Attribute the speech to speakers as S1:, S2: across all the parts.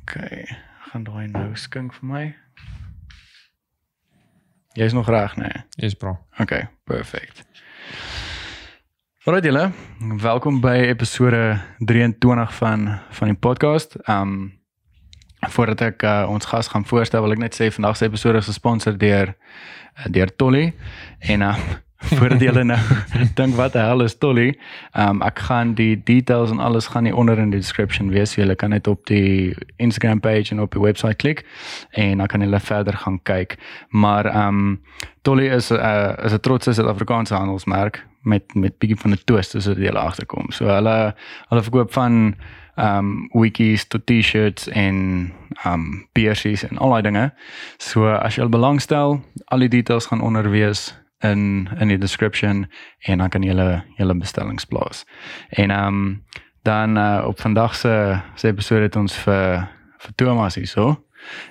S1: Okay. Gaan daai nou skink vir my. Jy's nog reg, né? Nee?
S2: Dis bra.
S1: Okay, perfect. Alraai julle, welkom by episode 23 van van die podcast. Um voordat ek uh, ons gas gaan voorstel, wil ek net sê vandag se episode is gesponsor deur eh, deur Tolly en um voordat julle nou dink wat die hel is Tolly, um ek gaan die details en alles gaan hier onder in die description wees. So Julle kan net op die Instagram page en op die webwerf klik en dan kan julle verder gaan kyk. Maar um Tolly is 'n uh, is 'n trotse Suid-Afrikaanse handelsmerk met met bietjie van 'n twist as dit julle agterkom. So hulle hulle verkoop van um wikkies tot T-shirts en um beersies en al daai dinge. So as jy al belangstel, al die details gaan onder wees in in die description en dan kan jy julle julle bestellings plaas. En um dan uh, op vandag se se episode het ons vir vir Thomas hierso.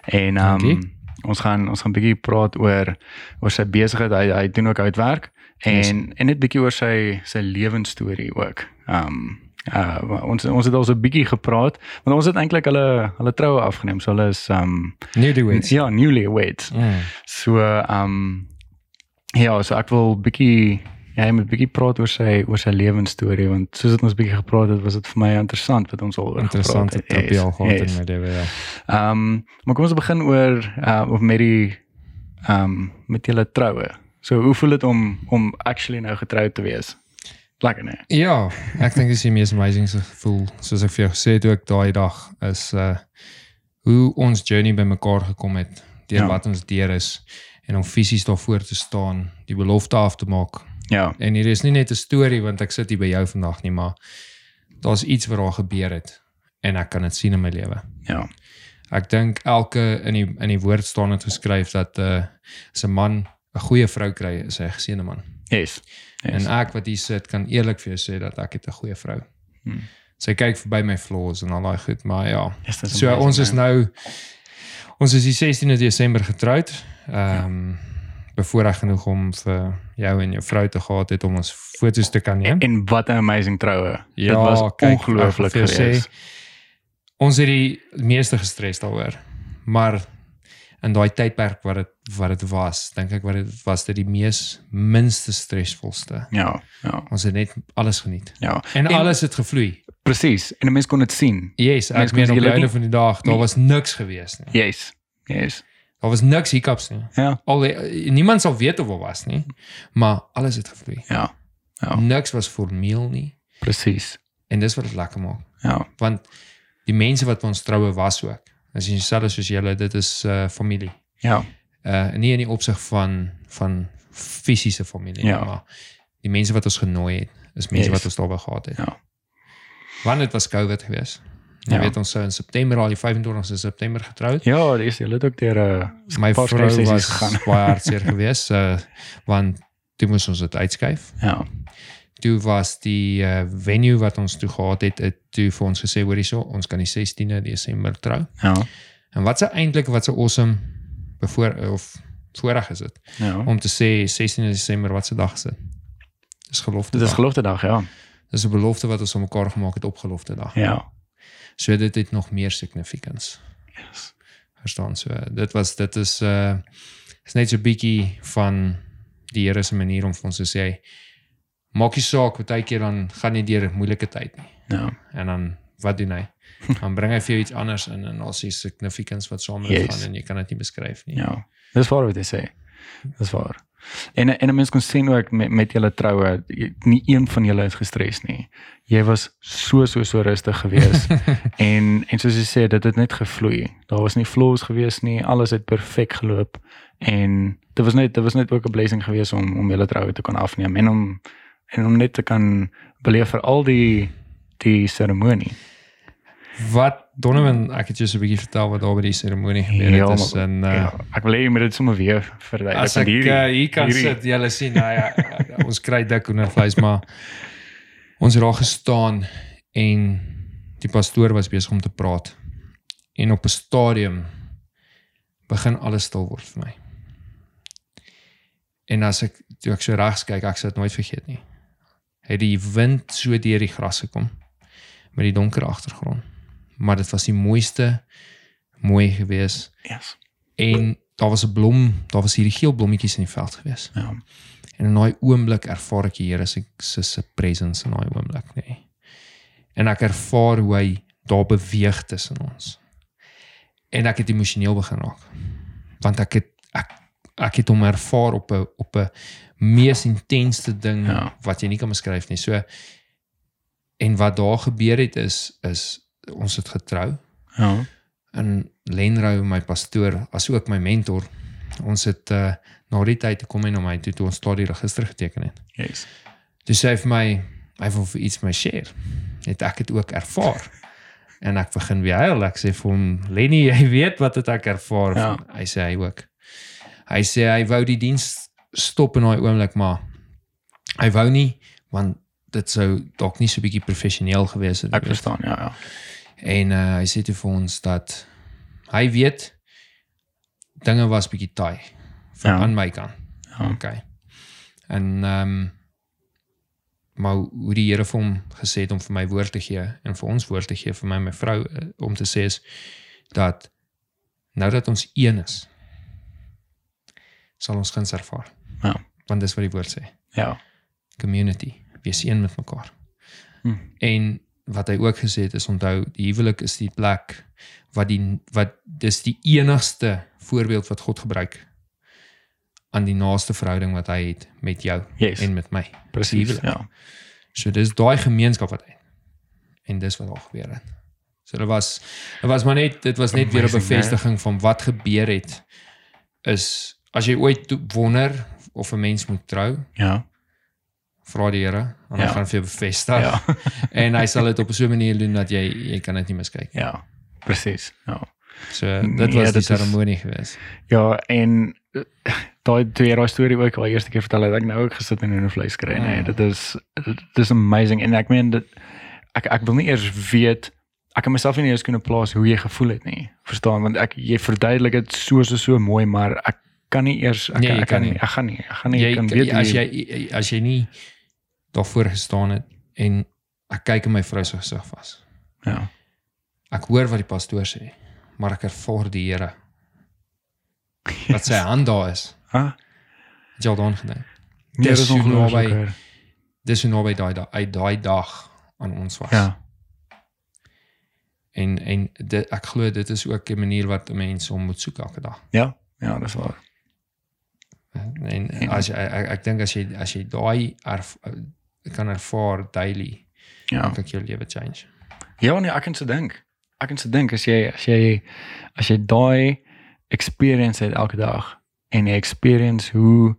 S1: En um
S2: Dankie.
S1: ons gaan ons gaan bietjie praat oor oor sy besigheid. Hy hy doen ook uitwerk en yes.
S2: Yes.
S1: en net bietjie oor sy sy lewensstorie ook. Um uh ons ons het al so 'n bietjie gepraat want ons het eintlik hulle hulle troue afgeneem. So hulle is um
S2: Newlyweds.
S1: ja, newlyweds.
S2: Mm.
S1: So um ja, so ek wil bietjie ja, jy moet bietjie praat oor sy oor sy lewensstorie want soos dit ons bietjie gepraat het, was dit vir my interessant wat ons al oor gepraat
S2: Interessante
S1: het.
S2: trapie al gehad
S1: yes.
S2: in my lewe ja.
S1: Ehm um, maar kom ons begin oor uh of met die ehm um, met julle troue. So hoe voel dit om om actually nou getroud te wees? Lekker nee.
S2: Ja, ek dink dis die mees amazing se gevoel soos ek vir jou gesê het ook daai dag is uh hoe ons journey bymekaar gekom het, deur
S1: Ja.
S2: ja. wat ons deur is en om fisies daarvoor te staan, die belofte af te maak.
S1: Ja.
S2: En hier is nie net 'n storie want ek sit hier by jou vandag nie, maar daar's iets wat daar gebeur het en ek kan dit sien in my lewe.
S1: Ja.
S2: Ek dink elke in die in die woord staan dit geskryf dat 'n uh, as 'n man 'n goeie vrou kry, is hy 'n geseënde man.
S1: Yes. yes.
S2: En eh, ek wat hier sit kan eerlik vir jou sê dat ek het 'n goeie vrou.
S1: Hmm.
S2: Hmm. Sy kyk verby my flaws en al daai goed, maar ja.
S1: yes, dis
S2: So
S1: amazing,
S2: ons is
S1: man.
S2: nou ons is die 16de Desember getroud. Ehm um, bevoorreg genoeg om vir jou en jou vrou te gehad het om ons foto's te kan neem.
S1: en, en wat 'n amazing troue.
S2: nou- Ja,
S1: dit was
S2: kyk, ek
S1: ongelooflik
S2: wil vir jou
S1: geweest.
S2: Ons het die meeste gestres daaroor. Maar in daai tydperk wat dit wat dit was, dink ek wat dit was dit die mees minste stresvolste.
S1: Ja, ja,
S2: Ons het net alles geniet.
S1: ja.
S2: En, en alles het gevloei.
S1: presies. En 'n mens kon dit sien.
S2: Yes,
S1: Mens
S2: ek
S1: kon
S2: meen op
S1: julle
S2: die einde
S1: nie-
S2: van die dag,
S1: nie-
S2: daar was niks gewees nie.
S1: Yes. Yes.
S2: Daar was niks hiccups nie.
S1: Ja,
S2: Al die- niemand sal weet of wat was nie, maar alles het gevloei.
S1: ja, Ja.
S2: Niks was formeel nie
S1: presies.
S2: en dis wat dit lekker maak.
S1: Ja,
S2: want die mense wat ons troue was ook. As jy selfs soos julle, dit is uh familie.
S1: ja,
S2: Uh nie in die opsig van van fisiese familie
S1: Ja.
S2: ja. maar die mense wat ons genooi het, is mense
S1: Yes.
S2: yes. wat ons daarby gehad het.
S1: Ja.
S2: Want dit was COVID geweest. Jy
S1: Ja.
S2: ja. weet ons sou in September al die 25ste September getroud.
S1: ja, dis jy het ook deur 'n
S2: My
S1: paar
S2: vrou
S1: skryfsessies
S2: was
S1: gegaan.
S2: baie hartseer geweest uh want toe moes ons dit uitskuif.
S1: ja,
S2: Toe was die uh, venue wat ons toe gehad het, het toe vir ons gesê hoor hierso, ons kan die 16de Desember trou.
S1: ja,
S2: En wat se eintlik wat se awesome bevoor of voorreg is dit
S1: ja.
S2: om te sê 16 Desember wat se dag is dit? Dis gelofte.
S1: Dit is
S2: Dis,
S1: gelofte dag, ja.
S2: dis 'n belofte wat ons aan mekaar gemaak het op gelofte dag.
S1: Ja.
S2: So dit het nog meer significance.
S1: Yes.
S2: Verstaan so. Dit was dit is uh is net so 'n bietjie van die Here se manier om vir ons te sê maak nie saak baie keer dan gaan jy deur 'n moeilike tyd nie.
S1: Ja.
S2: En dan wat doen hy? Dan bring hy vir jou iets anders in en daar's 'n significance wat saam met dit
S1: Yes.
S2: gaan en jy kan dit nie beskryf nie.
S1: Ja. Dis waar wat jy sê. Dis waar. En en 'n mens kon sien ook met met julle troue, jy- nie een van julle is gestres nie. Jy was so so so rustig geweest en en soos jy sê, dit het net gevloei. Daar was nie flaws geweest nie. Alles het perfek geloop en dit was net dit was net ook 'n blessing geweest om om julle troue te kan afneem en om en om net te kan beleef vir al die die seremonie.
S2: Wat Donovan, ek het jou so 'n bietjie vertel wat daar by die seremonie gebeur
S1: Ja,
S2: het is
S1: maar-
S2: en uh,
S1: Ja,
S2: ja,
S1: ek wil hê jy moet dit sommer weer verduidelik.
S2: as
S1: want
S2: ek
S1: hierdie-
S2: uh, hier kan
S1: hierdie-
S2: sit, julle sien, nou ja, ons kry dik onder vleis, maar ons het daar gestaan en die pastoor was besig om te praat. En op 'n stadium begin alles stil word vir my. En as ek toe ek so regs kyk, ek sal dit nooit vergeet nie. Het die wind so deur die gras gekom met die donker agtergrond. Maar dit was die mooiste mooi geweest.
S1: Yes.
S2: En daar was 'n blom, daar was hierdie geel blommetjies in die veld geweest.
S1: Ja.
S2: En in daai oomblik ervaar ek die Here se se se presence in daai oomblik, nê. Nee. En ek ervaar hoe hy daar beweeg tussen ons. En ek het emosioneel begin raak. Want ek het ek ek het hom ervaar op 'n op 'n mees intense ding
S1: Ja.
S2: wat jy nie kan beskryf nie. So en wat daar gebeur het is is ons het getrou
S1: Ja.
S2: in Lenrou my pastoor asook my mentor. Ons het uh, na die tyd kom hy na my toe toe ons klaar die register geteken het.
S1: Yes.
S2: Toe sê hy vir my hy wil vir iets my share. Net ek het ook ervaar. En ek begin weer huil. Ek sê vir hom Lenny, jy weet wat het ek ervaar.
S1: Ja.
S2: Hy sê hy ook. Hy sê hy wou die diens stop in daai oomblik maar hy wou nie want dit sou dalk nie so bietjie professioneel gewees het.
S1: Ek
S2: weet.
S1: verstaan. Ja, ja.
S2: En uh, hy sê toe vir ons dat hy weet dinge was bietjie taai van
S1: Ja.
S2: aan my kant.
S1: Ja.
S2: Okay. En ehm um, maar hoe die Here vir hom gesê het om vir my woord te gee en vir ons woord te gee vir my en my vrou eh, om te sê is dat nou dat ons een is sal ons guns ervaar.
S1: Ja.
S2: Want dis wat die woord sê
S1: Ja.
S2: community, wees een met mekaar.
S1: Hm.
S2: En wat hy ook gesê het is onthou, die huwelik is die plek wat die wat dis die enigste voorbeeld wat God gebruik aan die naaste verhouding wat hy het met jou
S1: Yes.
S2: en met my.
S1: Presies.
S2: huwelik.
S1: Ja.
S2: So dis daai gemeenskap wat hy het. En dis wat daar gebeur het. So dit was dit was maar net dit was net weer 'n
S1: Amazing, né?
S2: bevestiging van wat gebeur het is as jy ooit toe- wonder of 'n mens moet trou,
S1: Ja.
S2: vra die Here en hy
S1: Ja.
S2: gaan vir jou bevestig.
S1: Ja.
S2: en hy sal dit op so 'n manier doen dat jy jy kan dit nie miskyk nie.
S1: Ja. Presies. Ja.
S2: So
S1: Nee,
S2: dit
S1: dit
S2: was die
S1: is-
S2: seremonie geweest.
S1: Ja, en eh, daai twee daai storie ook al die eerste keer vertel het ek nou ook gesit en in 'n vleis kry, nee,
S2: Mm.
S1: dit is dit is amazing en ek meen dit ek ek wil nie eers weet ek kan myself nie eers kunnen plaas hoe jy gevoel het nie. Verstaan want ek jy verduidelik dit so so so mooi, maar ek kan nie eers ek,
S2: Nee, jy
S1: ek
S2: kan
S1: kan nie
S2: nie.
S1: ek gaan nie ek gaan nie
S2: Jy
S1: Nee, jy, kan weet
S2: as
S1: hoe
S2: jy as jy nie daarvoor gestaan het en ek kyk in my vrou se gesig vas.
S1: ja
S2: Ek hoor wat die pastoor sê, maar ek ervaar die Here. Wat sy hand daar is.
S1: ah
S2: Het jy al daaraan gedink?
S1: nee,
S2: dis
S1: dis
S2: hoe
S1: ongelooflik.
S2: naby-
S1: hoor.
S2: Dis hoe naby daai da- uit daai dag aan ons was.
S1: Ja,
S2: En en dit, ek glo dit is ook 'n manier wat 'n mens om moet soek elke dag.
S1: ja, ja, dis waar.
S2: En
S1: Ja.
S2: as jy ek, ek dink as jy as jy daai erf, eh, kan ervaar daily,
S1: Ja.
S2: dan kan jou lewe change.
S1: Ja, nee, ek kan se dink. Ek kan se dink as jy as jy as jy daai experience het elke dag en jy experience hoe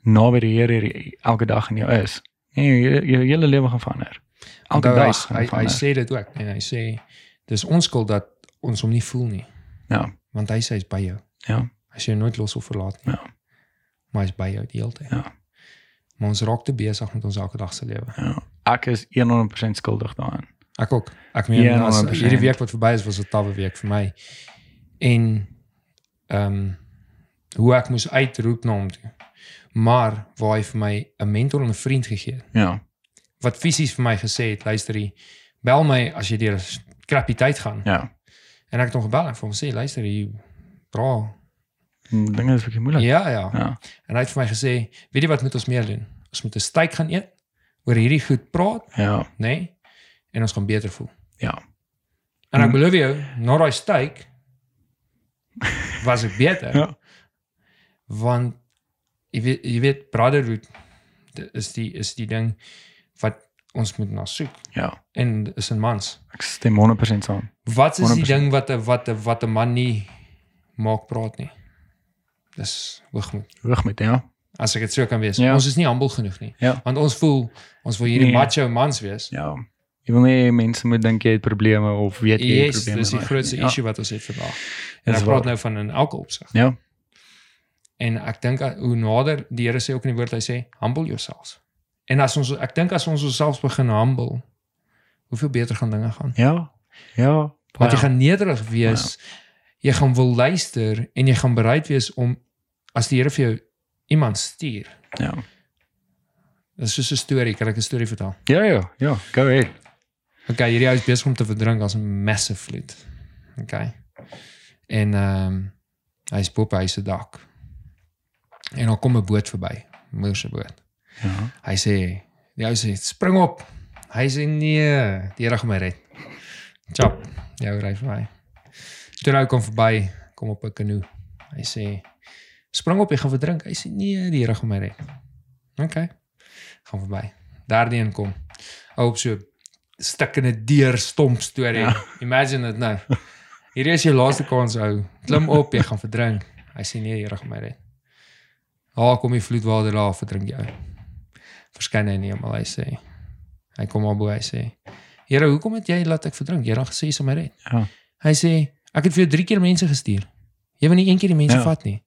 S1: naby die Here jy elke dag in jou is. Nee, jou jou hele lewe gaan verander. Elke
S2: Onthou,
S1: dag
S2: hy, hy, hy
S1: sê
S2: sê dit ook en hy sê dis ons skuld dat ons hom nie voel nie,
S1: ja,
S2: want hy sê hy's by jou.
S1: ja,
S2: Hy sê jou nooit los of verlaat nie.
S1: Ja.
S2: Maar hy's by jou die hele tyd.
S1: Ja.
S2: Maar ons raak te besig met ons elke dag se lewe.
S1: ja. Ek is 100% skuldig daaraan.
S2: Ek ook. Ek meen
S1: Ja,
S2: as
S1: 100%.
S2: hierdie week wat verby is was 'n tawwe week vir my. En ehm hoe ek moes uitroep na hom toe. Maar waar hy vir my 'n mentor en 'n vriend gegee het
S1: Ja.
S2: wat fisies vir my gesê het, luister hier, bel my as jy deur 'n krappie tyd gaan.
S1: Ja.
S2: En ek het hom gebel en vir hom sê, luister hier, bra.
S1: Dinge Mm, is bietjie moeilik.
S2: Ja, ja.
S1: Ja.
S2: En hy het vir my gesê, weet jy wat moet ons meer doen? Ons moet 'n steak gaan eet, oor hierdie goed praat,
S1: Ja.
S2: nê? Nee? En ons gaan beter voel.
S1: Ja.
S2: En
S1: Hmm.
S2: ek belowe jou, na daai steak was ek beter.
S1: Ja.
S2: Want jy weet jy weet brotherhood di- is die is die ding wat ons moet na soek
S1: Ja.
S2: en is in mans.
S1: Ek stem 100% saam.
S2: Wat is die
S1: 100%.
S2: ding wat 'n wat 'n wat 'n man nie maak praat nie? Dis hoogmoed.
S1: Rug met ja.
S2: As ek dit so kan wees.
S1: Ja.
S2: Ja. Ons is nie humble genoeg nie.
S1: Ja.
S2: Want ons voel ons wil hierdie
S1: Nee.
S2: nee. macho mans wees.
S1: Ja. Jy wil nie mense moet dink jy het probleme of weet jy het
S2: Yes,
S1: probleme.
S2: dis die
S1: maar-
S2: grootste
S1: ja.
S2: issue wat ons het vandag. En
S1: Dis waar.
S2: ek praat nou van 'n elke opsig.
S1: Ja.
S2: En ek dink uh, hoe nader die Here sê ook in die woord hy sê humble yourselves. En as ons ek dink as ons onsself begin humble, hoeveel beter gaan dinge gaan.
S1: Ja. Ja.
S2: Want jy
S1: baie.
S2: gaan nederig wees. Jy gaan wil luister en jy gaan bereid wees om as die Here vir jou iemand stuur.
S1: ja.
S2: Dit is soos 'n storie, kan ek 'n storie vertel?
S1: Ja ja, ja, go ahead.
S2: Okay, hierdie ou is besig om te verdrink as 'n massive vloed. Okay. En ehm hy's bo op hy se dak. En dan kom 'n boot verby, moer se boot.
S1: Ja.
S2: Hy sê, die ou sê, "Spring op." Hy sê, "Nee, die Here gaan my red." Chop, die ou ry verby. Toe nou kom verby, kom op 'n kanoe. Hy sê, "Spring op, jy gaan verdrink." Hy sê, "Nee, die Here gaan my red." OK. Gaan verby. Derde een kom. Ou op so 'n stuk in 'n deur stomp storie. Ja. Imagine dit nou. Hierdie is jou laaste kans ou. Klim op, jy gaan verdrink. Hy sê nee, die Here gaan my red. Daar kom die vloedwater daar verdrink jou verskyn hy nie maar hy sê hy kom op hy sê Here hoekom het jy laat ek verdrink Here het gesê jy sal my red
S1: Ja.
S2: hy sê ek het vir jou 3 keer mense gestuur jy wil nie een keer die mense
S1: Ja.
S2: ja. vat nie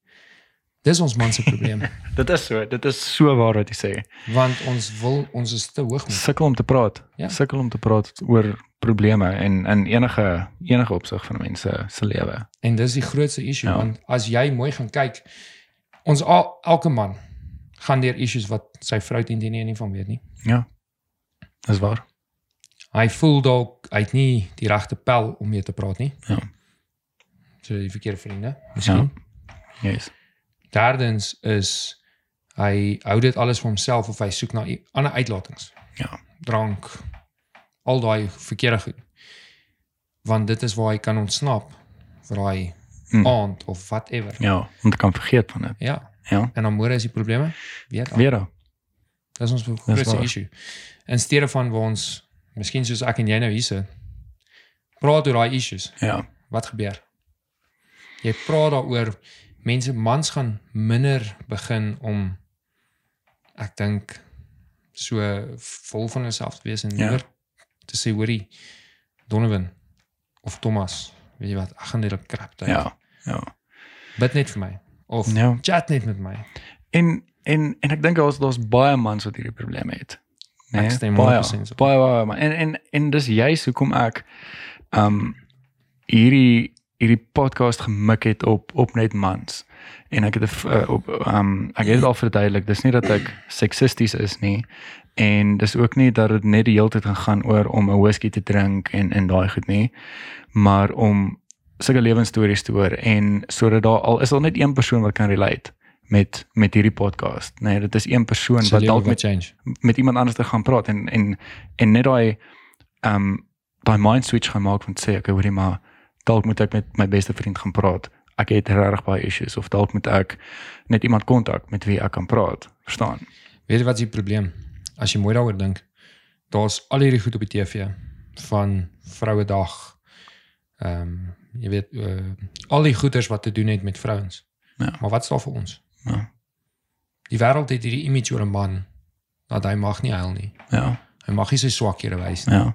S2: dis ons man se probleem
S1: Dit is so, dit is so waar wat jy sê.
S2: want ons wil ons is te hoog met
S1: Sukkel om te praat.
S2: Ja.
S1: Sukkel om te praat oor probleme en in enige enige opsig van mense se lewe.
S2: en dis die grootste issue
S1: Ja.
S2: ja. want as jy mooi gaan kyk ons al, elke man gaan deur issues wat sy vrou teen die nie van weet nie
S1: Dis waar.
S2: Hy voel dalk hy het nie die regte pel om mee te praat nie.
S1: Ja.
S2: So die verkeerde vriende, miskien.
S1: Yes.
S2: Derdens is hy hou dit alles vir homself of hy soek na i- ander uitlatings.
S1: Ja.
S2: Drank, al daai verkeerde goed. Want dit is waar hy kan ontsnap vir daai
S1: Hmm.
S2: hmm. aand of whatever.
S1: Ja, om te kan vergeet van dit.
S2: Ja.
S1: Ja.
S2: En dan môre is die probleme weer daar.
S1: Weer.
S2: Dis ons
S1: waar.
S2: grootste issue. In steede van waar ons miskien soos ek en jy nou hier sit, praat oor daai issues.
S1: Ja.
S2: Wat gebeur? Jy praat daaroor mense mans gaan minder begin om ek dink so vol van hulself te wees en
S1: Ja.
S2: ja. te sê hoorie Donovan of Thomas, weet jy wat, ek gaan net 'n krap tyd.
S1: Ja. Ja.
S2: Bid net vir my of ja.
S1: Ja.
S2: chat net met my.
S1: En en en ek dink daar's daar's baie mans wat hierdie probleme het.
S2: Ek stem
S1: baie,
S2: 100% saam.
S1: baie baie man. En en en dis juis hoekom ek um hierdie hierdie podcast gemik het op op net mans. En ek het 'n v- uh, op um ek het dit al verduidelik, dis nie dat ek seksisties is nie en dis ook nie dat dit net die hele tyd gaan gaan oor om 'n whisky te drink en en daai goed nie, maar om sulke lewensstories te hoor en sodat daar al is al net een persoon wat kan relate met met hierdie podcast. Nee, dit is een persoon
S2: Sy
S1: wat
S2: lewe
S1: dalk
S2: wil
S1: met
S2: change.
S1: met iemand anders te gaan praat en en en net daai ehm um, daai mind switch gaan maak van te sê okay, hoorie maar dalk moet ek met my beste vriend gaan praat. Ek het regtig baie issues of dalk moet ek net iemand kontak met wie ek kan praat. Verstaan?
S2: Weet jy wat is die probleem? As jy mooi daaroor dink, daar's al hierdie goed op die TV van Vrouedag. Ehm jy weet uh, al die goeders wat te doen het met vrouens.
S1: Ja.
S2: Maar wat is daar vir ons?
S1: Ja.
S2: Die wêreld het hierdie image oor 'n man dat hy mag nie huil nie.
S1: Ja.
S2: Hy mag nie sy swakhede wys nie.
S1: Ja.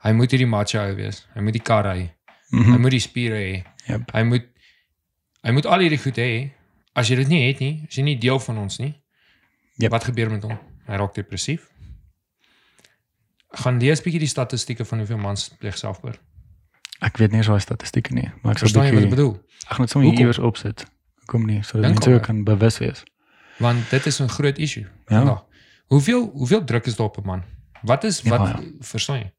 S2: Hy moet hierdie macho ou wees. Hy moet die kar ry.
S1: Mm
S2: Hy
S1: -hmm.
S2: moet die spiere hê.
S1: Yep.
S2: Hy moet hy moet al hierdie goed hê. As jy dit nie het nie, as jy nie deel van ons nie.
S1: Yep.
S2: Wat gebeur met hom? Hy raak depressief. Gaan lees bietjie die statistieke van hoeveel mans pleeg selfmoord.
S1: Ek weet nie so statistieke nie, maar ek sal
S2: Verstaan jy wat ek
S1: bietjie
S2: bedoel?
S1: ek gaan dit sommer hier
S2: Hoekom?
S1: iewers opsit. Kom nie, sodat
S2: Dink
S1: mense ook
S2: daaroor.
S1: kan bewus wees.
S2: Want dit is 'n groot issue.
S1: Ja.
S2: vandag. Hoeveel hoeveel druk is daar op 'n man? Wat is
S1: Ja,
S2: wat
S1: ja.
S2: verstaan jy?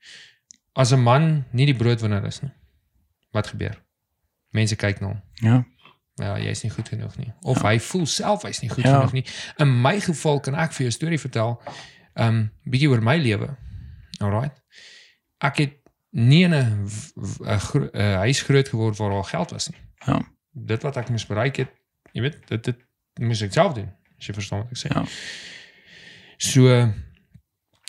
S2: As 'n man nie die broodwinner is nie. Wat gebeur? Mense kyk na hom.
S1: Ja.
S2: ja, jy's nie goed genoeg nie. Of hy voel self hy's nie goed
S1: Ja.
S2: ja. genoeg nie. In my geval kan ek vir jou 'n storie vertel. Um bietjie oor my lewe. Alraight. Ek het nie in 'n w- w- 'n eh, gro- 'n huis groot geword waar daar geld was nie.
S1: Ja.
S2: Dit wat ek moes bereik het, jy weet, dit dit moes ek self doen. As jy verstaan wat ek sê.
S1: Ja.
S2: So eh,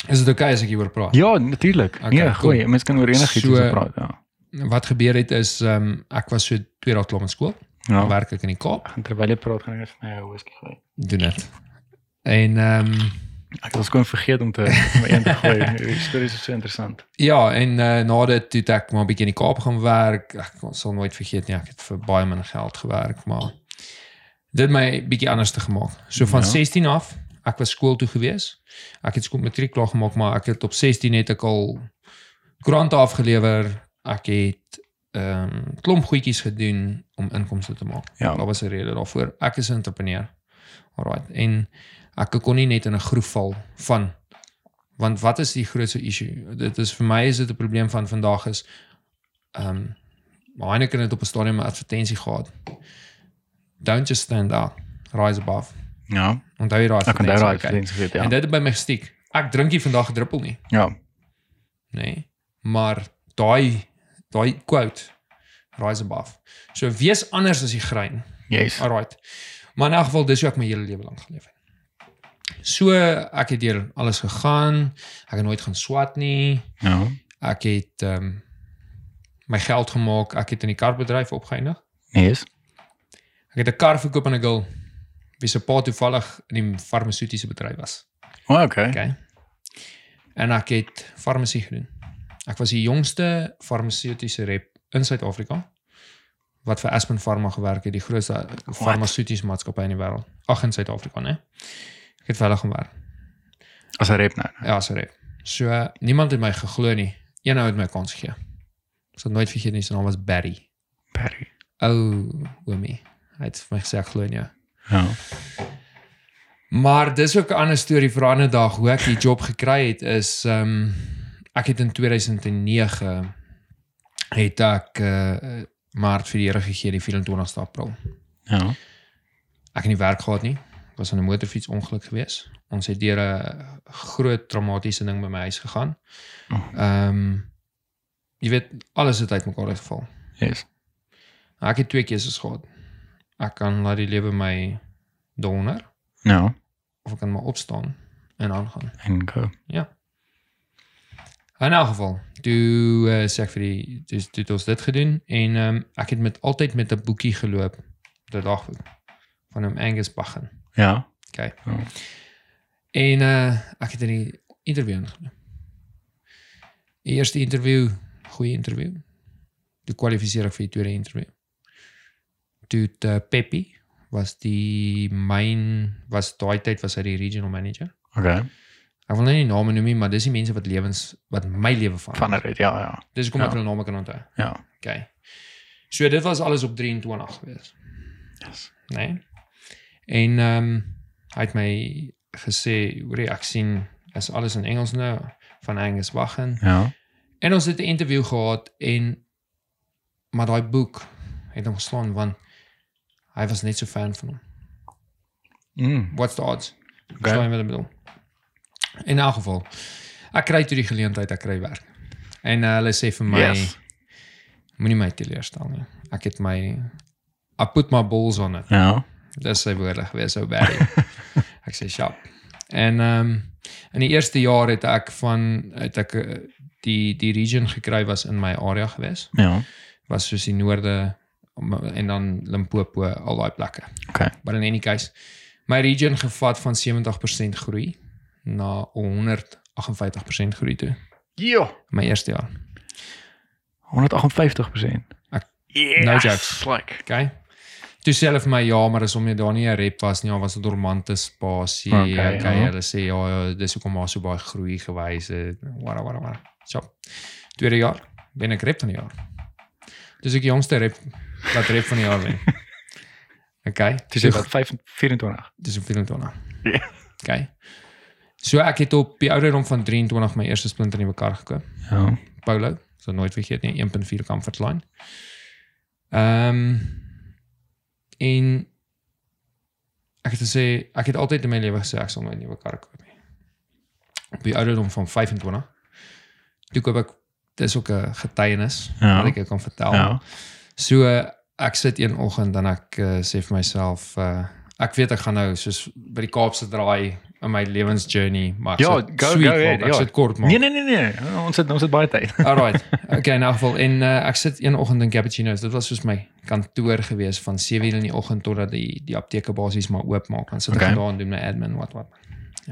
S2: is dit oukei okay as ek hieroor praat?
S1: Ja, natuurlik. Okay,
S2: Okay,
S1: nee,
S2: cool.
S1: goeie. Cool. Mense kan oor enigiets
S2: So-
S1: so, praat. Ja.
S2: Wat gebeur het is um ek was so 2 dae klaar met skool.
S1: Ja.
S2: Dan werk ek in die Kaap.
S1: Ek gaan terwyl jy praat gaan ek net vir my 'n whisky gooi.
S2: Doen dit. En ehm um,
S1: Ek was gewoon vergeet om te om een te gooi. Die stories is so interessant.
S2: Ja, en uh, na dit het ek maar 'n bietjie in die Kaap gaan werk. Ek sal nooit vergeet nie, ek het vir baie min geld gewerk, maar dit het my bietjie anders te gemaak. So van
S1: Ja.
S2: ja. 16 af, ek was skool toe gewees. Ek het skool matriek klaar gemaak, maar ek het op 16 het ek al koerante afgelewer. Ek het ehm um, klomp goedjies gedoen om inkomste te maak.
S1: Ja.
S2: Daar was 'n rede daarvoor. Ek is 'n entrepreneur. Alraight. En ek kon nie net in 'n groef val van want wat is die grootste issue? Dit is vir my is dit 'n probleem van vandag is ehm um, Maar Heineken het op 'n stadium 'n advertensie gehad. Don't just stand out, rise above.
S1: Ja,
S2: Onthou jy daai
S1: ek kan daai raak
S2: advertensie?
S1: gedoen, ja.
S2: En dit het by my gestiek. Ek drink nie vandag 'n druppel nie,
S1: Ja.
S2: nê. Nee. Maar daai daai quote rise above. So wees anders as die grein.
S1: Yes.
S2: Alright. Maar in elk geval dis hoe ek my hele lewe lank geleef het. So ek het deur alles gegaan. Ek het nooit gaan swat nie.
S1: Ja.
S2: Ek het ehm um, my geld gemaak. Ek het in die karbedryf opgeëindig.
S1: Yes.
S2: Ek het 'n kar verkoop aan 'n girl wie se pa toevallig in die farmaseutiese bedryf was.
S1: Oh, okay.
S2: Okay. Mhm. En ek het farmasie gedoen. Ek was die jongste farmaseutiese rep in Suid-Afrika wat vir Aspen Pharma gewerk het, die grootste farmaseutiese maatskappy in die wêreld. Ag in Suid-Afrika, né? Ek het vir hulle gaan werk.
S1: As 'n rep nou.
S2: Ja, as 'n rep. So eh, niemand het my geglo nie. Een ou het my kans gegee. Ek sal nooit vergeet nie, sy naam was Barry.
S1: Perry.
S2: Ou oomie. Hy het vir my gesê ek glo in jou.
S1: Ja.
S2: Maar dis ook 'n ander storie vir 'n ander dag hoe ek die job gekry het is ehm um, ek het in 2009 het ek uh, maar vir die Here gegee die 24ste April.
S1: Ja.
S2: Ek het nie werk gehad nie. Ek was aan 'n motorfietsongeluk gewees. Ons het deur 'n groot traumatiese ding by my huis gegaan.
S1: Oh.
S2: Ehm um, jy weet alles het uitmekaar uitgeval.
S1: Yes.
S2: Ek het twee keuses gehad. Ek kan laat die lewe my donder
S1: Ja.
S2: of ek kan maar opstaan en aangaan.
S1: En go.
S2: In elk geval, toe uh, sê ek vir die dis toe het ons dit gedoen en um, ek het met altyd met 'n boekie geloop, dit dagboek van hom Angus Baggen.
S1: Ja.
S2: Okay.
S1: Ja.
S2: En uh, ek het in die interview ingeneem. Die eerste interview, goeie interview. Toe kwalifiseer ek vir die tweede interview. Toe het, uh, Peppy was die myn was daai tyd was hy die regional manager.
S1: Okay.
S2: Ek wil nou nie name noem nie, maar dis die mense wat lewens wat my lewe verander.
S1: Van 'n rep, ja, ja.
S2: Dis hoekom
S1: Ja.
S2: ek hulle name kan onthou.
S1: Ja.
S2: Okay. So dit was alles op 23 gewees.
S1: Yes.
S2: Nee. En ehm um, hy het my gesê, "Hoor jy, ek sien is alles in Engels nou van Angus Wagen."
S1: Ja.
S2: En ons het 'n interview gehad en maar daai boek het hom geslaan want hy was net so fan van hom.
S1: Mm.
S2: What's the odds?
S1: Okay.
S2: Okay. Slaan met hom. In elk geval, ek kry toe die geleentheid, ek kry werk. En uh, hulle sê vir my
S1: Yes.
S2: Moenie my teleurstel nie. Ek het my I put my balls on it.
S1: Ja.
S2: Dis sy woorde gewees ou Barry. ek sê sharp. En ehm um, in die eerste jaar het ek van het ek eh, die die region gekry was in my area gewees.
S1: Ja.
S2: Was soos die noorde m- en dan Limpopo al daai plekke.
S1: Okay.
S2: Maar in enige geval my region gevat van 70% groei na 158% groei toe
S1: Jo.
S2: in my eerste jaar.
S1: 158%.
S2: Ek-
S1: Yes.
S2: No jokes.
S1: Like.
S2: Okay. Toe sê hulle vir my ja, maar as om jy daar nie 'n rep was nie, daar was 'n dormante spasie.
S1: Okay,
S2: Okay, okay
S1: ja.
S2: hulle sê ja, ja, dis hoekom daar so baie groei gewys het. Wara wara wara. So. Tweede jaar ben ek rep van die jaar. Dis ek die jongste rep wat rep van die jaar wen. Okay.
S1: Dis jy wat 24.
S2: dis op 24.
S1: Ja.
S2: Okay. So ek het op die ouderdom van 23 my eerste splint in die mekaar gekoop.
S1: Ja.
S2: Paulo, so nooit vergeet nie, 1.4 comfort line. Ehm en ek het gesê ek het altyd in my lewe gesê ek sal nooit 'n nuwe kar koop nie. Op die ouderdom van 25 toe koop ek dis ook 'n getuienis
S1: Ja.
S2: wat ek jou kan vertel.
S1: Ja.
S2: So eh, ek sit een oggend dan ek uh, sê vir myself uh, ek weet ek gaan nou soos by die Kaapse draai in my lewensjourney maar ek
S1: Ja,
S2: sal het
S1: go-
S2: sweet
S1: go ahead,
S2: maak, ek
S1: ja.
S2: sal het kort maak.
S1: Nee nee nee nee. Ons het ons het baie tyd.
S2: Alright. Okay, in elk geval en uh, ek sit een oggend in Cappuccino's. Dit was soos my kantoor gewees van 7:00 in die oggend totdat die die apteke basies maar oopmaak. Dan sit ek
S1: Okay.
S2: okay. daar en doen my admin wat wat.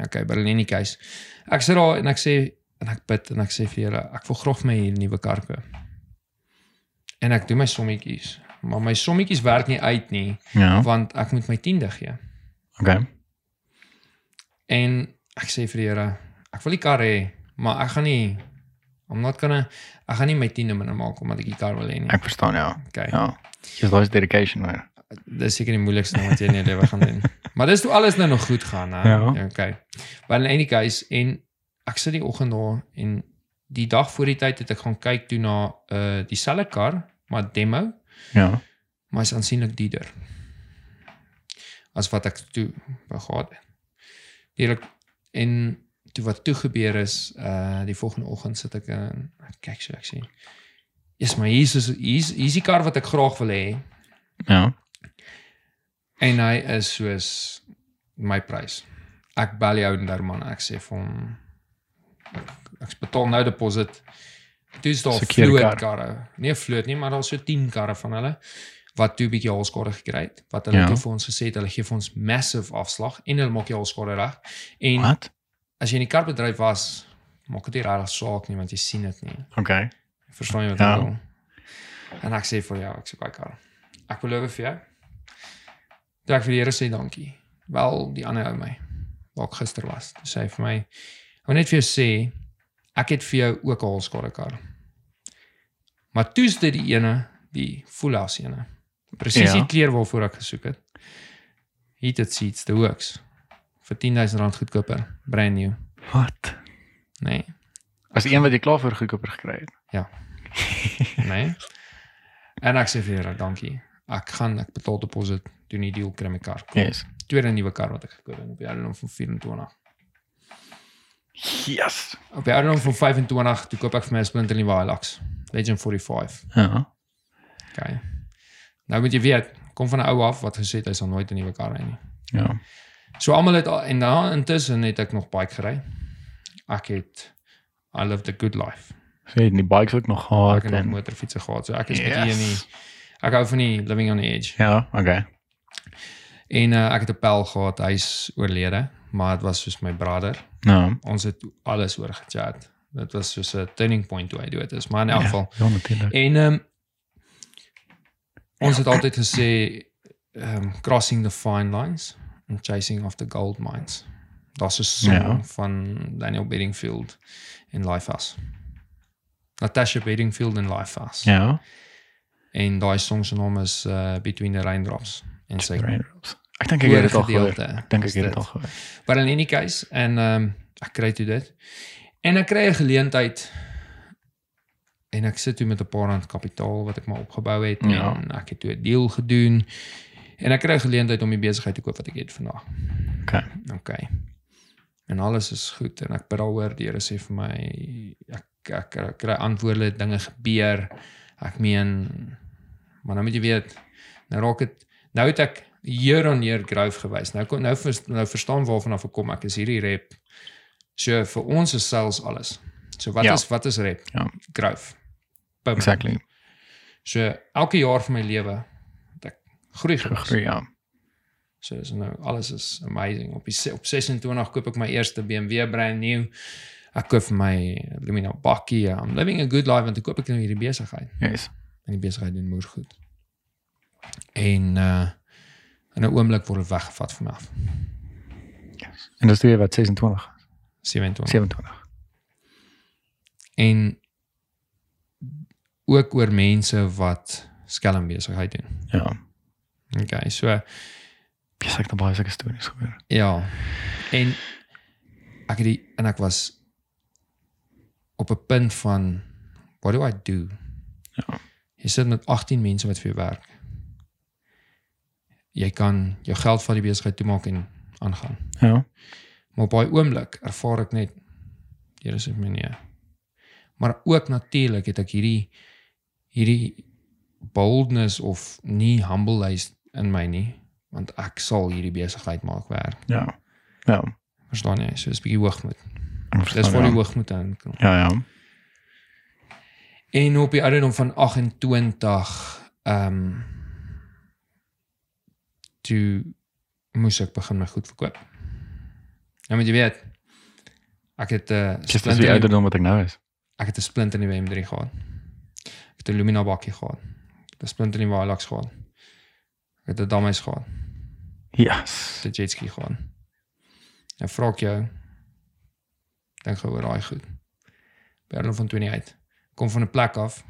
S2: Okay, by Lenny Keys. Ek sit daar en ek sê en ek bid en ek sê vir julle, ek wil graag vir my hierdie nuwe kar koop. En ek doen my sommetjies, maar my sommetjies werk nie uit nie,
S1: Ja.
S2: want ek moet my 10de gee.
S1: Okay.
S2: En ek sê vir die Here, ek wil die kar hê, maar ek gaan nie I'm not gonna ek gaan nie my 10 minder maak omdat ek die kar wil hê nie.
S1: Ek verstaan ja.
S2: Okay. Ja.
S1: Ja. Dis daai dedication maar.
S2: Dis seker die moeilikste ding wat jy in jou lewe gaan doen. Maar dis toe alles nou nog goed gaan, hè.
S1: Ja.
S2: Okay. Maar in enige geval en ek sit eh, die oggend daar en die dag voor die tyd het ek gaan kyk toe na uh dieselfde kar maar demo,
S1: Ja.
S2: maar is aansienlik duurder as wat ek toe wou gehad het. Eerlik en toe wat toe gebeur is, uh die volgende oggend sit ek in ek kyk so ek sien. Is maar hier is hier's hier's die kar wat ek graag wil hê
S1: Ja.
S2: en hy is soos my prys. Ek bel jou en man, ek sê vir hom ek- ek betaal nou deposit. Toe is daar
S1: Sekeerde
S2: vloot
S1: kar.
S2: karre. Nee, vloot nie, maar daar is so 10 karre van hulle wat toe 'n bietjie haalskade gekry het. Wat hulle
S1: Ja.
S2: ja. toe vir ons gesê het, hulle gee vir ons massive afslag en hulle maak jou haalskade reg. En What?
S1: Wat?
S2: as jy in die karbedryf was, maak dit nie regtig saak nie want jy sien dit nie.
S1: Okay.
S2: Verstaan jy wat
S1: Ja.
S2: ek bedoel? En ek sê vir jou, ek soek daai kar. Ek beloof vir jou. Toe ek vir die Here sê dankie. Wel, die ander ou my waar ek gister was. Toe sê hy vir my, "Ek wil net vir jou sê, ek het vir jou ook 'n haalskade kar." Maar toe's dit die ene, die Fulas ene. Presies
S1: Ja.
S2: die kleur waarvoor ek gesoek het. Heated seats, the works. Vir R10000 goedkoper, brand new.
S1: Wat?
S2: Nee.
S1: As die een wat jy klaar vir goedkoper gekry het.
S2: Nee. En ek sê vir julle dankie. Ek gaan ek betaal deposit doen die deal kry my kar.
S1: Yes.
S2: Tweede nuwe kar wat ek gekoop het op die ouderdom van 24.
S1: Yes.
S2: Op die ouderdom van 25 toe koop ek vir my 'n splinter nuwe Hilux, Legend 45.
S1: Ja.
S2: Okay. Nou moet jy weet, kom van 'n ou af wat gesê het hy sal nooit 'n nuwe kar hê nie.
S1: Ja.
S2: So almal het al, en dan intussen het ek nog bike gery. Ek het I lived a good life.
S1: Sien jy, die bikes ook nog
S2: Ek
S1: gehad
S2: het nog
S1: en
S2: motorfietsse gehad. So ek is yes. bietjie
S1: Yes.
S2: in die ek hou van die living on the edge.
S1: Ja, okay.
S2: En uh, ek het 'n pel gehad, hy's oorlede, maar dit was soos my brother.
S1: Nou.
S2: Ons het alles oor gechat. Dit was soos 'n turning point toe hy dood is, maar in elk geval.
S1: Ja, natuurlik.
S2: En um, ons het altyd gesê um crossing the fine lines and chasing after gold mines. Daar's 'n song
S1: Ja.
S2: ja. van Daniel Bedingfield en Lifehouse. Natasha Bedingfield en Lifehouse.
S1: Ja.
S2: En daai song se naam is uh, Between the Raindrops en sy
S1: Raindrops. Ek dink ek het dit al gehoor.
S2: oorgedeelte
S1: Ek dink ek
S2: is
S1: het dit
S2: dit.
S1: al gehoor.
S2: Maar in enige geval en ehm ek kry toe dit. En ek kry 'n geleentheid en ek sit toe met 'n paar rand kapitaal wat ek maar opgebou het
S1: Ja.
S2: en ek het toe 'n deal gedoen. En ek kry 'n geleentheid om die besigheid te koop wat ek het vandag.
S1: Okay.
S2: Okay. En alles is goed en ek bid daaroor. Die Here sê vir my ek ek, ek kry antwoorde, dinge gebeur. Ek meen maar nou moet jy weet nou raak dit nou het ek year on year growth gewys. Nou kon nou vers, nou verstaan waarvan af ek kom. Ek is hierdie rep. So vir ons is sales alles. So wat
S1: Ja.
S2: ja. is wat is rep?
S1: Ja.
S2: Growth. Boom.
S1: Exactly.
S2: So elke jaar van my lewe het ek groei gewees.
S1: Groei, ja.
S2: So is nou alles is amazing. Op die se- op 26 koop ek my eerste BMW brand new. Ek koop vir my Lumina bakkie. I'm living a good life want ek koop ek nou hierdie besigheid
S1: Yes.
S2: en die besigheid doen moer goed. En uh in 'n oomblik word dit weggevat van my af.
S1: En dis toe jy wat 26,
S2: Oh. 27.
S1: 27.
S2: En ook oor mense wat skelm besigheid doen.
S1: Ja.
S2: Okay, so
S1: Yes, ek het baie sulke stories gehoor.
S2: ja. En ek het die en ek was op 'n punt van what do I do?
S1: Ja.
S2: Jy sit met 18 mense wat vir jou werk. Jy kan jou geld van die besigheid toemaak en aangaan.
S1: Ja.
S2: Maar op daai oomblik ervaar ek net Here se manier. Maar ook natuurlik het ek hierdie hierdie boldness of nie humbleheid in my nie, want ek sal hierdie besigheid maak werk.
S1: Ja. Ja.
S2: Verstaan jy? So is 'n bietjie hoogmoed.
S1: ek verstaan,
S2: Dis waar
S1: ja.
S2: die hoogmoed aan kom.
S1: Ja, ja.
S2: En op die ouderdom van 28 ehm um, toe moes ek begin my goed verkoop. Nou moet jy weet ek het eh, 'n
S1: Dis dis die ouderdom wat ek nou is.
S2: Ek het 'n splint in die WM3 gehad. Ek het 'n Lumina bakkie gehad. Ek het 'n splint in die Hilux gehad. Ek het 'n Damais gehad. Ek
S1: Yes.
S2: het 'n jetski gehad.
S1: Ja
S2: Nou vra ek jou dink gou oor daai goed. Berlin van 28. Kom van 'n plek af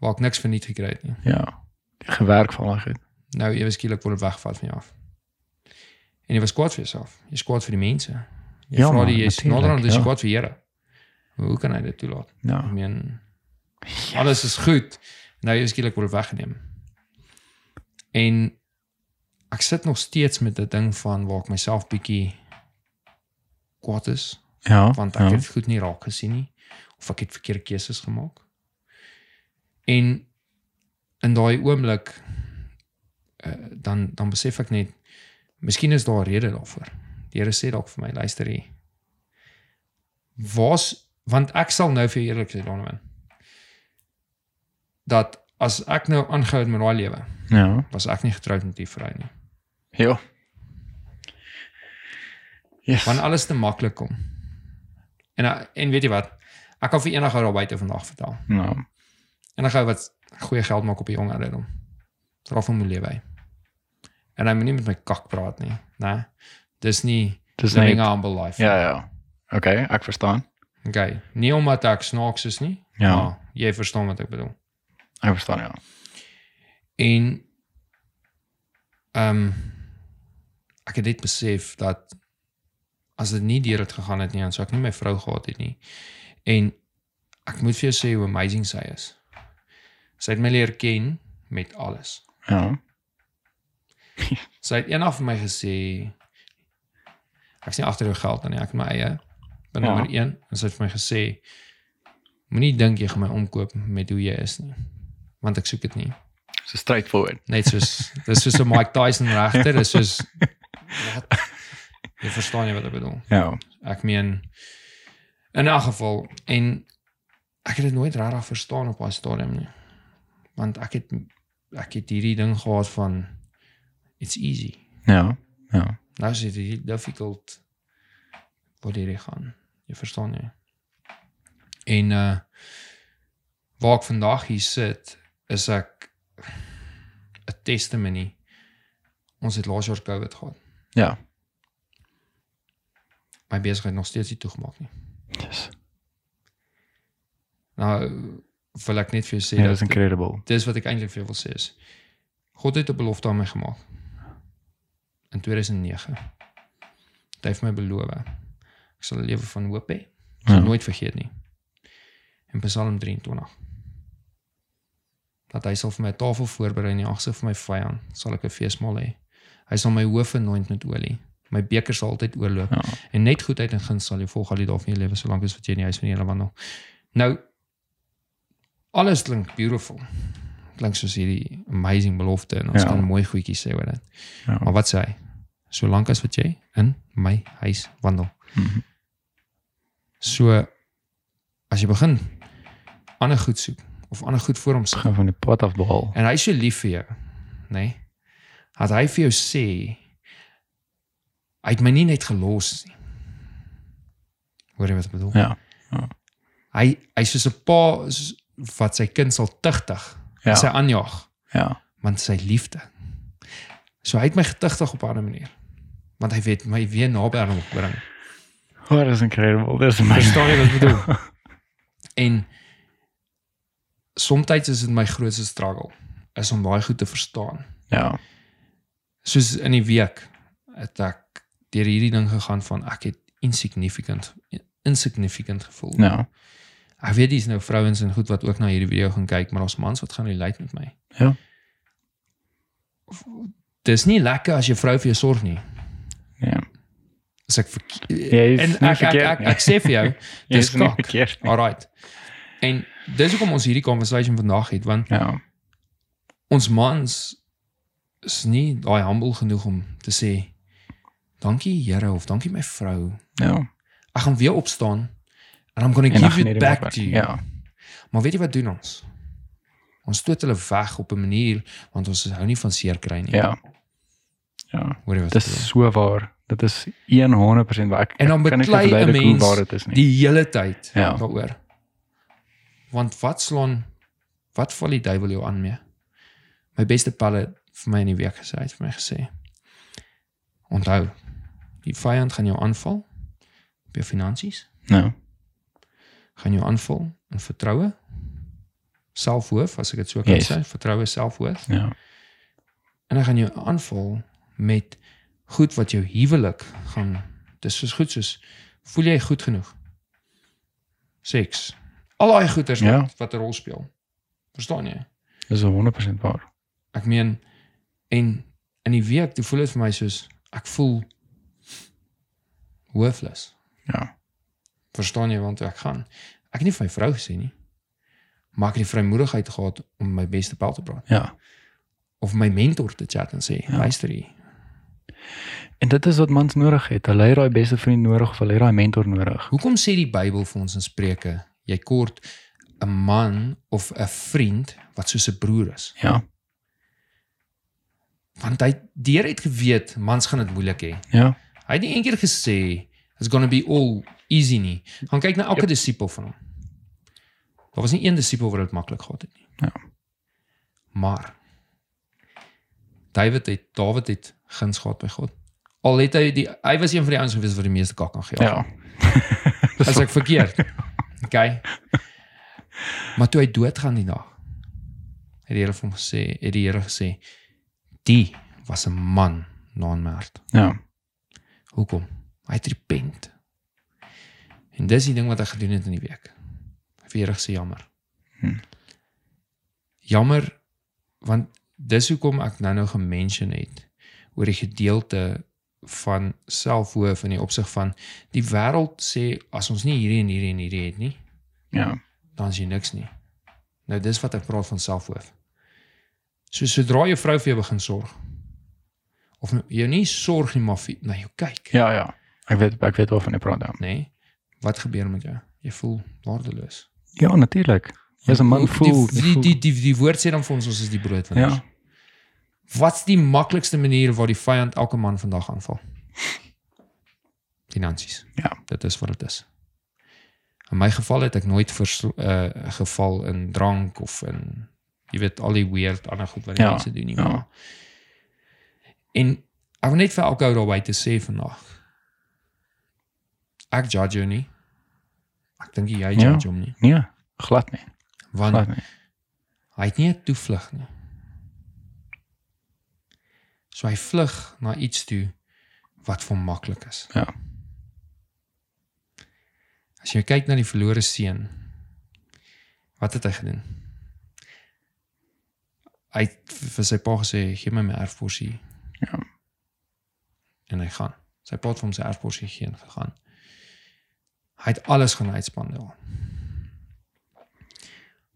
S2: waar ek niks verniet gekry het nie.
S1: Ja. Die gewerk van al goed.
S2: Nou ewe skielik word dit weggevat van jou af. En jy was kwaad vir jouself. Jy skaad vir die mense. Jy
S1: Ja,
S2: vra
S1: man,
S2: die jy's
S1: natuurlijk,
S2: naderhand dis
S1: ja.
S2: jy kwaad vir Here. Hoe kan hy dit toelaat?
S1: Ja.
S2: Ek meen alles is goed, Nou eers skielik word weggeneem. En ek sit nog steeds met 'n ding van waar ek myself bietjie kwaad is
S1: Ja.
S2: want ek
S1: ja.
S2: het goed nie raak gesien nie of ek het verkeerde keuses gemaak. En in daai oomblik uh, dan dan besef ek net miskien is daar 'n rede daarvoor. Die Here sê dalk vir my luister hier. Was want ek sal nou vir jou eerlik sê Donovan dat as ek nou aangehou het met daai lewe,
S1: Ja.
S2: was ek nie getroud met die vrou nie.
S1: Ja. Yes.
S2: Want alles te maklik kom. En en weet jy wat? Ek kan vir enige ou daar buite vandag vertel.
S1: Nou,
S2: En dan gaan we wat goeie geld maken op je jong ouderdom. Daar van moet lewe. En hy moet nie met my kak praat nie, né? Dis nie
S1: dis
S2: living
S1: net
S2: a humble life.
S1: Ja, ja. Oké, ek verstaan.
S2: Okay. Nie omdat ek snaaks is nie.
S1: Ja.
S2: maar jy verstaan wat ek bedoel.
S1: Ek verstaan ja.
S2: En ehm ek het dit besef dat as dit nie deur het gegaan het nie, dan sou ek nie my vrou gehad het nie. En ek moet vir jou sê hoe amazing sy is. Sy het my leer ken met alles.
S1: Ja.
S2: Sy het eendag vir my gesê ek's nie agter jou geld nie, ek het my eie. By
S1: Ja.
S2: nommer 1 en sy het vir my gesê moenie dink jy gaan my omkoop met hoe jy is nie, want ek soek dit nie.
S1: So straightforward.
S2: Net soos dis soos 'n Mike Tyson regter, dis soos wat jy verstaan nie wat ek bedoel.
S1: Ja.
S2: Ek meen in 'n geval en ek het dit nooit regtig verstaan op daai stadium nie. Want ek het ek het hierdie ding gehad van it's easy.
S1: Ja. Ja.
S2: Nou is dit die difficult wat hier gaan. Jy verstaan nie. En uh waar ek vandag hier sit is ek 'n testimony. Ons het laas jaar COVID gehad.
S1: Ja.
S2: My besigheid nog steeds nie toegemaak nie.
S1: Yes.
S2: Nou wil ek net vir jou sê
S1: Ja,
S2: dat
S1: dis incredible.
S2: dis wat ek eintlik vir jou wil sê is God het 'n belofte aan my gemaak. In 2009. Hy het my beloof. Ek sal 'n lewe van hoop hê. Ek sal
S1: Ja.
S2: nooit vergeet nie. In Psalm 23. Dat hy sal vir my 'n tafel voorberei in die agse van my vyand, sal ek 'n feesmaal hê. Hy sal my hoof anoint met olie. My beker sal altyd oorloop.
S1: Ja.
S2: En net goedheid en guns sal jou volg al die dae van jou lewe solank as wat jy in die huis van die Here wandel. Nou alles klink beautiful. Klink soos hierdie amazing belofte en ons
S1: Ja.
S2: ja. kan mooi goedjies sê oor dit.
S1: Ja.
S2: Maar wat sê hy? Solank as wat jy in my huis wandel.
S1: Mhm.
S2: So as jy begin ander goed soek of ander goed voor hom sit
S1: Gaan van die pad af behaal.
S2: en hy is so lief vir jou, nê? Nee? Had hy vir jou sê hy het my nie net gelos nie. Hoor jy wat ek bedoel?
S1: Ja.
S2: Hy hy's soos 'n pa s- wat sy kind sal tugtig,
S1: Ja.
S2: sy aanjaag,
S1: Ja.
S2: want sy liefde. So hy het my getugtig op 'n ander manier. Want hy weet my weer naby aan hom wil bring.
S1: Oh, dis incredible. Dis amazing.
S2: Verstaan jy wat ek bedoel? en soms is dit my grootste struggle is om daai goed te verstaan.
S1: Ja.
S2: soos in die week het ek deur hierdie ding gegaan van ek het insignificant insignificant gevoel.
S1: Ja.
S2: Ek weet dis nou vrouens en goed wat ook na hierdie video gaan kyk, maar ons mans wat gaan relate met my.
S1: Ja.
S2: Dis nie lekker as jou vrou vir jou sorg nie.
S1: Ja.
S2: As ek verke-
S1: Jy is
S2: en
S1: nie
S2: ek ek,
S1: verkeerd
S2: ek,
S1: nie.
S2: ek, ek sê vir jou,
S1: Jy
S2: dis
S1: is nie
S2: kak.
S1: verkeerd. nie.
S2: Alright. En dis hoekom ons hierdie conversation vandag het want
S1: Ja.
S2: ons mans is nie daai humble genoeg om te sê dankie Here of dankie my vrou
S1: Ja.
S2: ek gaan weer opstaan and I'm going to
S1: En dan
S2: give
S1: gaan jy
S2: it
S1: dit weer
S2: back
S1: pak.
S2: to you.
S1: Ja.
S2: Maar weet jy wat doen ons? Ons stoot hulle weg op 'n manier want ons hou nie van seer kry nie.
S1: Ja. Ja.
S2: Hoor jy wat ek bedoel?
S1: Dis so waar. Dit is 100% waar ek
S2: En dan
S1: ek kan nie
S2: beklei 'n
S1: verduidelik hoe
S2: mens
S1: waar dit is nie.
S2: die hele tyd
S1: Ja.
S2: daaroor. Want wat slaan wat val die duiwel jou aan mee? My beste pal het vir my in die week gesê, hy het vir my gesê. Onthou, die vyand gaan jou aanval op jou finansies,
S1: Nou.
S2: gaan jou aanval in vertroue, selfhoof as ek dit so kan
S1: Yes.
S2: yes. sê, vertroue selfhoof.
S1: Ja.
S2: En dan gaan jou aanval met goed wat jou huwelik gaan. Dis soos goed soos voel jy goed genoeg? Seks. Al daai goeters
S1: Ja.
S2: wat, wat 'n rol speel. Verstaan jy?
S1: Dis 100% waar.
S2: Ek meen en in die week toe voel dit vir my soos ek voel worthless.
S1: Ja.
S2: Verstaan jy want ek gaan. Ek het nie vir my vrou gesê nie. Maar ek het die vrymoedigheid gehad om my beste pel te praat
S1: Ja.
S2: of my mentor te chat en sê,
S1: Ja.
S2: luister hier,
S1: En dit is wat mans nodig het. Hulle het daai beste vriend nodig of hulle het daai mentor nodig.
S2: hoekom sê die Bybel vir ons in Spreuke, jy kort 'n man of 'n vriend wat soos 'n broer is?
S1: Ja.
S2: Want hy deur het geweet mans gaan dit moeilik hê.
S1: Ja.
S2: Hy het nie eendag gesê it's going to be all easy nie. Gaan kyk na elke yep. disipel van hom. Daar was nie een disipel wat dit maklik gehad het nie.
S1: Ja.
S2: Maar David het Dawid het guns gehad by God. Al het hy die hy was een van die ouens gewees wat die meeste kak aan gee.
S1: Ja. Dis
S2: As ek verkeerd. Okay. Maar toe hy doodgaan die dag. Het die Here vir hom gesê, het die Here gesê, die was 'n man na 'n hart.
S1: Ja.
S2: Hoekom? Hy het repent. En dis die ding wat ek gedoen het in die week. Verreg se jammer.
S1: Hmm.
S2: Jammer want dis hoekom ek nou-nou gemention het oor die gedeelte van selfhoof in die opsig van die wêreld sê as ons nie hierdie en hierdie en hierdie het nie,
S1: Ja.
S2: dan is jy niks nie. Nou dis wat ek praat van selfhoof. So sodra jou vrou vir jou begin sorg of jou nie sorg nie maar vir- na jou kyk
S1: Ja, ja. Ek weet ek weet waarvan jy praat. ja.
S2: nê? Nee, wat gebeur met jou? Jy voel waardeloos.
S1: Ja, natuurlik. Jy's 'n man voel.
S2: Die die, die die die woord sê dan vir ons ons is die broodwinners.
S1: Ja.
S2: Ja. Wat's die maklikste manier waar die vyand elke man vandag aanval? Finansies.
S1: Ja.
S2: Dit is wat dit is. In my geval het ek nooit versl- eh geval in drank of in jy weet al die weird ander goed wat die
S1: Ja,
S2: ja, mense doen nie.
S1: ja.
S2: Ja. En ek wil net vir elke ou daarby te sê vandag. Ek judge jou nie. Ek dink jy judge
S1: Ja.
S2: hom nie.
S1: Nee, glad nie.
S2: Want
S1: Glad nie.
S2: Hy het nie 'n toevlug nie. So hy vlug na iets toe wat vir hom maklik is.
S1: Ja.
S2: As jy kyk na die verlore seun, wat het hy gedoen? Hy het v- vir sy pa gesê, "Gee my my erfporsie."
S1: Ja.
S2: En hy gaan. Sy pa het vir hom sy erfporsie gegee en gegaan. Hy het alles gaan uitspandeer.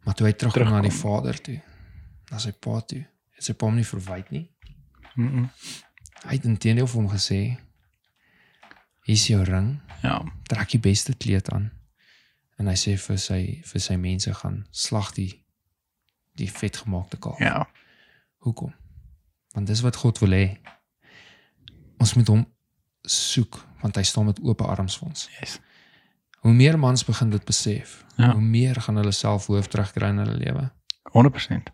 S2: Maar toe hy terugkom na die vader toe, na sy pa toe, het sy pa hom nie verwyd nie.
S1: Mm -mm.
S2: Hy het intendeel vir hom gesê: "Hier is jou ring,
S1: Ja.
S2: trek die beste kleed aan." En hy sê vir sy vir sy mense gaan slag die die vetgemaakte kalf.
S1: Ja.
S2: Hoekom? Want dis wat God wil hê. Ons moet hom soek want hy staan met oop arms vir ons.
S1: Yes.
S2: Hoe meer mans begin dit besef,
S1: Ja.
S2: hoe meer gaan hulle self hoof terugkry in hulle lewe.
S1: 100%.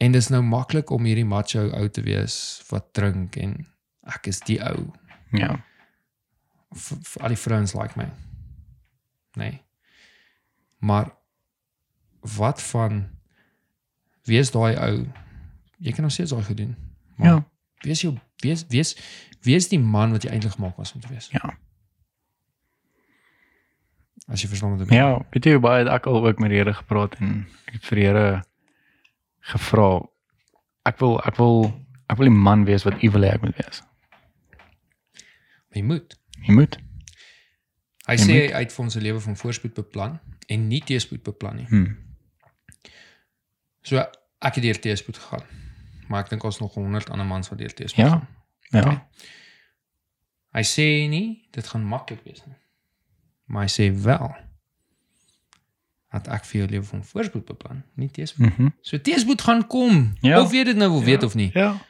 S2: En dis nou maklik om hierdie macho ou te wees wat drink en ek is die ou.
S1: Ja.
S2: Vir vir al die vrouens like my. Nee. Maar wat van wees daai ou? Jy kan nog steeds daai gedoen. Maar
S1: Ja.
S2: Wees jou wees wees wees die man wat jy eintlik gemaak was om te wees.
S1: Ja.
S2: As jy verstaan wat ek
S1: Ja, weet jy hoe baie het ek al ook met die Here gepraat en ek het vir die Here gevra ek wil ek wil ek wil die man wees wat u wil hê ek moet wees.
S2: Maar Jy moet.
S1: Jy moet.
S2: Hy
S1: Jy
S2: sê hy het vir ons 'n lewe van voorspoed beplan en nie teëspoed beplan nie.
S1: Hm.
S2: So ek het deur teëspoed gegaan. Maar ek dink ons nog 100 ander mans wat deur teëspoed
S1: Ja.
S2: gaan.
S1: Ja.
S2: Hy sê nie dit gaan maklik wees nie. Maar hy sê wel dat ek vir jou lewe van voorspoed beplan, nie teëspoed.
S1: Mhm.
S2: So teëspoed gaan kom,
S1: Ja.
S2: ja. of jy dit nou wil ja. weet of nie.
S1: Ja.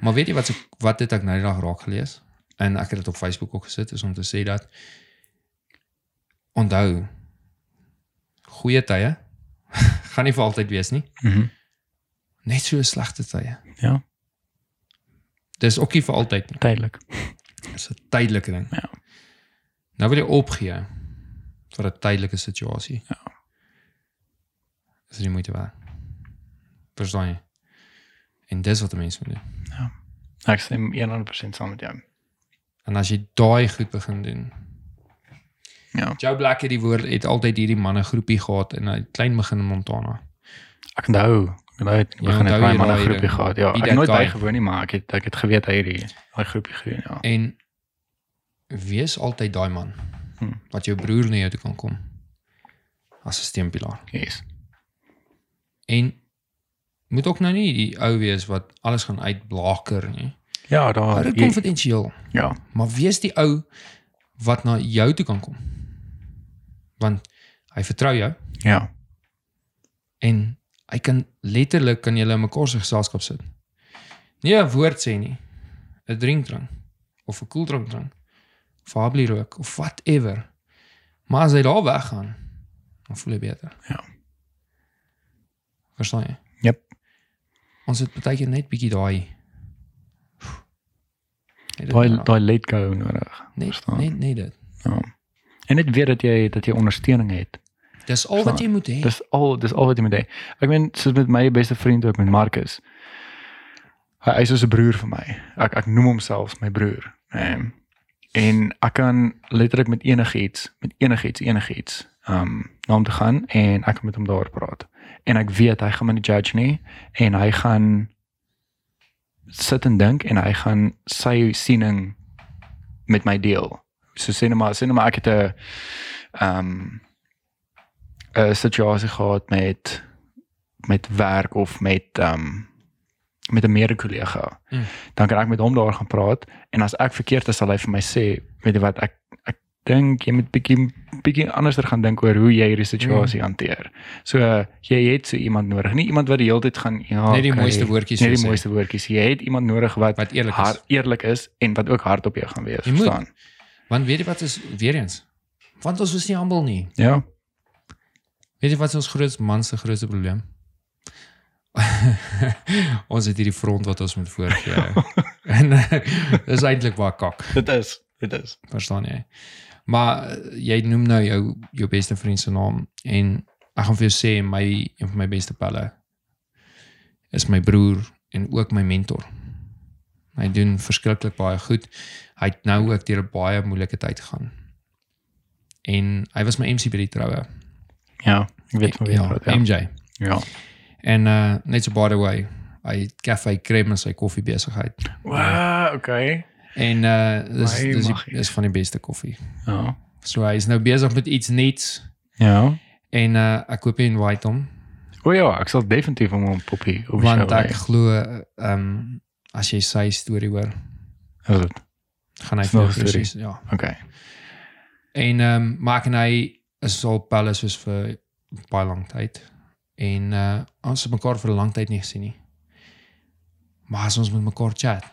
S2: Maar weet jy wat so- wat het ek nou die dag raak gelees? En ek het dit op Facebook ook gesit is om te sê dat onthou goeie tye gaan nie vir altyd wees nie,
S1: Mhm.
S2: net so slegte tye.
S1: Ja.
S2: Dis ook nie vir altyd nie.
S1: Tydelik.
S2: Dis 'n tydelike ding.
S1: Ja.
S2: Nou wil jy opgee vir 'n tydelike situasie. Ja. Is dit nie moeite werd? Verstaan jy? En dis wat 'n mens moet doen.
S1: Ek stem 100% saam met jou.
S2: En as jy daai goed begin doen.
S1: Ja.
S2: Joe Black het die woord het altyd hierdie manne groepie gehad in 'n klein begin in Montana.
S1: Ek onthou Hy het
S2: Ja,
S1: begin het
S2: onthou
S1: baie
S2: jy
S1: manne
S2: daai
S1: groepie
S2: ding?
S1: gehad. Ja,
S2: Be
S1: ek
S2: That
S1: het nooit
S2: Guy?
S1: bygewoon nie, maar ek het ek het geweet hy het die daai groepie gedoen, ja.
S2: En wees altyd daai man
S1: Hmm.
S2: wat jou broer na jou toe kan kom as 'n steunpilaar.
S1: Yes.
S2: En moet ook nou nie die ou wees wat alles gaan uitblaker nie.
S1: Ja, daar
S2: Hou dit
S1: jy-
S2: konfidensieel,
S1: ja,
S2: maar wees die ou wat na jou toe kan kom. Want hy vertrou jou
S1: ja.
S2: en hy kan letterlik kan julle in mekaar se geselskap sit. Nie 'n woord sê nie. 'n Drink drink of 'n koeldrank drink of 'n hablie rook of whatever. Maar as hy daar weggaan, dan voel jy beter.
S1: Ja.
S2: Verstaan jy?
S1: Jep.
S2: Ons het baie keer net bietjie daai Net dit
S1: Daai
S2: nodig.
S1: daai let go nodig.
S2: net
S1: verstaan.
S2: net net dit.
S1: Ja. En net weet dat jy dat jy ondersteuning het.
S2: Dis al wat jy moet hê.
S1: Dis al dis al wat jy moet hê. Ek meen soos met my beste vriend ook met Marcus. Hy hy is soos 'n broer vir my. Ek ek noem hom selfs my broer. Ehm en ek kan letterlik met enigiets, met enigiets, enigiets ehm um, na hom toe gaan en ek kan met hom daar praat. En ek weet hy gaan my nie judge nie en hy gaan sit en dink en hy gaan sy siening met my deel. So sê net maar, sê net maar ek het 'n ehm 'n situasie gehad met met werk of met ehm um, met 'n mede-kollega.
S2: Mm.
S1: Dan kan ek met hom daar gaan praat en as ek verkeerd is, sal hy vir my sê, weet jy wat, ek ek dink jy moet bietjie bietjie anderster gaan dink oor hoe jy hierdie situasie
S2: Hmm.
S1: hanteer. So uh, jy het so iemand nodig, nie iemand wat die hele tyd gaan ja,
S2: Net die
S1: oké,
S2: mooiste woordjies
S1: net die
S2: wil sê.
S1: mooiste woordjies. Jy het iemand nodig wat
S2: wat eerlik is.
S1: haar eerlik is en wat ook hard op jou gaan wees,
S2: Jy moet.
S1: verstaan?
S2: Want weet jy wat is weer eens? Want ons is nie almal nie.
S1: Ja.
S2: Weet jy wat is ons grootste man se grootste probleem? ons het hierdie front wat ons moet voorgee. en eh, dis eintlik waar kak,
S1: Dit is, dit is.
S2: verstaan jy? Maar eh, jy noem nou jou jou beste vriend se naam en ek gaan vir jou sê my een van my beste pelle is my broer en ook my mentor. Hy doen verskriklik baie goed. Hy het nou ook deur 'n baie moeilike tyd gegaan. En hy was my MC by die troue.
S1: Ja, ek weet van wie jy
S2: ja,
S1: praat. Ja.
S2: MJ.
S1: ja.
S2: En uh net so by the way, hy het Cafe Creme in sy koffie besigheid.
S1: Wow, okay.
S2: En uh dis
S1: My
S2: dis
S1: maggie.
S2: die, is van die beste koffie.
S1: Ja.
S2: So hy is nou besig met iets nuuts
S1: Ja.
S2: en uh ek koop en white hom
S1: O ja, ek sal definitief hom op poppie of
S2: want ek glo ehm um, as jy sy storie hoor,
S1: Is dit?
S2: gaan hy
S1: Is nog
S2: vir jou
S1: een storie.
S2: presies ja.
S1: Okay.
S2: En ehm um, maak en hy is al palace soos vir baie lank tyd. En uh ons het mekaar vir 'n lang tyd nie gesien nie. Maar as ons met mekaar chat,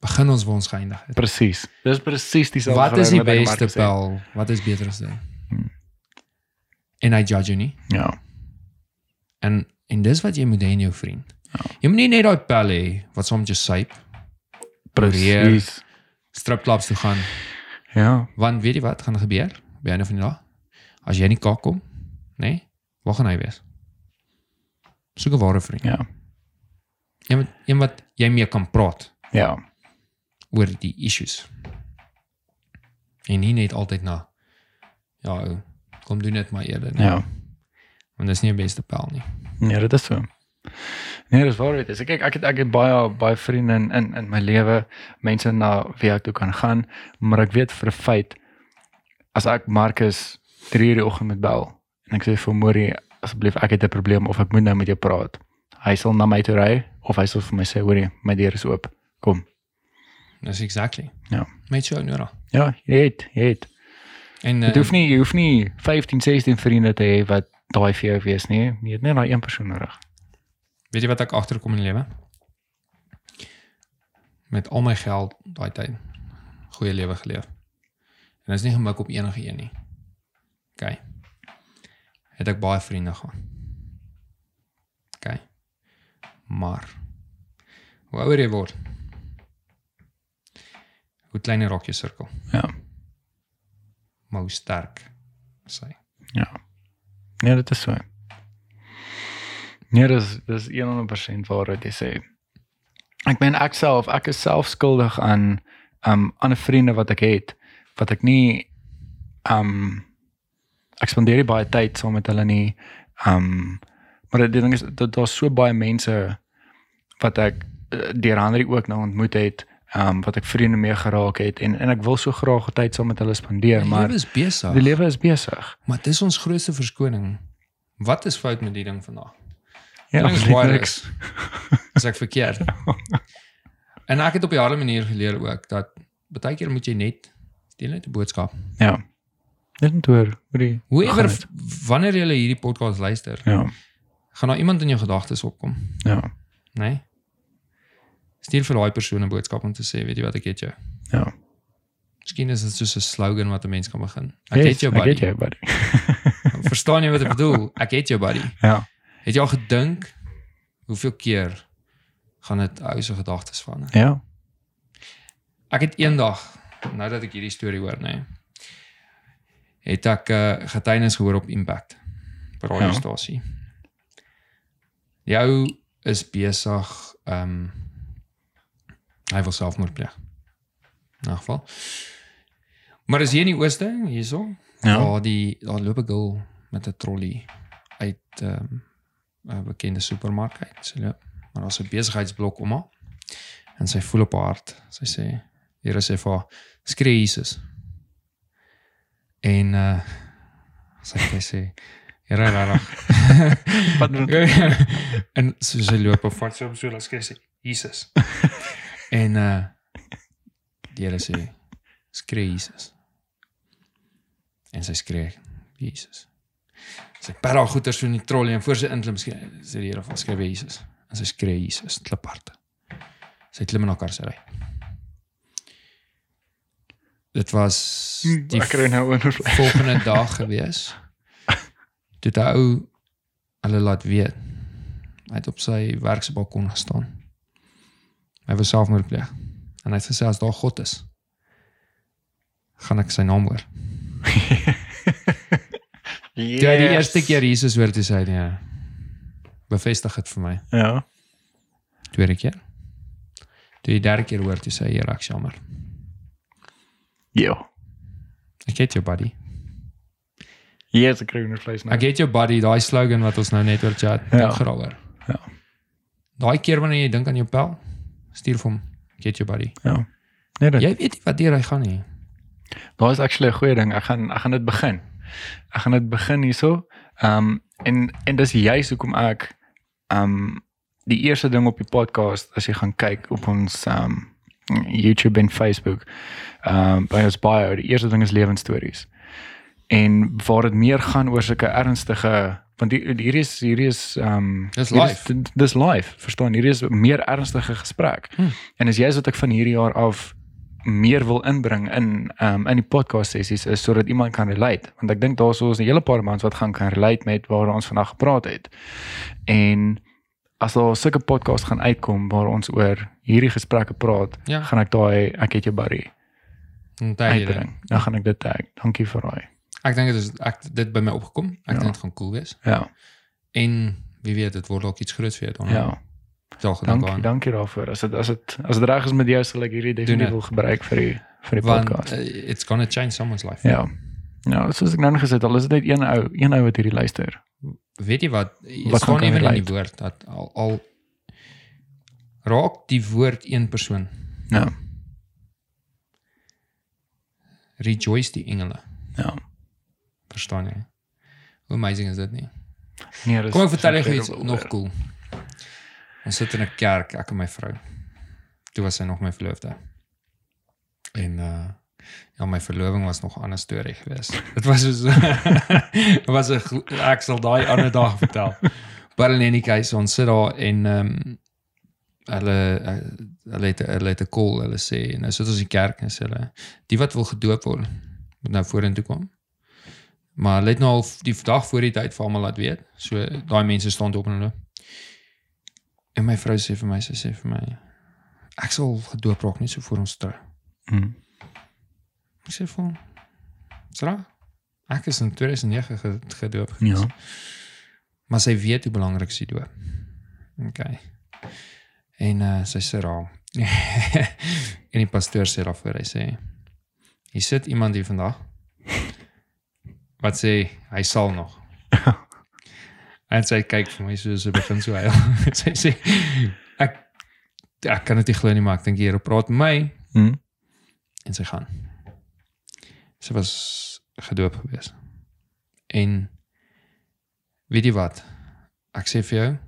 S2: begin ons waar ons geëindig het.
S1: Presies. Dis presies dieselfde
S2: Wat is die
S1: verhouding wat ek
S2: beste
S1: met Marcus
S2: pel? Wat is beter as dit?
S1: Hmm.
S2: En hy judge jou nie.
S1: het. Ja.
S2: En en dis wat jy moet hê in jou vriend.
S1: Ja.
S2: Jy moet nie net daai pel hê wat soms jou syp,
S1: Presies.
S2: stripclubs toe gaan,
S1: Ja.
S2: want weet jy wat gaan gebeur? By einde van die dag, as jy nie kak kom, nê? Nee, waar gaan hy wees? Soek 'n ware vriend.
S1: Ja.
S2: Een wat, een wat jy mee kan praat
S1: Ja.
S2: oor die issues. En nie net altyd na ja, ou, kom doen dit maar eerder nie.
S1: Ja.
S2: Want dis nie die beste pel nie.
S1: Nee, dit is so. Nee, dis waar dit is. Kyk, ek het ek het baie baie vriende in in in my lewe, mense na wie ek toe kan gaan, maar ek weet vir 'n feit as ek Marcus 3 uur die oggend met bel en ek sê vir Mori asseblief ek het 'n probleem of ek moet nou met jou praat. Hy sal na my toe ry of hy sal vir my sê, "Hoerie, my deur is oop. Kom."
S2: Dis exactly.
S1: Ja.
S2: Met jou nodig.
S1: Ja, jy het, jy het.
S2: En
S1: Dit
S2: uh,
S1: hoef nie jy hoef nie 15, 16 vriende te hê wat daai vir jou wees nie. Jy het net daai een persoon nodig.
S2: weet jy wat ek agterkom in die lewe? Met al my geld daai tyd goeie lewe geleef. En dit is nie gemik op enige een nie. OK. Het ek baie vriende gehad. OK. Maar hoe ouer jy word, hoe kleiner raak jou sirkel,
S1: Ja.
S2: maar hoe sterk is hy.
S1: Ja. Nee, dit is so. Nee, dis dis 100% waar wat jy sê. Ek meen ek self, ek is self skuldig aan um ander vriende wat ek het wat ek nie um ek spandeer nie baie tyd saam met hulle nie. Um Maar die ding is dat daar's so baie mense wat ek eh, deur Henry ook nou ontmoet het, ehm wat ek vriende mee geraak het en en ek wil so graag tyd saam met hulle spandeer,
S2: Die
S1: maar
S2: lewe is besig.
S1: die lewe is besig.
S2: Maar dis ons grootste verskoning. Wat is fout met die ding vandag?
S1: Ja,
S2: ding is
S1: absoluut
S2: baie
S1: niks.
S2: Is ek verkeerd? en ek het op 'n harde manier geleer ook dat baie keer moet jy net deel net 'n boodskap.
S1: Ja. Net net oor oor die
S2: Hoeëver
S1: gaan het.
S2: wanneer jy hierdie podcast luister,
S1: Ja.
S2: gaan daar iemand in jou gedagtes opkom,
S1: Ja.
S2: né? Nee? Stuur vir daai persoon 'n boodskap om te sê, weet jy wat ek het jou.
S1: Ja.
S2: Miskien is dit soos 'n slogan wat 'n mens kan begin. Ek
S1: Yes,
S2: het jou
S1: Ek het
S2: buddy.
S1: jou buddy.
S2: Verstaan jy wat ek bedoel? Ek het jou buddy.
S1: Ja.
S2: Het jy al gedink hoeveel keer gaan dit ou se gedagtes verander?
S1: Ja.
S2: Ek het eendag nou dat ek hierdie storie hoor, nê, nee, het ek 'n uh, getuienis gehoor op Impact by radiostasie. Ja. Jou is besig ehm um, hy wil selfmoord pleeg. In 'n geval. Maar is hier in die ooste, hierso, ja.
S1: Ja.
S2: waar die daar loop 'n girl met 'n trolley uit ehm 'n bekende supermark uit. Sy loop, maar daar's 'n besigheidsblok om haar. En sy voel op haar hart. Sy sê, Here sê vir haar, skree Jesus. En uh sy sy sê, Here, regtig.
S1: Wat doen
S2: en so sy loop op vat so op so laat skree sy Jesus. en uh die Here sê skree Jesus. En sy skree Jesus. Sy per haar goeters so in die trolley en voor sy inklim skree sê die Here van skree Jesus. En sy skree Jesus kliphard. Sy klim in haar kar sy ry. Dit was die
S1: Ek kry nou oorvlei.
S2: volgende dag gewees. Toe die ou hulle laat weet. Hy het op sy werk se balkon gestaan. Hy wou selfmoord pleeg. En hy het gesê as daar God is, gaan ek sy naam hoor.
S1: Yes.
S2: Toe hy die eerste keer Jesus hoor, toe sê hy nee. Bevestig dit vir my.
S1: Ja.
S2: Tweede keer. Toe die derde keer hoor, toe sê hy, "Here, ek is jammer.
S1: Ja.
S2: Ek het jou buddy.
S1: Yes, ek kry oorvlei.
S2: Ek het jou buddy, daai slogan wat ons nou net oor chat
S1: Ja.
S2: ja. gerawer.
S1: Ja.
S2: Daai keer wanneer jy dink aan jou pel, stuur vir hom, ek het jou buddy.
S1: Ja. Nee, dit.
S2: Jy weet nie wat deur hy gaan nie.
S1: Daar is actually 'n goeie ding. Ek gaan ek gaan dit begin. Ek gaan dit begin hierso. Ehm um, en en dis juist hoekom ek ehm um, die eerste ding op die podcast as jy gaan kyk op ons ehm um, YouTube en Facebook ehm um, by ons bio, die eerste ding is lewensstories. En waar dit meer gaan oor sulke ernstige want hier hier is hierdie is ehm um,
S2: Dis
S1: hier is-
S2: live.
S1: dit- dis live, verstaan? Hierdie is 'n meer ernstige gesprek.
S2: Hmm.
S1: En is juist wat ek van hierdie jaar af meer wil inbring in um, in die podcast sessies is sodat iemand kan relate want ek dink daar's ons 'n hele paar mans wat gaan kan relate met waar ons vandag gepraat het. En as daar sulke podcast gaan uitkom waar ons oor hierdie gesprekke praat,
S2: Ja.
S1: gaan ek daai ek het jou buddy
S2: Onthou jy dit?
S1: uitbring. Dan gaan ek dit tag. Dankie vir daai.
S2: Ek dink dit is ek dit by my opgekom. Ek
S1: Ja.
S2: ja. dink dit gaan cool wees.
S1: Ja.
S2: En wie weet, dit word dalk iets groots vir jou dan.
S1: Ja.
S2: Sal gedink
S1: Dankie,
S2: aan.
S1: dankie daarvoor. As dit as dit as dit reg is met jou sal ek hierdie definitief
S2: dit.
S1: wil gebruik vir die vir die
S2: Want
S1: podcast.
S2: uh, it's going to change someone's life.
S1: Ja. Ja, soos ek nou net gesê het, al is dit net een ou, een ou wat hierdie luister.
S2: Weet jy wat?
S1: Wat
S2: Dit
S1: gaan
S2: staan
S1: kan
S2: ewen in die
S1: relate?
S2: woord dat al al raak die woord een persoon.
S1: Ja.
S2: Rejoice die engele.
S1: Ja.
S2: Verstaan jy? Hoe amazing is dit nie?
S1: Nee, dis
S2: Kom ek vertel jou
S1: dis
S2: iets
S1: incredible.
S2: nog cool. Ons sit in 'n kerk, ek en my vrou. Toe was sy nog my verloofde. En uh ja, my verloving was nog 'n ander storie geweest. Dit was so dit was 'n glo- ek sal daai ander dag vertel. Maar in enige geval ons sit daar en ehm um, hulle eh, hulle het hulle het 'n call, hulle sê en nou sit ons in die kerk en sê hulle die wat wil gedoop word moet nou vorentoe kom. Maar hulle het nou al die dag voor die tyd vir almal laat weet. So daai mense staan toe op en hulle. En my vrou sê vir my, sy sê vir my, ek sal gedoop raak net so voor ons trou.
S1: Mm.
S2: Ek sê vir hom, "Sra, ek is in 2009 ge- gedoop." gewees."
S1: Ja.
S2: Maar sy weet hoe belangrik sy doop. Okay. En uh, sy sê raal. en die pastoor sê daarvoor, hy sê, "Hier sit iemand hier vandag wat sê hy sal nog." En sy kyk vir my so sy begin so huil. sy sê ek ek kan dit nie glo nie, maar ek dink die Here praat met my
S1: Hm.
S2: en sy gaan. Sy was gedoop gewees. En weet jy wat? Ek sê vir jou,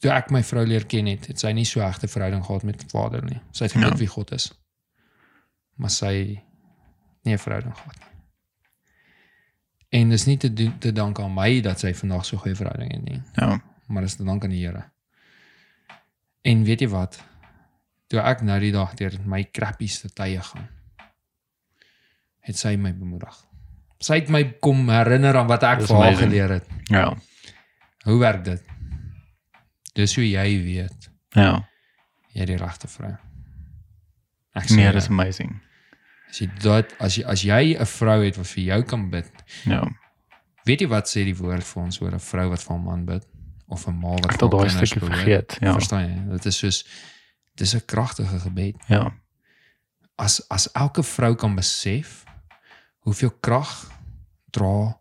S2: toe ek my vrou leer ken het, het sy nie so regte verhouding gehad met Vader nie. Sy het geweet
S1: Ja.
S2: wie God is. Maar sy nie 'n verhouding gehad nie. En dis nie te doen, te dank aan my dat sy vandag so 'n goeie verhouding het nie
S1: Ja.
S2: maar dis te dank aan die Here. En weet jy wat? Toe ek nou die dag deur my krappieste tye gaan, het sy my bemoedig. Sy het my kom herinner aan wat ek
S1: Dis
S2: vir haar
S1: amazing.
S2: geleer het.
S1: Ja.
S2: Hoe werk dit? Dis hoe jy weet
S1: Ja.
S2: jy het die regte vrou. Ek sê
S1: Nee,
S2: nee,
S1: dis amazing.
S2: as jy dit as jy as jy 'n vrou het wat vir jou kan bid,
S1: Ja.
S2: weet jy wat sê die woord vir ons oor 'n vrou wat vir 'n man bid of 'n ma wat
S1: Ek het al
S2: haar
S1: daai
S2: kinders
S1: stukkie
S2: behoed?
S1: vergeet. Ja.
S2: Verstaan jy? Dit is dus, soos dis 'n kragtige gebed.
S1: Ja.
S2: As as elke vrou kan besef hoeveel krag dra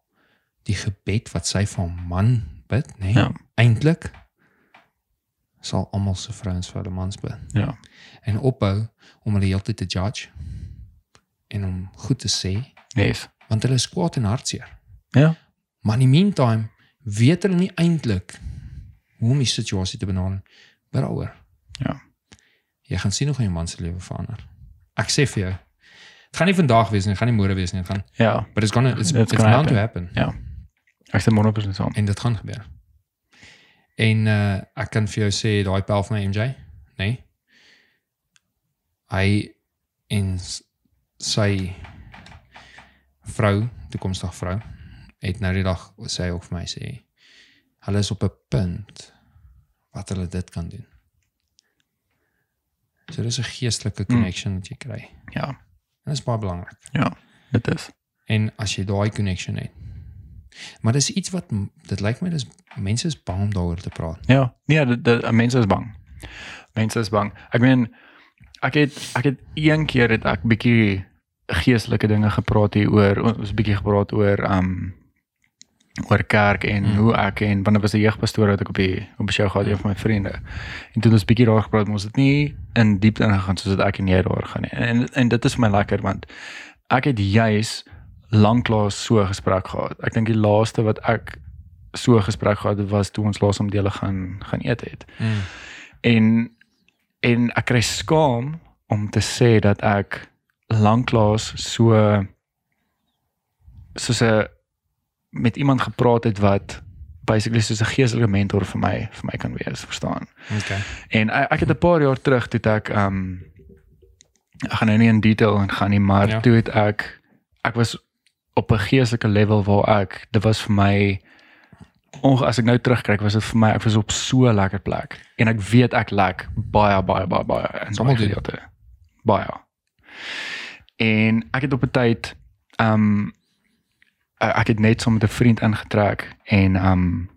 S2: die gebed wat sy van man bid, nê?
S1: Ja.
S2: Eintlik sal almal se vrouens vir hulle mans bid
S1: Ja.
S2: en ophou om hulle heeltyd te judge en om goed te sê
S1: Yes.
S2: want hulle is kwaad en hartseer.
S1: Ja.
S2: Maar in die meantime weet hulle nie eintlik hoe om die situasie te benader by daaroor.
S1: Ja.
S2: Jy gaan sien hoe gaan jou man se lewe verander. Ek sê vir jou, dit gaan nie vandag wees nie, dit gaan nie môre wees nie, dit gaan
S1: Ja.
S2: but it's gonna it's,
S1: It's
S2: it's,
S1: gonna
S2: bound to happen
S1: Ek stem 100% saam.
S2: en dit gaan gebeur. En uh ek kan vir jou sê daai pel van my MJ, nê? Nee, hy en s- sy vrou, toekomstige vrou, het nou die dag sê ook vir my sê hulle is op 'n punt wat hulle dit kan doen. So dis 'n geestelike connection wat jy kry.
S1: Ja.
S2: En dit is baie belangrik.
S1: Dit is.
S2: En as jy daai connection het. Maar dis iets wat m- dit lyk my dis mense is bang om daaroor te praat.
S1: Ja. Nee, dit, dit mense is bang. Mense is bang. Ek meen ek het ek het een keer het ek bietjie geestelike dinge gepraat hier oor ons bietjie gepraat oor um oor kerk en
S2: Mm.
S1: mm. hoe ek en want dit was 'n jeugpastoor wat ek op die op die show gehad het een van my vriende. En toe het ons bietjie daar gepraat, maar ons het nie in diepte ingegaan soos wat ek en jy daar gaan nie. En en, en dit is vir my lekker want ek het juis lanklaas so 'n gesprek gehad. Ek dink die laaste wat ek so 'n gesprek gehad het was toe ons laas om dele gaan gaan eet het.
S2: Mm.
S1: En en ek kry skaam om te sê dat ek lanklaas so soos 'n met iemand gepraat het wat basically soos 'n geestelike mentor vir my vir my kan wees, verstaan?
S2: Okay.
S1: En ek, ek het 'n paar jaar terug toe het ek um ek gaan nou nie in detail en gaan nie, maar
S2: Ja.
S1: ja. toe het ek ek was op 'n geestelike level waar ek dit was vir my onge as ek nou terugkyk was dit vir my ek was op so 'n lekker plek en ek weet ek lek baie baie baie baie in
S2: Almal
S1: sommige
S2: doen.
S1: gedeelte. Baie. En ek het op 'n tyd um ek ek het net saam met 'n vriend ingetrek en um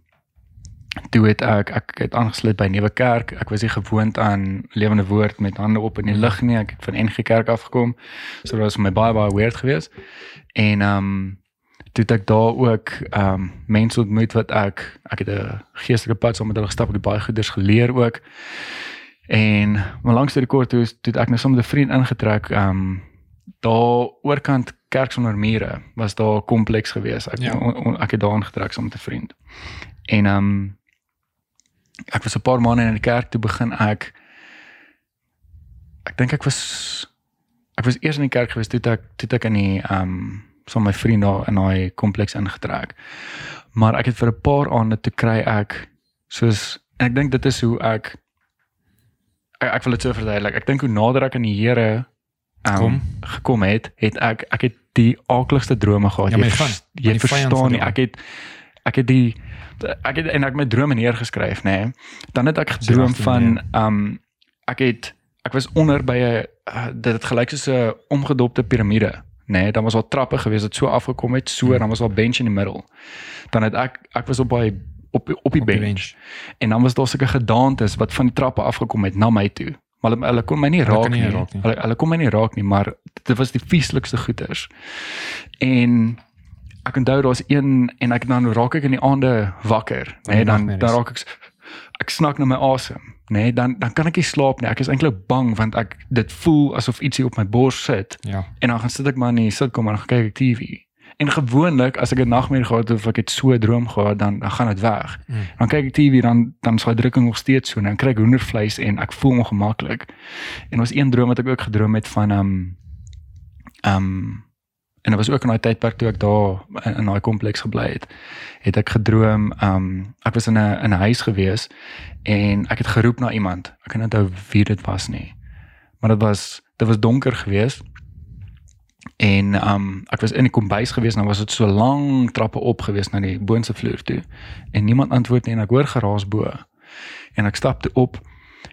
S1: toe het ek ek het aangesluit by 'n nuwe kerk. Ek was nie gewoond aan lewende woord met hande op in die lug nie. Ek het van NG Kerk afgekom. So dit was vir my baie baie weird geweest. En ehm um, toe het ek daar ook ehm um, mense ontmoet wat ek ek het 'n geestelike pad saam met hulle gestap, ek het baie goeders geleer ook. En maar langs die kort toe is- toe het ek nou saam met 'n vriend ingetrek ehm um, daar oorkant kerk sonder mure was daar 'n kompleks geweest. Ek
S2: Ja.
S1: ja. on, on, ek het daar ingetrek saam met 'n vriend. En ehm um, ek was 'n paar maande in die kerk toe begin ek ek dink ek was ek was eers in die kerk gewees toe het ek toe het ek in die ehm um, saam met my vriend daar in daai kompleks ingetrek. Maar ek het vir 'n paar aande toe kry ek soos en ek dink dit is hoe ek ek, ek wil dit so verduidelik. Ek dink hoe nader ek aan die Here um,
S2: Kom.
S1: gekom het, het ek ek het die aakligste drome gehad.
S2: Ja, maar jy
S1: vers-
S2: gaan, maar
S1: jy
S2: die vyand van
S1: verstaan nie.
S2: jou.
S1: Ek het ek het die ek het en ek het my drome neergeskryf, nê. Nee. Dan het ek
S2: Sy
S1: gedroom
S2: agter die
S1: van um ek het ek was onder by 'n uh, dit het gelyk soos 'n omgedopte piramide, nê. Nee, dan was daar trappe gewees wat so afgekom het, so
S2: Hmm.
S1: en dan was daar 'n bench in die middel. Dan het ek ek was op daai op op die
S2: Op die
S1: bench.
S2: bench.
S1: En dan was daar sulke gedaantes wat van die trappe afgekom het na my toe. Maar hulle, hulle kon my nie
S2: Hulle
S1: raak
S2: kan nie
S1: nie.
S2: raak nie.
S1: Hulle hulle kon my nie raak nie, maar dit was die vieslikste goeters. En ek onthou daar's een en ek dan raak ek in die aande wakker, nê, nee,
S2: die
S1: dan dan
S2: nagmerries.
S1: raak ek s- ek snak na my asem, nê, nee, dan dan kan ek nie slaap nie. Ek is eintlik bang want ek dit voel asof ietsie op my bors sit
S2: Ja.
S1: en dan gaan sit ek maar in die sitkamer en dan gaan kyk ek TV. En gewoonlik as ek 'n nagmerrie gehad het of ek het so 'n droom gehad, dan dan gaan dit weg.
S2: Mm.
S1: Dan kyk ek TV dan dan is daai drukking nog steeds so en dan kry ek hoendervleis en ek voel ongemaklik. En ons een droom wat ek ook gedroom het van ehm um, ehm um, en dit was ook in daai tydperk toe ek daar in, in daai kompleks gebly het, het ek gedroom ehm um, ek was in 'n in 'n huis gewees en ek het geroep na iemand. Ek kan nie onthou wie dit was nie. Maar dit was dit was donker geweest En um ek was in die kombuis gewees en dan was dit so lang trappe op gewees na die boonste vloer toe. En niemand antwoord nie en ek hoor geraas bo. En ek stap toe op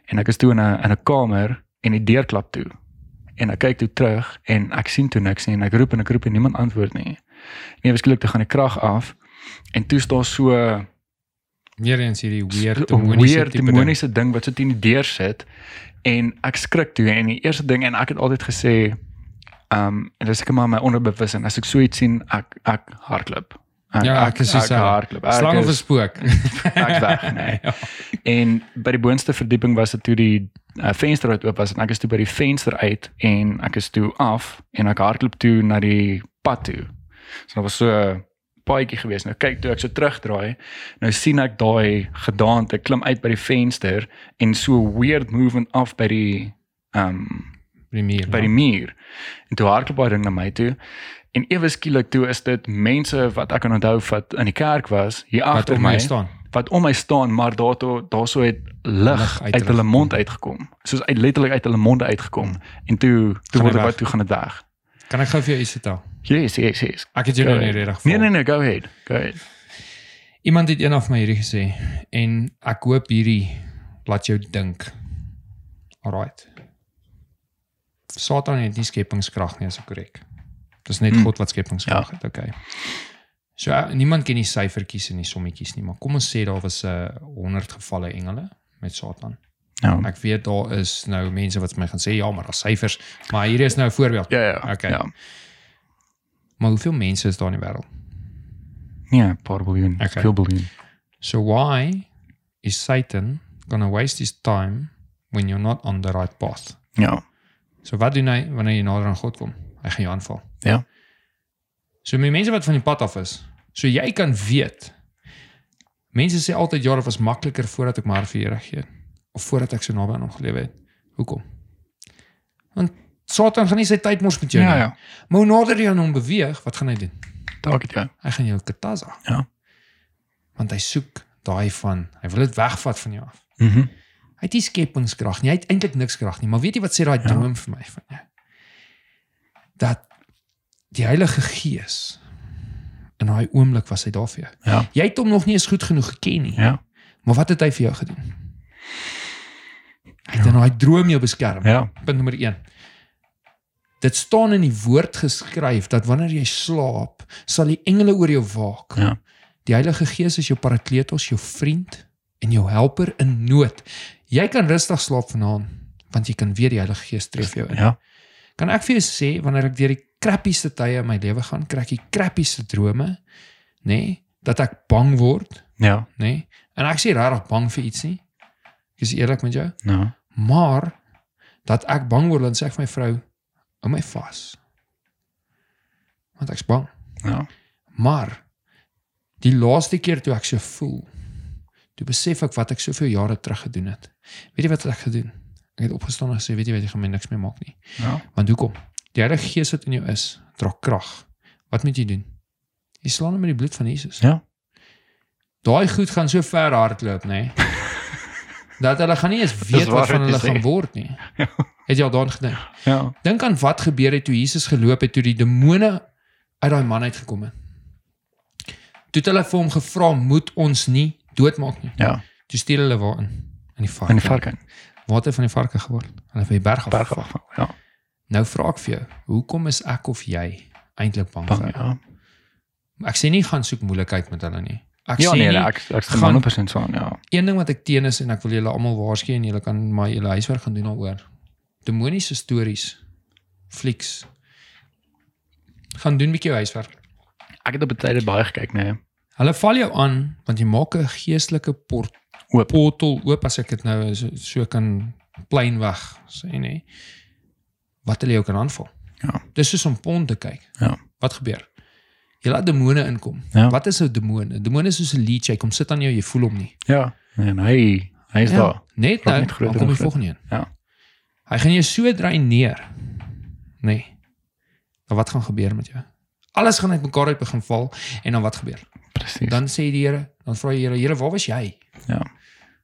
S1: en ek is toe in 'n in 'n kamer en die deur klap toe. En ek kyk toe terug en ek sien toe niks nie en ek roep en ek roep en niemand antwoord nie. Nee, beskiklik toe gaan die krag af en toe staan so 'n
S2: Weer eens hierdie weird
S1: weer
S2: demoniese tipe ding.
S1: demoniese ding wat so teen die deur sit en ek skrik toe en die eerste ding en ek het altyd gesê Um en dis ek maar my onderbewus en as ek so iets sien, ek ek hardloop. Ek,
S2: Ja, ek is
S1: ek,
S2: dieselfde.
S1: ek hardloop. Ek
S2: Slang of 'n
S1: is-
S2: spook. Ja,
S1: ek weg, nee. En by die boonste verdieping was dit toe die uh, venster wat oop was en ek is toe by die venster uit en ek is toe af en ek hardloop toe na die pad toe. So daar was so 'n paadjie geweest. Nou kyk toe ek so terugdraai, nou sien ek daai gedaante klim uit by die venster en so weird movement af by die ehm um,
S2: Premier.
S1: by die muur. En toe hardloop daai ding na my toe. En ewe skielik toe is dit mense wat ek kan onthou wat in die kerk was hier
S2: wat
S1: agter
S2: om
S1: my
S2: my staan.
S1: wat om my staan, maar daartoe daarso het lig
S2: Lig uit
S1: uit hulle
S2: hulle
S1: mond uitgekom. Soos uit letterlik uit hulle monde uitgekom. En toe toe
S2: Gaan
S1: word ek
S2: dit weg?
S1: wat toe gaan dit weg.
S2: Kan ek gou vir jou iets vertel?
S1: Yes, yes, yes.
S2: Ek het jou
S1: Go
S2: nou nie
S1: ahead.
S2: regtig.
S1: Nee nee nee, go ahead. Go ahead.
S2: Iemand het eendag vir my hierdie gesê en ek hoop hierdie laat jou dink. Alraight. Satan het nie skepingskrag nie, as ek korrek. Dis net
S1: Hmm.
S2: God wat skepingskrag het, okay. So eh, niemand ken die syfertjies en die sommetjies nie, maar kom ons sê daar was 'n uh, 100 gevalle engele met Satan.
S1: Nou.
S2: Ek weet daar is nou mense wat vir my gaan sê ja, maar daar's syfers, maar hier is nou 'n voorbeeld.
S1: Ja ja.
S2: Okay.
S1: Ja.
S2: Maar hoeveel mense is daar in die wêreld?
S1: Nee, 'n paar biljoen.
S2: Okay.
S1: Veel biljoen.
S2: So why is Satan going to waste his time when you're not on the right path?
S1: Ja.
S2: So wat doen hy wanneer jy nader aan God kom? Hy gaan jou aanval.
S1: Ja.
S2: So met mense wat van die pad af is. So jy kan weet. Mense sê altyd jare was makliker voordat ek maar vir Here gee of voordat ek so naby aan hom gelewe het. Hoekom? Want Satan gaan nie sy tyd mors met jou
S1: Ja
S2: nie.
S1: ja.
S2: Maar hoe nader jy aan hom beweeg, wat gaan hy doen?
S1: Dalk dit ja.
S2: Hy gaan jou kataza.
S1: Ja.
S2: Want hy soek daai van, hy wil dit wegvat van jou af.
S1: Mhm.
S2: Hy het nie skepingskrag nie. Hy het eintlik niks krag nie, maar weet jy wat sê daai
S1: Ja.
S2: droom vir my van jou? Dat die Heilige Gees in daai oomblik was hy daar vir jou.
S1: Ja.
S2: Jy het hom nog nie eens goed genoeg geken nie.
S1: Ja.
S2: Maar wat het hy vir jou gedoen? Hy het in daai droom jou beskerm.
S1: Ja.
S2: Punt nommer 1. Dit staan in die woord geskryf dat wanneer jy slaap, sal die engele oor jou waak.
S1: Ja.
S2: Die Heilige Gees is jou parakletos, jou vriend en jou helper in nood. Jy kan rustig slaap vanaand want jy kan weer die Heilige Gees tref jou in.
S1: Ja.
S2: Kan ek vir jou sê wanneer ek deur die krappieste tye in my lewe gaan, kry ek die krappieste drome, nê, nee, dat ek bang word,
S1: Ja.
S2: nê? Nee, en ek sê regtig bang vir iets nie. Ek is eerlik met jou.
S1: Nou.
S2: Maar dat ek bang word en sê ek vir my vrou, hou my vas. Want ek's bang.
S1: Ja.
S2: Maar die laaste keer toe ek so voel, toe besef ek wat ek soveel jare terug gedoen het. Weet jy wat het ek gedoen? Ek het opgestaan en gesê, weet jy wat, ek gaan my niks meer maak nie.
S1: Ja.
S2: Want hoekom? Die Heilige Gees wat in jou is, dra krag. Wat moet jy doen? Jy slaan hom met die bloed van Jesus.
S1: Ja.
S2: Daai goed gaan so ver hardloop, nê? Nee, dat hulle gaan nie eens
S1: Dis
S2: weet
S1: waar
S2: wat van
S1: wat jy
S2: hulle
S1: sê.
S2: gaan word nie. Het jy al daaraan gedink?
S1: Ja.
S2: Dink aan wat gebeur het toe Jesus geloop het toe die demone uit daai man uitgekom het. Toe het hulle vir hom gevra, "Moet ons nie doodmaak nie."
S1: Ja.
S2: Toe stuur hulle waarin? In die varke.
S1: En die varken.
S2: Water van die varke geword. Hulle het van die berg af.
S1: Berg af. Ja.
S2: Nou vra ek vir jou, hoekom is ek of jy eintlik bang,
S1: Bang.
S2: vir?
S1: Ja.
S2: Ek sê nie gaan soek moeilikheid met hulle nie. Ek
S1: Ja
S2: sê
S1: nee,
S2: nie,
S1: nee, ek ek
S2: gaan-
S1: stem 100% saam. Ja.
S2: een ding wat ek teen is en ek wil julle almal waarsku en julle kan maar julle huiswerk gaan doen daaroor. Demoniese stories, flieks. Gaan doen 'n bietjie jou huiswerk.
S1: Ek het op 'n tyd dit baie gekyk, nee.
S2: Hulle val jou aan want jy maak 'n geestelike port
S1: Oop.
S2: portal oop as ek dit nou so, so kan plain weg sê nê. Wat hulle jou kan aanval.
S1: Ja.
S2: Dis soos om pond te kyk.
S1: Ja.
S2: Wat gebeur? Jy laat demone inkom.
S1: Ja.
S2: Wat is 'n demoon? 'n Demoon is soos 'n leech, hy kom sit aan jou, jy voel hom nie.
S1: Ja. En hy hy is daar.
S2: Net
S1: Raak
S2: nou,
S1: net groter
S2: dan kom
S1: en
S2: die volgende een.
S1: Ja.
S2: Hy gaan jou so dreineer. Nee. Dan Nou, wat gaan gebeur met jou? Alles gaan uitmekaar uit begin val en dan wat gebeur?
S1: Presies.
S2: Dan sê die Here, dan vra die Here, Here, waar was jy?
S1: Ja.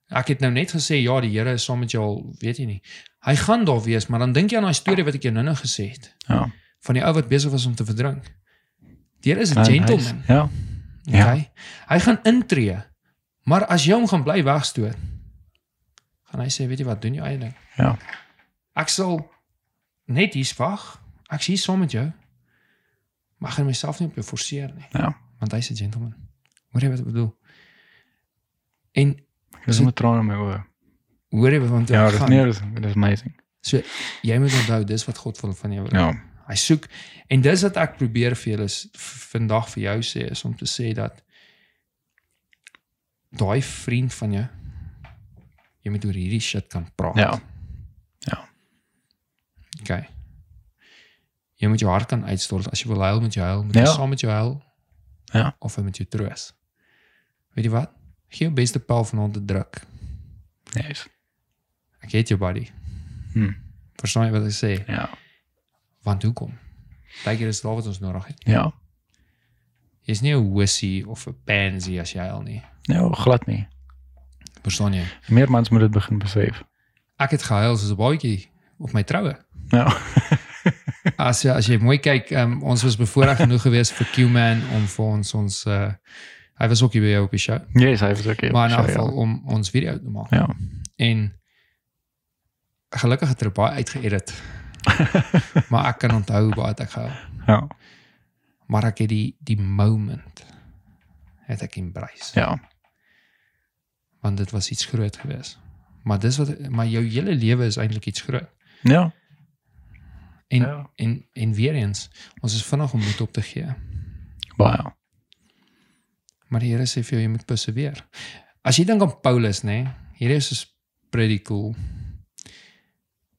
S2: Ek het nou net gesê ja, die Here is saam met jou al, weet jy nie. Hy gaan daar wees, maar dan dink jy aan daai storie wat ek jou nou-nou gesê het
S1: Ja.
S2: van die ou wat besig was om te verdrink. Die Here is 'n
S1: En hy is-
S2: gentleman,
S1: Ja.
S2: okay?
S1: Ja.
S2: Hy gaan intree. Maar as jy hom gaan bly wegstoot, gaan hy sê, weet jy wat, doen jy eie ding.
S1: Ja.
S2: Ek sal net hier wag. Ek is hier saam met jou. Maar ek gaan myself nie op jou forceer nie,
S1: Ja.
S2: want hy's 'n gentleman. Hoor jy wat ek bedoel? En
S1: Dis 'n traan in my oë.
S2: Hoor jy want
S1: Ja,
S2: ja,
S1: dis
S2: gaan,
S1: nee, dis dis amazing.
S2: so jy moet onthou dis wat God wil van jou.
S1: Ja.
S2: Hy soek en dis wat ek probeer vir julle s- v- vandag vir jou sê is om te sê dat daai vriend van jou jy moet oor hierdie shit kan praat.
S1: Ja. Ja.
S2: Okay. Jy moet jou hart kan uitstort. As jy wil huil, moet jy huil, moet
S1: Ja.
S2: jy saam met jou huil.
S1: Ja.
S2: Of met jou troos. Weet jy wat? Gee jou beste pel vanaand te druk.
S1: Nice.
S2: Ek het jou buddy.
S1: Hm.
S2: Verstaan jy wat ek sê?
S1: Ja.
S2: Want hoekom? Partykeer is daar wat ons nodig het.
S1: Ja.
S2: Jy's nie 'n wissie of 'n pansy as jy huil nie.
S1: Nee, oh, glad nie.
S2: Verstaan jy?
S1: Meer mans moet dit begin besef.
S2: Ek het gehuil soos 'n baadjie op my troue.
S1: Ja.
S2: As jy as jy mooi kyk, um, ons was bevoorreg genoeg geweest vir Q-Man om vir ons ons uh, hy was ook hier by jou op die show.
S1: Nee, hy was okay.
S2: Maar in elk
S1: Ja,
S2: geval om ons video te maak.
S1: Ja.
S2: En gelukkig het hulle baie uitgeëdit. maar ek kan onthou hoe baie het ek gehuil.
S1: Ja.
S2: Maar ek het die die moment het ek embrace.
S1: Ja.
S2: want dit was iets groot geweest. Maar dis wat maar jou hele lewe is eintlik iets groot.
S1: Ja.
S2: En
S1: Ja.
S2: en en weer eens, ons is vinnig om moed op te gee.
S1: Baie.
S2: Maar die Here sê vir jou jy moet perseveer. As jy dink aan Paulus, nê, nee, hierdie is is pretty cool.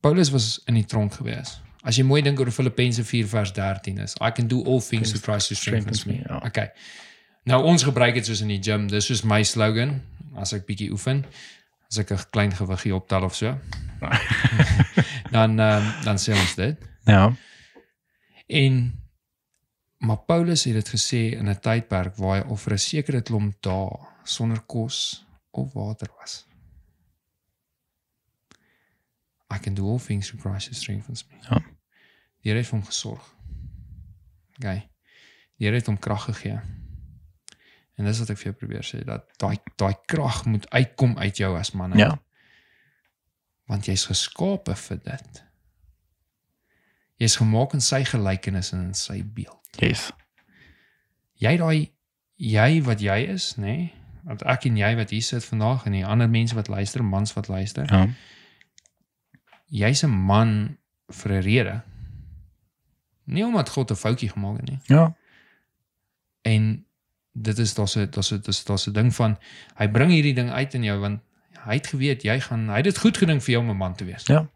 S2: Paulus was in die tronk geweest. As jy mooi dink oor Filippense 4 vers 13 is, I can do all things through Christ who strengthens me.
S1: Ja.
S2: Okay. Nou ons gebruik dit soos in die gym. Dis soos my slogan as ek bietjie oefen. As ek 'n klein gewiggie optel of so. dan um, dan sê ons dit.
S1: Ja.
S2: En maar Paulus het dit gesê in 'n tydperk waar hy of 'n sekere klomp dae sonder kos of water was. I can do all things through Christ who strengthens me.
S1: Ja.
S2: Die Here het vir hom gesorg. Okay. Die Here het hom krag gegee. En dis wat ek vir jou probeer sê dat daai daai krag moet uitkom uit jou as man. uit
S1: Ja.
S2: want jy's geskape vir dit. Jy's gemaak in sy gelykenis en in sy beeld.
S1: Yes.
S2: Jy daai jy wat jy is, nê? Nee? Want ek en jy wat hier sit vandag en die ander mense wat luister, mans wat luister,
S1: Ja.
S2: jy's 'n man vir 'n rede. Nie omdat God 'n foutjie gemaak het nie.
S1: Ja.
S2: En dit is daar's 'n daar's 'n dis- daar's 'n ding van hy bring hierdie ding uit in jou want hy het geweet jy gaan hy het dit goed gedink vir jou om 'n man te wees.
S1: Ja.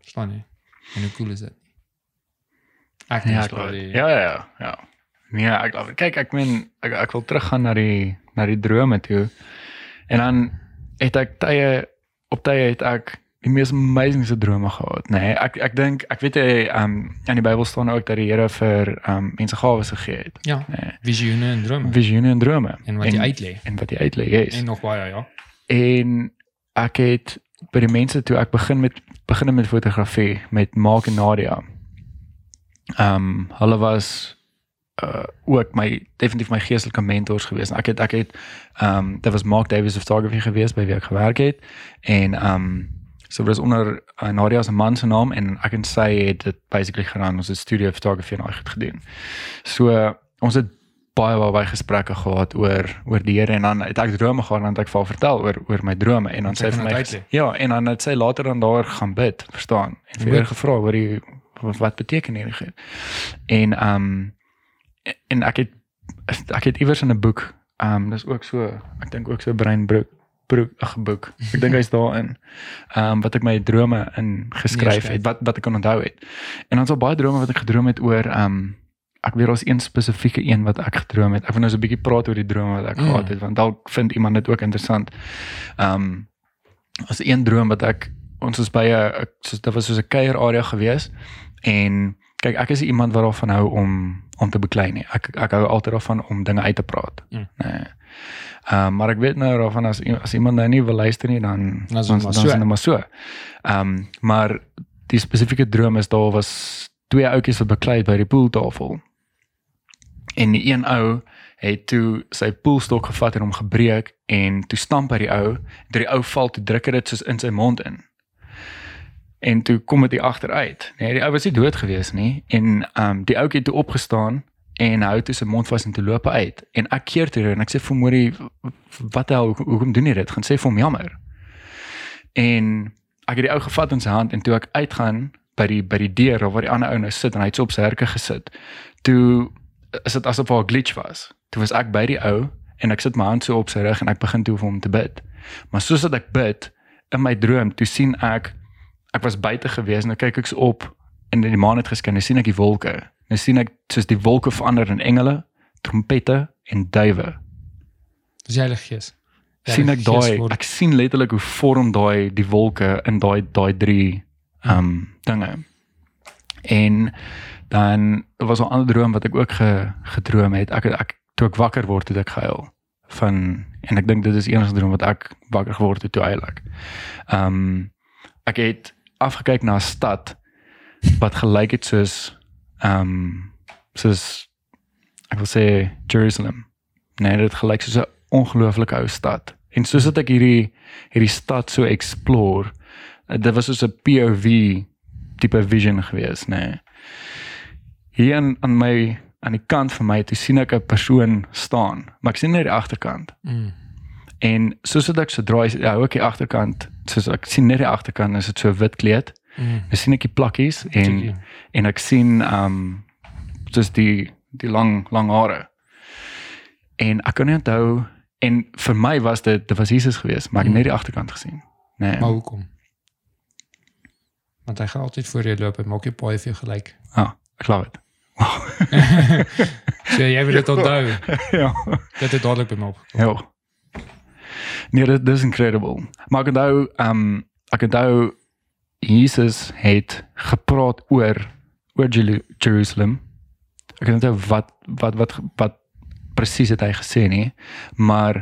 S2: Verstaan jy? En hoe cool is dit? Ek dink
S1: Ja,
S2: dis
S1: ek glo
S2: wel
S1: dit.
S2: die-
S1: ja, ja, ja, ja. Nee, ek glo dit. kyk, ek meen ek, ek wil teruggaan na die na die drome toe. En dan het ek tye op tye het ek die mees amazingste drome gehad, nê. Nee, ek ek dink ek weet jy um in die Bybel staan ook dat die Here vir um mense gawes gegee het,
S2: Ja,
S1: nê. Nee,
S2: visioene en drome
S1: visioene en drome
S2: en wat jy uit lê
S1: en wat jy uitlê, yes.
S2: en nog baie ja.
S1: en ek het by die mense toe ek begin met beginne met fotografie met Mark en Nadia. Ehm um, hulle was uh ook my definitief my geestelike mentors gewees. En Ek het ek het ehm um, dit was Mark Davis Photography gewees by wie ek gewerk het en ehm um, so dit was onder uh, Nadia se man se naam en ek en sy het dit basically gedaan. Ons het studio photography en al goed gedoen. So ons het baie baie baie gesprekke gehad oor oor die Here en dan het ek drome gehad en dan het ek vir haar vertel oor oor my drome en dan
S2: Want
S1: sê
S2: sy
S1: sy
S2: kan
S1: vir my
S2: dit
S1: ges-
S2: uitlê.
S1: ja en dan het sy later dan daar gaan bid, verstaan? En vir
S2: Bid.
S1: haar gevra oor die wat beteken hierdie goed. En ehm um, en ek het ek het iewers in 'n boek, ehm dis ook so, ek dink ook so brein broek broek ag boek. Ek dink hy's daarin. Ehm wat ek my drome in geskryf
S2: Neerskryf.
S1: het, wat wat ek kan onthou het. En dan so baie drome wat ek gedroom het oor ehm ek weet daar's een spesifieke een wat ek gedroom het. Ek wil nou so 'n bietjie praat oor die drome wat ek
S2: Mm.
S1: gehad het want dalk vind iemand dit ook interessant. Ehm as een droom wat ek ons is by 'n ek- soos dit was soos 'n kuierarea gewees en kyk ek is iemand wat daarvan hou om om te beklei nie. Ek ek hou altyd daarvan om dinge uit te praat.
S2: Mm.
S1: Nee. Ehm maar ek weet nou daarvan as i- as iemand nou nie wil luister nie dan
S2: Dan is het
S1: dan
S2: maar
S1: dan
S2: so.
S1: is dit nou maar so. Ehm maar die spesifieke droom is daar was twee ouetjies wat beklei het by die poeltafel. En die een ou het toe sy poelstok gevat en hom gebreek en toe stamp hy die ou, toe die ou val toe druk hy dit soos in sy mond in. En toe kom dit hier agteruit, nê? Nee, die ou was nie dood gewees nie en ehm um, die ouetjie het toe opgestaan en hou toe sy mond vas en toe loop hy uit. En ek keer toe en ek sê vir Mori, wat die hel, hoekom- hoekom doen jy dit? Gaan sê vir hom jammer. En ek het die ou gevat in sy hand en toe ek uitgaan by die by die deur waar die ander ou nou sit en hy het so op sy herke gesit. Toe is dit asof daar 'n glitch was. Toe was ek by die ou en ek sit my hand so op sy rug en ek begin toe vir hom te bid. Maar soos dat ek bid in my droom, toe sien ek ek was buite gewees en dan kyk ek so op en die maan het geskyn. Nou sien ek die wolke. Nou sien ek soos die wolke verander in engele, trompette en duwe.
S2: Dis Heilige Gees. Die
S1: sien
S2: Heilige
S1: ek
S2: Gees
S1: daai
S2: word-
S1: ek sien letterlik hoe vorm daai die wolke in daai daai drie ehm um, dinge. En dan er was 'n ander droom wat ek ook ge, gedroom het. Ek ek toe ek wakker word het ek gehuil van en ek dink dit is die enigste droom wat ek wakker geword het toe eintlik. Ehm um, ek het afgekyk na 'n stad wat gelyk het soos ehm um, soos ek wil sê Jerusalem. Nee, dit gelyk soos 'n ongelooflike ou stad. En soos dat ek hierdie hierdie stad so explore, eh, dit was soos 'n POV tipe vision gewees, nê. Nee. Hier aan aan my aan die kant van my toe sien ek 'n persoon staan, maar ek sien net die agterkant.
S2: Mm.
S1: En soos dat ek sodra hy ja, ook die agterkant, soos ek sien net die agterkant, is dit so wit kleed.
S2: Mm.
S1: Ek sien ek die plakkies en
S2: Tuurlijk.
S1: en ek sien ehm um, soos die die lang lang hare. En ek kan nie onthou en vir my was dit dit was Jesus geweest, maar ek het net die agterkant gesien. Nee.
S2: Maar hoekom? Want hy gaan altyd voor jou loop en maak jou paai vir jou gelyk.
S1: Ah, ek glo dit.
S2: So jy wil dit onthou.
S1: ja.
S2: Dit het dadelik by my opgekom.
S1: Ja. Nee, dit dis incredible. Maar ek onthou ehm um, ek onthou Jesus het gepraat oor oor Jelu- Jerusalem. Ek kan nie onthou wat wat wat wat presies het hy gesê nie, maar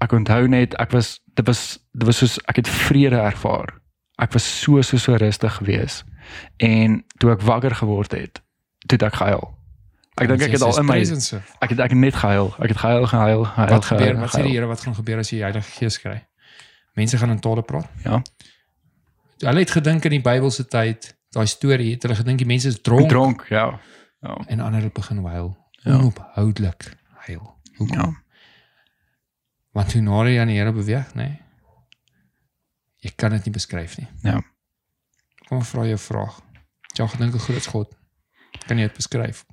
S1: ek onthou net ek was dit was dit was soos ek het vrede ervaar. Ek was so so so rustig geweest en toe ek wakker geword het, toe het ek gehuil. Ek dink ek het al in my Ja,
S2: Presence.
S1: ek het ek het net gehuil. Ek het gehuil, gehuil, gehuil.
S2: Wat gebeur?
S1: gehuil,
S2: Wat sê
S1: gehuil.
S2: die Here wat gaan gebeur as jy die Heilige Gees kry? Mense gaan in tale praat.
S1: Ja.
S2: Hulle het gedink in die Bybelse tyd, daai storie het hulle gedink die mense is dronk, dronk.
S1: Dronk, ja. Ja.
S2: en ander het begin huil.
S1: Ja.
S2: Ja. Onophoudelik huil. Hoekom?
S1: Ja.
S2: Ja. Want hoe nader jy aan die Here beweeg, nê? Nee, jy kan dit nie beskryf nie.
S1: Ja.
S2: Kom vra jou vraag. Jy gedink 'n groot God. Kan jy dit beskryf?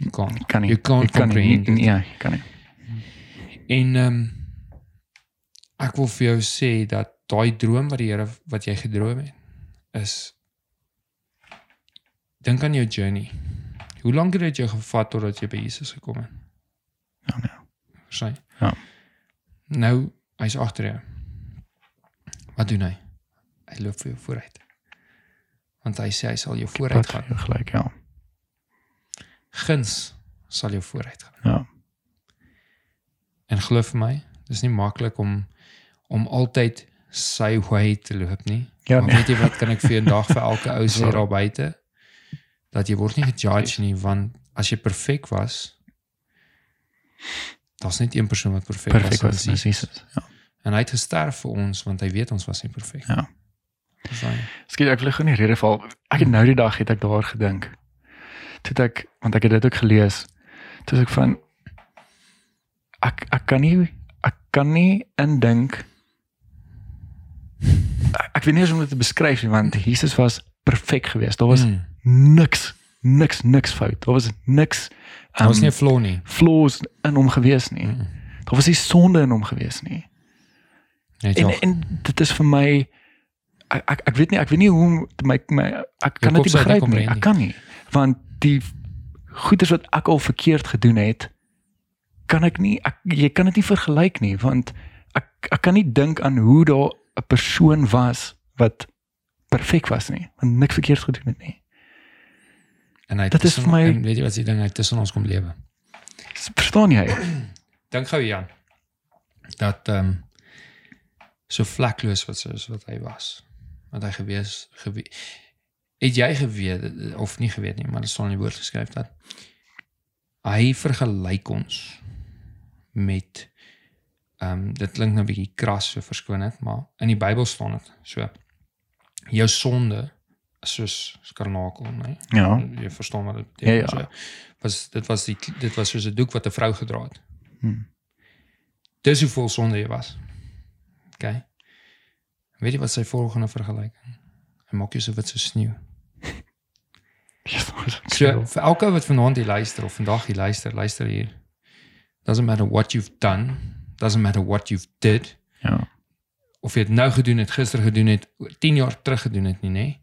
S2: You can't.
S1: Kan nie.
S2: You can't
S1: Jy kan nie.
S2: comprehend it.
S1: Ja, jy kan nie.
S2: En ehm um, ek wil vir jou sê dat daai droom wat die Here wat jy gedroom het is dink aan jou journey. Hoe lank het dit jou gevat totdat jy by Jesus gekom het?
S1: Ja, nee.
S2: Verstaan? jy?
S1: Ja.
S2: Nou hy's agter jou. Wat doen hy? Hy loop vir jou vooruit. Want hy sê hy sal jou vooruit
S1: Wat
S2: gaan.
S1: jy gelyk, ja.
S2: Guns sal jou vooruit gaan.
S1: Ja.
S2: En glo vir my, dis nie maklik om om altyd sy way te loop nie.
S1: Ja,
S2: maar
S1: nee.
S2: weet jy wat kan ek vir 'n dag vir elke ou sê
S1: Sorry.
S2: daar buite? Dat jy word nie gejudge nie want as jy perfek was, daar's net een persoon wat perfek was,
S1: Perfek
S2: en
S1: was dit
S2: dis
S1: Jesus. Ja.
S2: En hy het gesterf vir ons want hy weet ons was nie perfek.
S1: Ja.
S2: Verstaan jy?
S1: Skielik ek wil gou nie rede val. Ek het nou die dag het ek daaroor gedink. Toe het ek want ek het dit ook gelees. Toe is ek van ek ek kan nie ek kan nie indink ek, ek weet nie eens hoe om dit te beskryf nie want Jesus was perfek geweest. Daar was
S2: Mm.
S1: niks niks niks fout. Daar was niks
S2: Hmm. Daar was
S1: ehm,
S2: nie 'n flaw nie.
S1: flaws in hom gewees nie.
S2: Mm.
S1: Daar was nie sonde in hom gewees nie.
S2: Net
S1: En e-
S2: ja.
S1: en dit is vir my ek ek, ek weet nie ek weet nie hoe om te- my my ek
S2: Jou
S1: kan dit
S2: kop
S1: nie
S2: sou dit nie
S1: begryp nie.
S2: comprehend nie.
S1: Ek kan nie want die goeders wat ek al verkeerd gedoen het kan ek nie ek jy kan dit nie vergelyk nie want ek ek kan nie dink aan hoe daar 'n persoon was wat perfek was nie want niks verkeerd gedoen het nie.
S2: En hy het
S1: dit is
S2: tussen-
S1: vir my-
S2: en weet jy wat die ding hy het tussen ons kom lewe.
S1: Verstaan jy?
S2: Dink gou Jan dat ehm so vlekloos wat soos wat hy was. Wat hy gewees gewe het jy geweet of nie geweet nie, maar dit staan in die woord geskryf dat hy vergelyk ons met ehm dit klink nou 'n bietjie kras so verskoon dit, maar in die Bybel staan dit so jou sonde is soos skarnakel, nee.
S1: Ja.
S2: Jy verstaan wat dit
S1: Ja,
S2: beteken.
S1: ja.
S2: So, was dit was die dit was soos 'n doek wat 'n vrou gedra het.
S1: Hmm.
S2: Dis hoe vol sonde jy was. OK. Weet jy wat sy volgende vergelyking? Hy maak jou so wit so sneeu. So vir elke wat vanaand hier luister of vandag hier luister, luister hier. Doesn't matter what you've done, doesn't matter what you've did.
S1: Ja.
S2: of jy dit nou gedoen het, gister gedoen het, oor 10 jaar terug gedoen het nie, nê?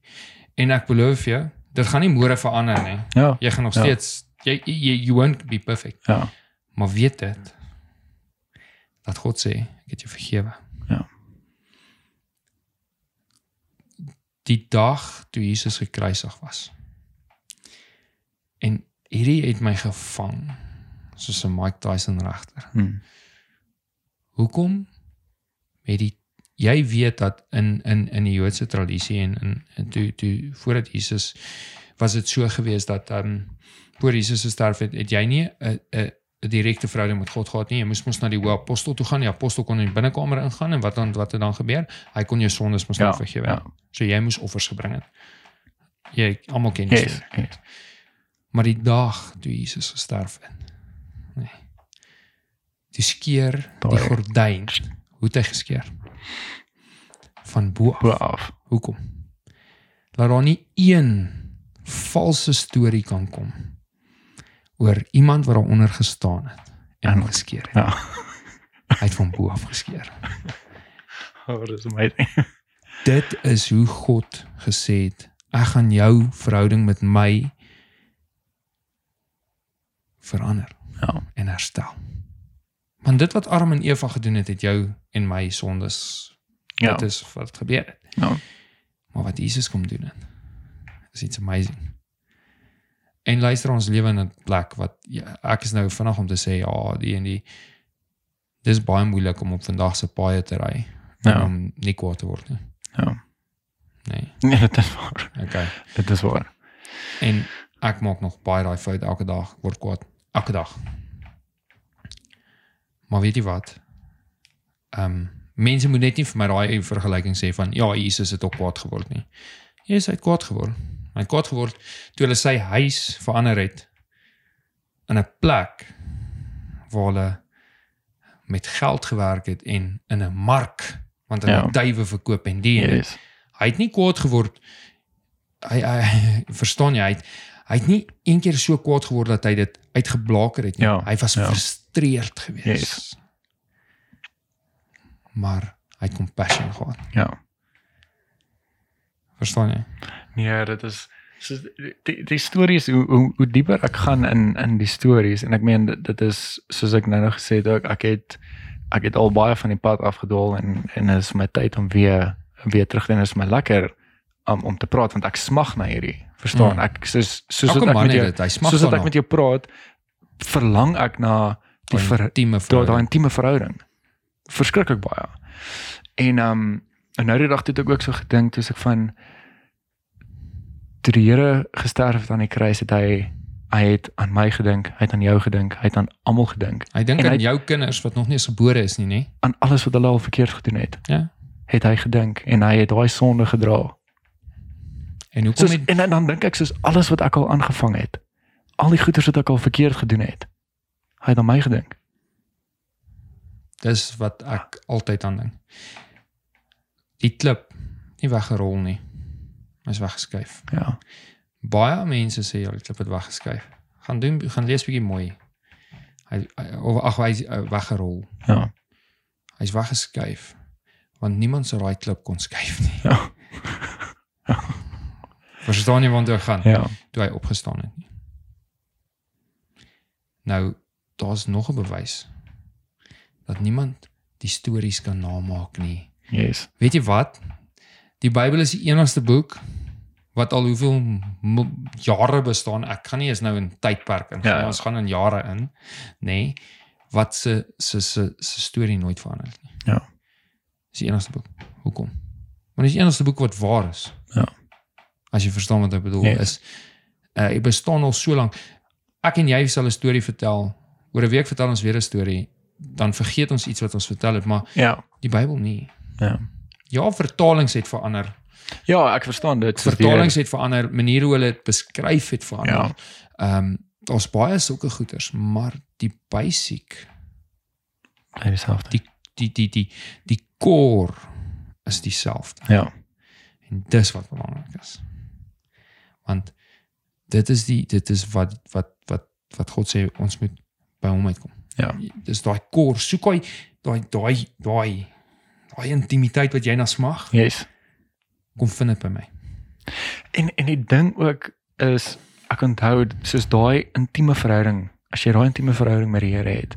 S2: En ek beloof jou, dit gaan nie môre verander nie.
S1: Ja.
S2: Jy gaan nog
S1: Ja.
S2: steeds jy jy you won't be perfect.
S1: Ja.
S2: Maar weet dit dat God sê, ek het jou vergewe.
S1: Ja.
S2: Die dag toe Jesus gekruisig was. En e hierdie het my gevang soos 'n Mike Tyson regter.
S1: Hmm.
S2: Hoekom? Met die jy weet dat in in in die Joodse tradisie en in en toe toe voordat Jesus was dit so gewees dat ehm um, voor Jesus se sterf het, het jy nie 'n 'n 'n direkte verhouding met God gehad nie. Jy moes mos na die hoë apostel toe gaan. Die apostel kon in die binnekamer ingaan en wat dan wat het dan gebeur? Hy kon jou sondes mos nou
S1: Ja,
S2: vergewe.
S1: ja.
S2: So jy moes offers gebring het. Jy almal ken dit.
S1: Yes. yes.
S2: Maar die dag toe Jesus gesterf het. Nee. Die skeer die
S1: Daai-
S2: gordyn. Hoe het hy geskeer? Van bo
S1: Bo
S2: af.
S1: af.
S2: Hoekom? Laat daar nie een valse storie kan kom oor iemand wat daaronder gestaan het en hom geskeer het.
S1: Ja.
S2: Hy het van bo af geskeer.
S1: Oh, dis amazing.
S2: Dit is hoe God gesê het, ek gaan jou verhouding met my verander.
S1: Ja.
S2: en herstel. Want dit wat Adam en Eva gedoen het, het jou en my sondes.
S1: Ja.
S2: Dit is wat gebeur het.
S1: Ja.
S2: Maar wat Jesus kom doen het, is iets amazing. En luister ons lewe in 'n plek wat ja, ek is nou vinnig om te sê ja, die en die dis baie moeilik om op vandag se paaie te ry en
S1: Ja.
S2: om nie kwaad te word nie.
S1: Ja.
S2: Nee,
S1: Nee, dit is waar.
S2: okay.
S1: Dit is waar.
S2: En ek maak nog baie daai fout elke dag, ek word kwaad elke dag. Maar weet jy wat? Ehm um, mense moet net nie vir my daai vergelyking sê van ja, Jesus het ook kwaad geword nie. Jesus het kwaad geword. Hy het kwaad geword toe hulle sy huis verander het in 'n plek waar hulle met geld gewerk het en in 'n mark want hulle
S1: Ja.
S2: ja. duwe verkoop en die en die.
S1: Yes.
S2: Hy het nie kwaad geword. Hy, hy verstaan jy, hy het, hy het nie een keer so kwaad geword dat hy dit uitgeblaker het nie.
S1: Ja,
S2: hy was
S1: ja.
S2: frustreerd geweest.
S1: Yes.
S2: Maar hy het compassion gehad.
S1: Ja.
S2: Verstaan jy?
S1: Ja, dit is so die die stories hoe hoe, hoe dieper ek gaan in in die stories en ek meen dit, dit is soos ek nou nog gesê het ook ek het ek het al baie van die pad afgedwaal en en is my tyd om weer weer terug en is my lekker om om te praat want ek smag na hierdie. Verstaan?
S2: Mm.
S1: Mm. Ek soos soos
S2: Elke
S1: wat ek
S2: man
S1: met
S2: het
S1: jou
S2: dit. Hy smag
S1: soos wat ek met jou praat verlang ek na die ver,
S2: tieme
S1: daai daai intieme verhouding. Verskriklik baie. En ehm um, en nou die dag toe het ek ook so gedink toe ek van toe die Here gesterf het aan die kruis het hy hy het aan my gedink, hy het aan jou gedink, hy het aan almal gedink,
S2: Hy dink
S1: en
S2: aan
S1: hy-
S2: jou kinders wat nog nie eens gebore is nie, nê?
S1: aan alles wat hulle al verkeerd gedoen het.
S2: Ja.
S1: Het hy gedink en hy het daai sonde gedra.
S2: En hoekom
S1: Soos,
S2: het
S1: en dan- dan dink ek soos alles wat ek al aangevang het, al die goeders wat ek al verkeerd gedoen het, hy het aan my gedink.
S2: dis wat ek altyd aan dink. Die klip nie weggerol nie. Hy's weggeskuif.
S1: Ja.
S2: Baie mense sê hulle klip het weggeskryf. Gaan doen gaan lees bietjie mooi. Hy hy- of ag hy is uh, weggerol.
S1: Ja.
S2: Hy's weggeskuif want niemand sou daai klip kon skuif nie.
S1: Ja.
S2: Verstaan jy waar dit gaan?
S1: Ja.
S2: toe hy opgestaan het nie. Nou, daar's nog 'n bewys dat niemand die stories kan namaak nie.
S1: Yes.
S2: Weet jy wat? Die Bybel is die enigste boek wat al hoeveel mo- jare bestaan. Ek gaan nie eens nou in tydperk in.
S1: Ja,
S2: Ja,
S1: ja.
S2: ons gaan in jare in, nê? Nee, wat se se se se storie nooit verander het nie.
S1: Ja.
S2: Dis die enigste boek. Hoekom? Want dit is die enigste boek wat waar is.
S1: Ja.
S2: As jy verstaan wat ek bedoel
S1: Ja.
S2: is uh dit bestaan al so lank. Ek en jy sal 'n storie vertel. Oor 'n week vertel ons weer 'n storie. Dan vergeet ons iets wat ons vertel het, maar
S1: Ja.
S2: die Bybel nie.
S1: Ja.
S2: Ja, vertalings het verander.
S1: Ja, ek verstaan dit. Dis die-
S2: Vertalings het verander, maniere hoe hulle dit beskryf het verander.
S1: Ja.
S2: Ehm um, daar's baie sulke goeters, maar die basic,
S1: Hy is selfde.
S2: die die die die die core is dieselfde.
S1: Ja.
S2: En dis wat belangrik is. Want dit is die dit is wat wat wat wat God sê ons moet by hom uitkom.
S1: Ja.
S2: Dis daai kor, soek hy daai daai daai daai intimiteit wat jy na smag,
S1: Yes.
S2: kom vind dit by my.
S1: En en die ding ook is ek onthou soos daai intieme verhouding, as jy daai intieme verhouding met die Here het,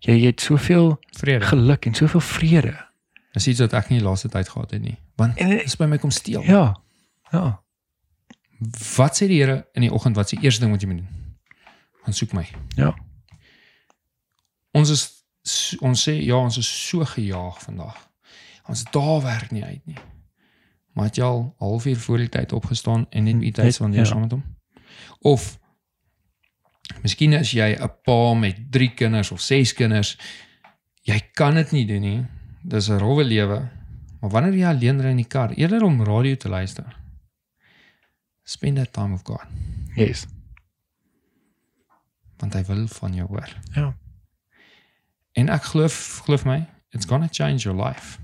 S1: jy jy het soveel
S2: Vrede.
S1: geluk en soveel vrede.
S2: Dis iets wat ek nie die laaste tyd gehad het nie. Want
S1: En
S2: dis by my kom steel.
S1: ja. Ja.
S2: Wat sê die Here in die oggend, wat is die eerste ding wat jy moet doen? Gaan soek my.
S1: Ja.
S2: Ons is s- ons sê ja, ons is so gejaag vandag. Ons daar werk nie uit nie. Maar het jy al halfuur voor die tyd opgestaan en net iets tyd spandeer
S1: ja.
S2: saam met hom? Of miskien as jy 'n pa met 3 kinders of 6 kinders, jy kan dit nie doen nie. Dis 'n rowwe lewe. Maar wanneer jy alleen ry in die kar, eerder om radio te luister. Spend that time with God,
S1: Yes.
S2: want hy wil van jou hoor.
S1: Ja.
S2: En ek glo glo my, it's going to change your life.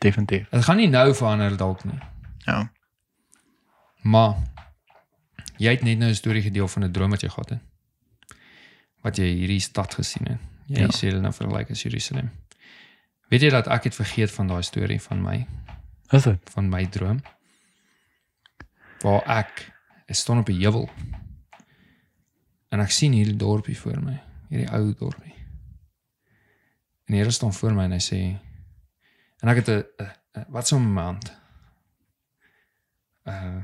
S1: Definitief.
S2: Dit gaan nie nou verander dalk nie,
S1: Ja.
S2: maar jy het net nou 'n storie gedeel van 'n droom wat jy gehad het. Wat jy hierdie stad gesien het. Jy
S1: Ja.
S2: ja. sê hulle nou vergelyk as Jerusalem. Weet jy dat ek het vergeet van daai storie van my,
S1: Is dit?
S2: van my droom? Waar ek ek staan op 'n heuwel. En ek sien hierdie dorpie voor my, hierdie ou dorpie. En die Here staan voor my en hy sê en ek het 'n- 'n 'n- wat so 'n maand uh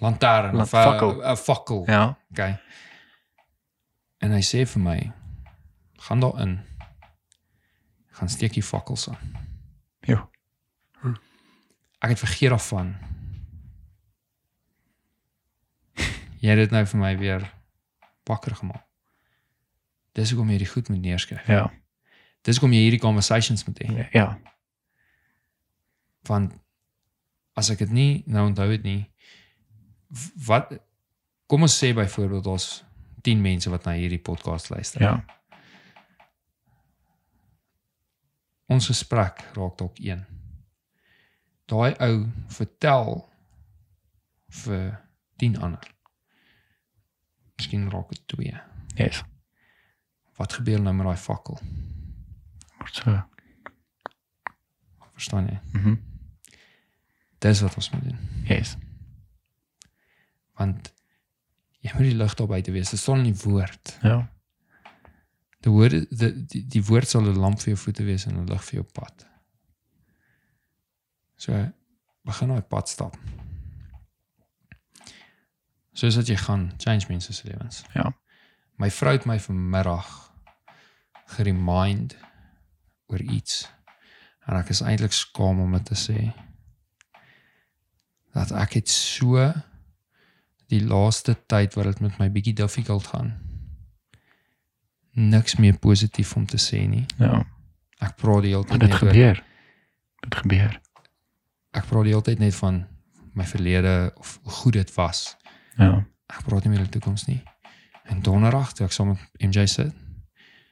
S2: lantaarn
S1: Lan-
S2: of 'n-
S1: fakkel.
S2: 'n fakkel.
S1: Ja.
S2: Okay. En hy sê vir my, gaan daarin. Gaan steek die fakkels aan.
S1: Jo.
S2: Ek het vergeet daarvan. Jy het dit nou vir my weer wakker gemaak. Dis hoekom jy dit goed moet neerskryf.
S1: Ja.
S2: Dis hoekom jy hierdie conversations moet hê.
S1: Ja.
S2: Want as ek dit nie nou onthou het nie, w- wat kom ons sê byvoorbeeld ons 10 mense wat na hierdie podcast luister.
S1: Ja.
S2: ons gesprek raak dalk een. Daai ou vertel vir 10 ander. Miskien raak dit 2.
S1: Yes.
S2: Wat gebeur nou met daai fakkel?
S1: Word so.
S2: Verstaan jy?
S1: Mhm.
S2: Dis wat ons moet doen.
S1: Yes.
S2: Want jy moet die lig daar buite wees. Dit staan in die woord.
S1: Ja.
S2: Die woord die, die, die woord sal 'n lamp vir jou voete wees en 'n lig vir jou pad. So begin daai nou pad stap. Soos dat jy gaan change mense se lewens.
S1: Ja.
S2: My vrou het my vanmiddag geremind oor iets en ek is eintlik skaam om dit te sê. Dat ek het so die laaste tyd wat dit met my bietjie difficult gaan niks meer positief om te sê nie.
S1: Ja.
S2: Ek praat die hele
S1: Maar
S2: tyd
S1: dit
S2: net oor
S1: gebeur. Dit gebeur.
S2: ek praat die hele tyd net van my verlede of hoe goed dit was.
S1: Ja.
S2: Ek praat nie meer oor die toekoms nie. En donderdag toe ek saam met MJ sit,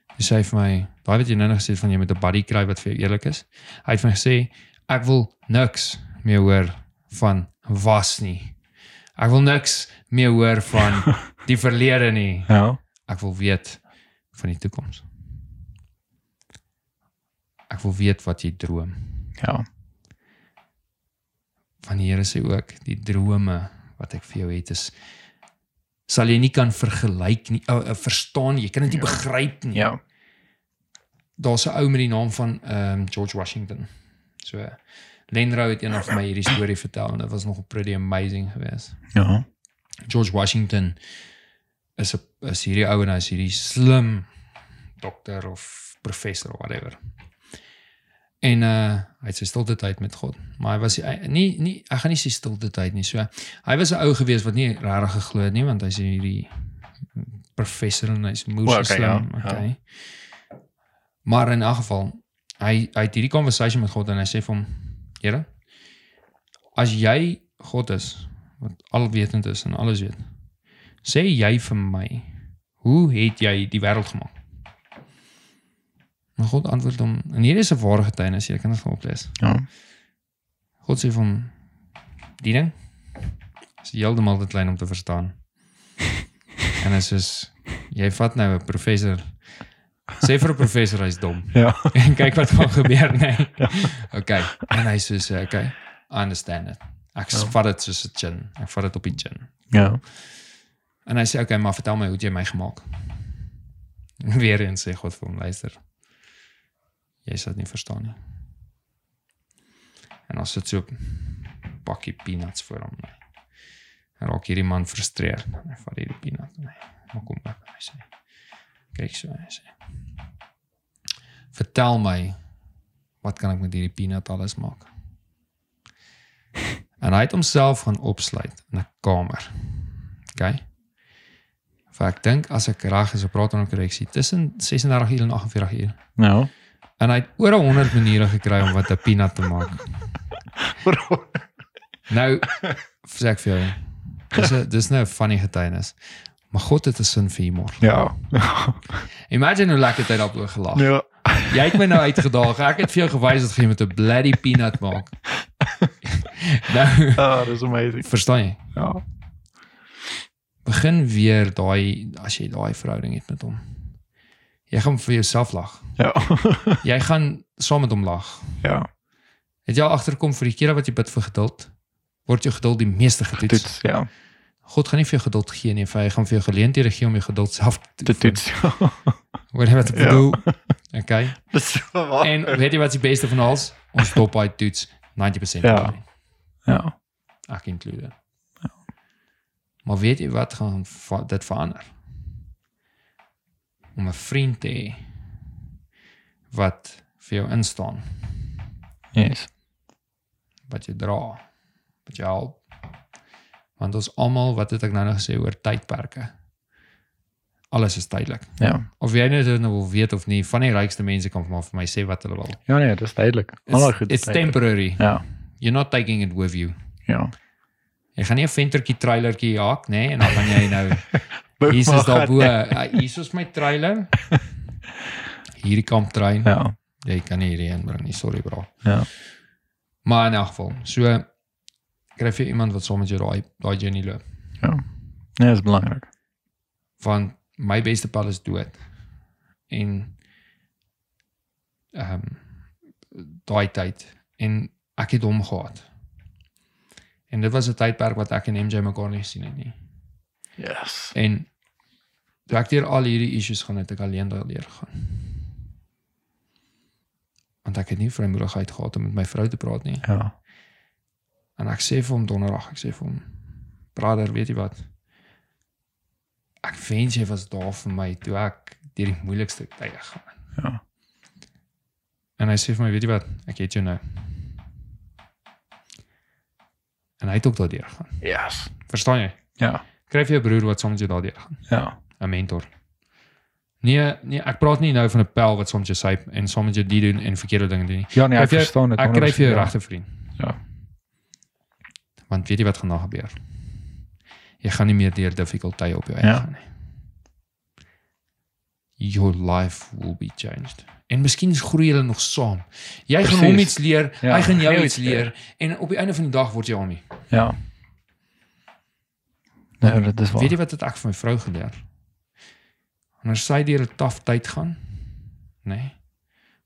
S2: hy sê hy vir my, "Daai wat jy nou nog gesê het van jy moet 'n buddy kry wat vir jou eerlik is." Hy het vir my gesê, "Ek wil niks meer hoor van was nie. Ek wil niks meer hoor van die verlede nie.
S1: Ja.
S2: Ek wil weet van die toekoms. Ek wil weet wat jy droom.
S1: Ja.
S2: Van die Here sê ook, die drome wat ek vir jou het is sal jy nie kan vergelyk nie, uh, uh, verstaan nie, jy kan dit nie begryp nie.
S1: Ja.
S2: daar's 'n ou met die naam van ehm George Washington. So Lenro het eendag vir my hierdie storie vertel en dit was nog pretty amazing geweest.
S1: Ja.
S2: George Washington is 'n is hierdie ou en hy's hierdie slim dokter of professor of whatever. En uh hy het sy stilte tyd met God, maar hy was hy, nie nie ek gaan nie sy stilte tyd nie. So hy was 'n ou gewees wat nie regtig geglo het nie want hy's hierdie professor en hy's
S1: O,
S2: moes well,
S1: okay,
S2: okay, slim,
S1: ja, ja.
S2: okay. Maar in elk geval, hy hy het hierdie conversation met God en hy sê vir hom, Here, as jy God is, wat alwetend is en alles weet. Sê jy vir my, hoe het jy die wêreld gemaak? Maar God antwoord hom, en hier is 'n ware getuienis, jy kan dit gaan oplees.
S1: Ja.
S2: God sê vir hom, die ding is heeltemal te klein om te verstaan. en dit is jy vat nou 'n professor sê vir 'n professor hy's dom
S1: Ja.
S2: en kyk wat gaan gebeur nê. Nee. Okay. En hy sê so, okay, I understand it. Ek
S1: Ja.
S2: vat dit soos 'n gin. Ek vat dit op die gin.
S1: Ja.
S2: En hy sê okay, maar vertel my hoe het jy my gemaak. Weer eens sê God vir hom luister. Jy sal dit nie verstaan nie. En ons sit so 'n pakkie peanuts voor hom. Nee. En raak hierdie man frustreerd. Hy vat hierdie peanut. Nee. Maar kom op, hy sê. Kyk so, hy sê. Vertel my wat kan ek met hierdie peanut alles maak? En hy het homself gaan opsluit in 'n kamer. OK. Vir ek dink as ek reg is, ek praat onder korreksie tussen 36 uur en 48 uur.
S1: Ja.
S2: En hy het oor 100 maniere gekry om wat 'n peanut te maak. Nou sê ek vir jou, dis 'n dis nou 'n funny getuienis. Maar God het 'n sin vir humor.
S1: Ja.
S2: Imagine hoe lekker dit daaroor gelag.
S1: Ja.
S2: Jy het my nou uitgedaag. Ek het vir jou gewys dat jy met 'n bloody peanut maak. nou,
S1: Ah, dis amazing.
S2: verstaan jy?
S1: Ja.
S2: Begin weer daai as jy daai verhouding het met hom. Jy gaan vir jouself lag.
S1: Ja.
S2: Jy gaan saam met hom lag.
S1: Ja.
S2: Het jy al agterkom vir die kere wat jy bid vir geduld, word jou geduld die meeste getoets.
S1: Toets, ja.
S2: God gaan nie vir jou geduld gee nie, hy gaan vir jou geleenthede gee om jou geduld self
S1: Te toets. ja.
S2: Hoor jy wat ek
S1: Ja.
S2: bedoel? Ja. Okay.
S1: Dis so waar.
S2: En weet jy wat die beste van alles? Ons stop by toets 90%
S1: Ja.
S2: daarin.
S1: Ja.
S2: Ek include. Ja. Maar weet jy wat gaan va- dit verander? Om 'n vriend te hê wat vir jou instaan,
S1: Yes.
S2: wat jou dra, wat jou help. Want ons almal, wat het ek nou nog gesê oor tydperke? Alles is tydelik.
S1: Ja.
S2: Of jy nou dit nou wil weet of nie, van die rykste mense kan maar vir my sê wat hulle wil.
S1: Ja nee, dis duidelik. Almal
S2: It's,
S1: goed.
S2: it's
S1: is duidelik.
S2: temporary.
S1: Ja.
S2: You're not taking it with you.
S1: Ja.
S2: Jy gaan nie 'n ventertjie trailertjie haak nê nee, en dan gaan jy nou Jesus
S1: Boekmaak
S2: daar
S1: gaan-
S2: bo. Ah, Hier is my trailer. Hierdie kamp trein. Ja.
S1: Ja.
S2: Jy kan nie hierdie inbring nie, sorry bro.
S1: Ja.
S2: Maar in elk geval, so kry vir iemand wat saam met jou daai daai journey loop.
S1: Nee, dis belangrik.
S2: Want my beste pal is dood. En ehm daai tyd en ek het hom gehad. En dit was 'n tydperk wat ek en MJ mekaar nie gesien het nie.
S1: Yes.
S2: En toe ek deur al hierdie issues gaan het ek alleen daardeur gegaan. Want ek het nie vrymoedigheid gehad om met my vrou te praat nie.
S1: Ja.
S2: En ek sê vir hom donderdag, ek sê vir hom, "Brother, weet jy wat? Ek wens jy was daar vir my toe ek deur die moeilikste tye gaan." het."
S1: Ja.
S2: En hy sê vir my, "Weet jy wat? Ek het jou nou." En hy het ook daardeur gegaan.
S1: Yes.
S2: Verstaan jy?
S1: Ja.
S2: Kry vir jou broer wat soms jy daardeur gaan.
S1: Ja.
S2: 'n mentor. Nee, nee, ek praat nie nou van 'n pel wat soms jou syp en soms met jou die doen en verkeerde dinge doen nie.
S1: Ja nee, ek
S2: Kry vir-
S1: verstaan dit.
S2: Ek kry vir
S1: 100%,
S2: jou
S1: ja.
S2: regte vriend.
S1: Ja.
S2: Want weet jy wat gaan daar gebeur? Jy gaan nie meer deur difficulty op jou eie
S1: Ja.
S2: gaan nie. Your life will be changed En miskien groei julle nog saam. Jy gaan
S1: Precies.
S2: hom iets leer,
S1: Ja,
S2: hy gaan jou
S1: jou
S2: iets
S1: iets leer.
S2: leer en op die einde van die dag word jy homie.
S1: Ja. Nee, dit is waar.
S2: Weet jy wat het ek van my vrou geleer? Wanneer sy deur 'n taaf tyd gaan, nê? Nee,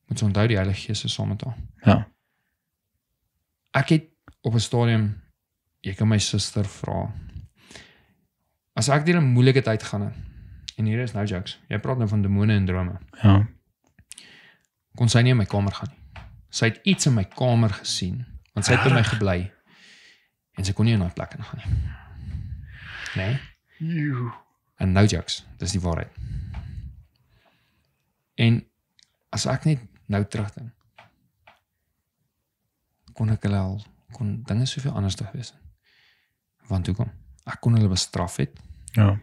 S2: moet sy onthou die Heilige Gees is saam met haar.
S1: Ja.
S2: Ek het op 'n stadium jy kan my suster vra. As ek deur 'n moeilike tyd gaan en hier is nou jokes. Jy praat nou van demone en drome.
S1: Ja.
S2: kon sy nie in my kamer gaan nie. Sy het iets in my kamer gesien, want sy het by my gebly. En sy kon nie in daai plek ingaan nie. Nee, en nou jokes, dis die waarheid. En as ek net nou terugdink, kon ek hulle al kon dinge soveel anders te gewees het. Want hoekom? Ek kon hulle bestraf het,
S1: Ja.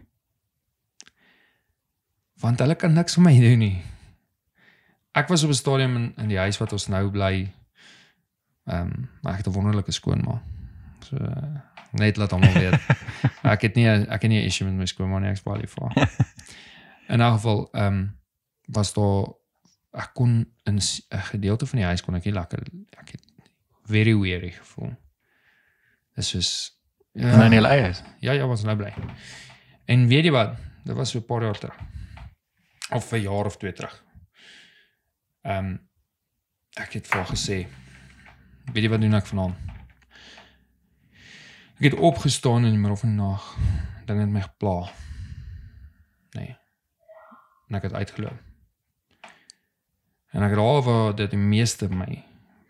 S2: want hulle kan niks vir my doen nie. Ek was op 'n stadium in in die huis wat ons nou bly. Ehm, maar ek het 'n wonderlike skoonma. So eh, net laat hom weet. ek het nie ek het nie 'n issue met my skoonma nie, ek's baie lief vir haar. In elk geval ehm was daar ek kon in 'n s- 'n gedeelte van die huis kon ek nie lekker ek het very weary gevoel. Dis soos ja,
S1: En dan die leiers.
S2: Ja, ja, was nou bly. En weet jy wat? Dit was so 'n paar jaar terug. Of 'n jaar of twee terug. Ehm um, ek het vir haar gesê, weet jy wat doen ek vanaand? Ek het opgestaan in die middel van die nag. Dinge het my gepla. Nee. En ek het uitgeloop. En ek raai waar dit die meeste my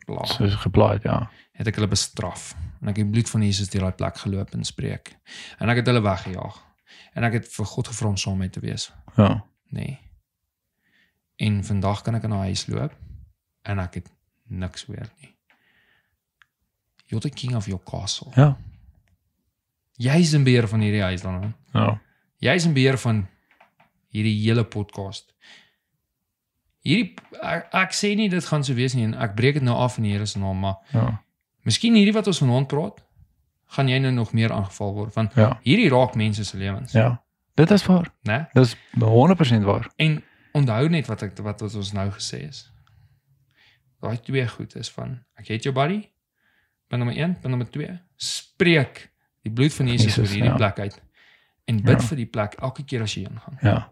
S2: pla
S1: Soos geplaat, ja.
S2: het ek hulle bestraf en ek het die bloed van Jesus deur daai plek geloop en spreek. En ek het hulle weggejaag. En ek het vir God gevra om saam met my te wees,
S1: Ja.
S2: nê. Nee. En vandag kan ek in daai huis loop en ek het niks weer nie. You're the king of your castle.
S1: Ja.
S2: Jy's in beheer van hierdie huis dan.
S1: Ja.
S2: Jy's in beheer van hierdie hele podcast. Hierdie ek, ek sê nie dit gaan so wees nie en ek breek dit nou af in die Here se naam, maar
S1: Ja.
S2: Miskien hierdie wat ons vanaand praat, gaan jy nou nog meer aangeval word want
S1: Ja.
S2: hierdie raak mense se lewens,
S1: Ja. Dit is waar.
S2: né?
S1: Dit is 100% waar.
S2: En onthou net wat ek wat wat ons nou gesê is. Daai twee goed is van ek het jou buddy, punt nommer 1, punt nommer 2, spreek die bloed van Jesus
S1: Jesus,
S2: oor hierdie
S1: ja.
S2: plek uit en bid
S1: Ja.
S2: vir die plek elke keer as jy ingaan.
S1: Ja.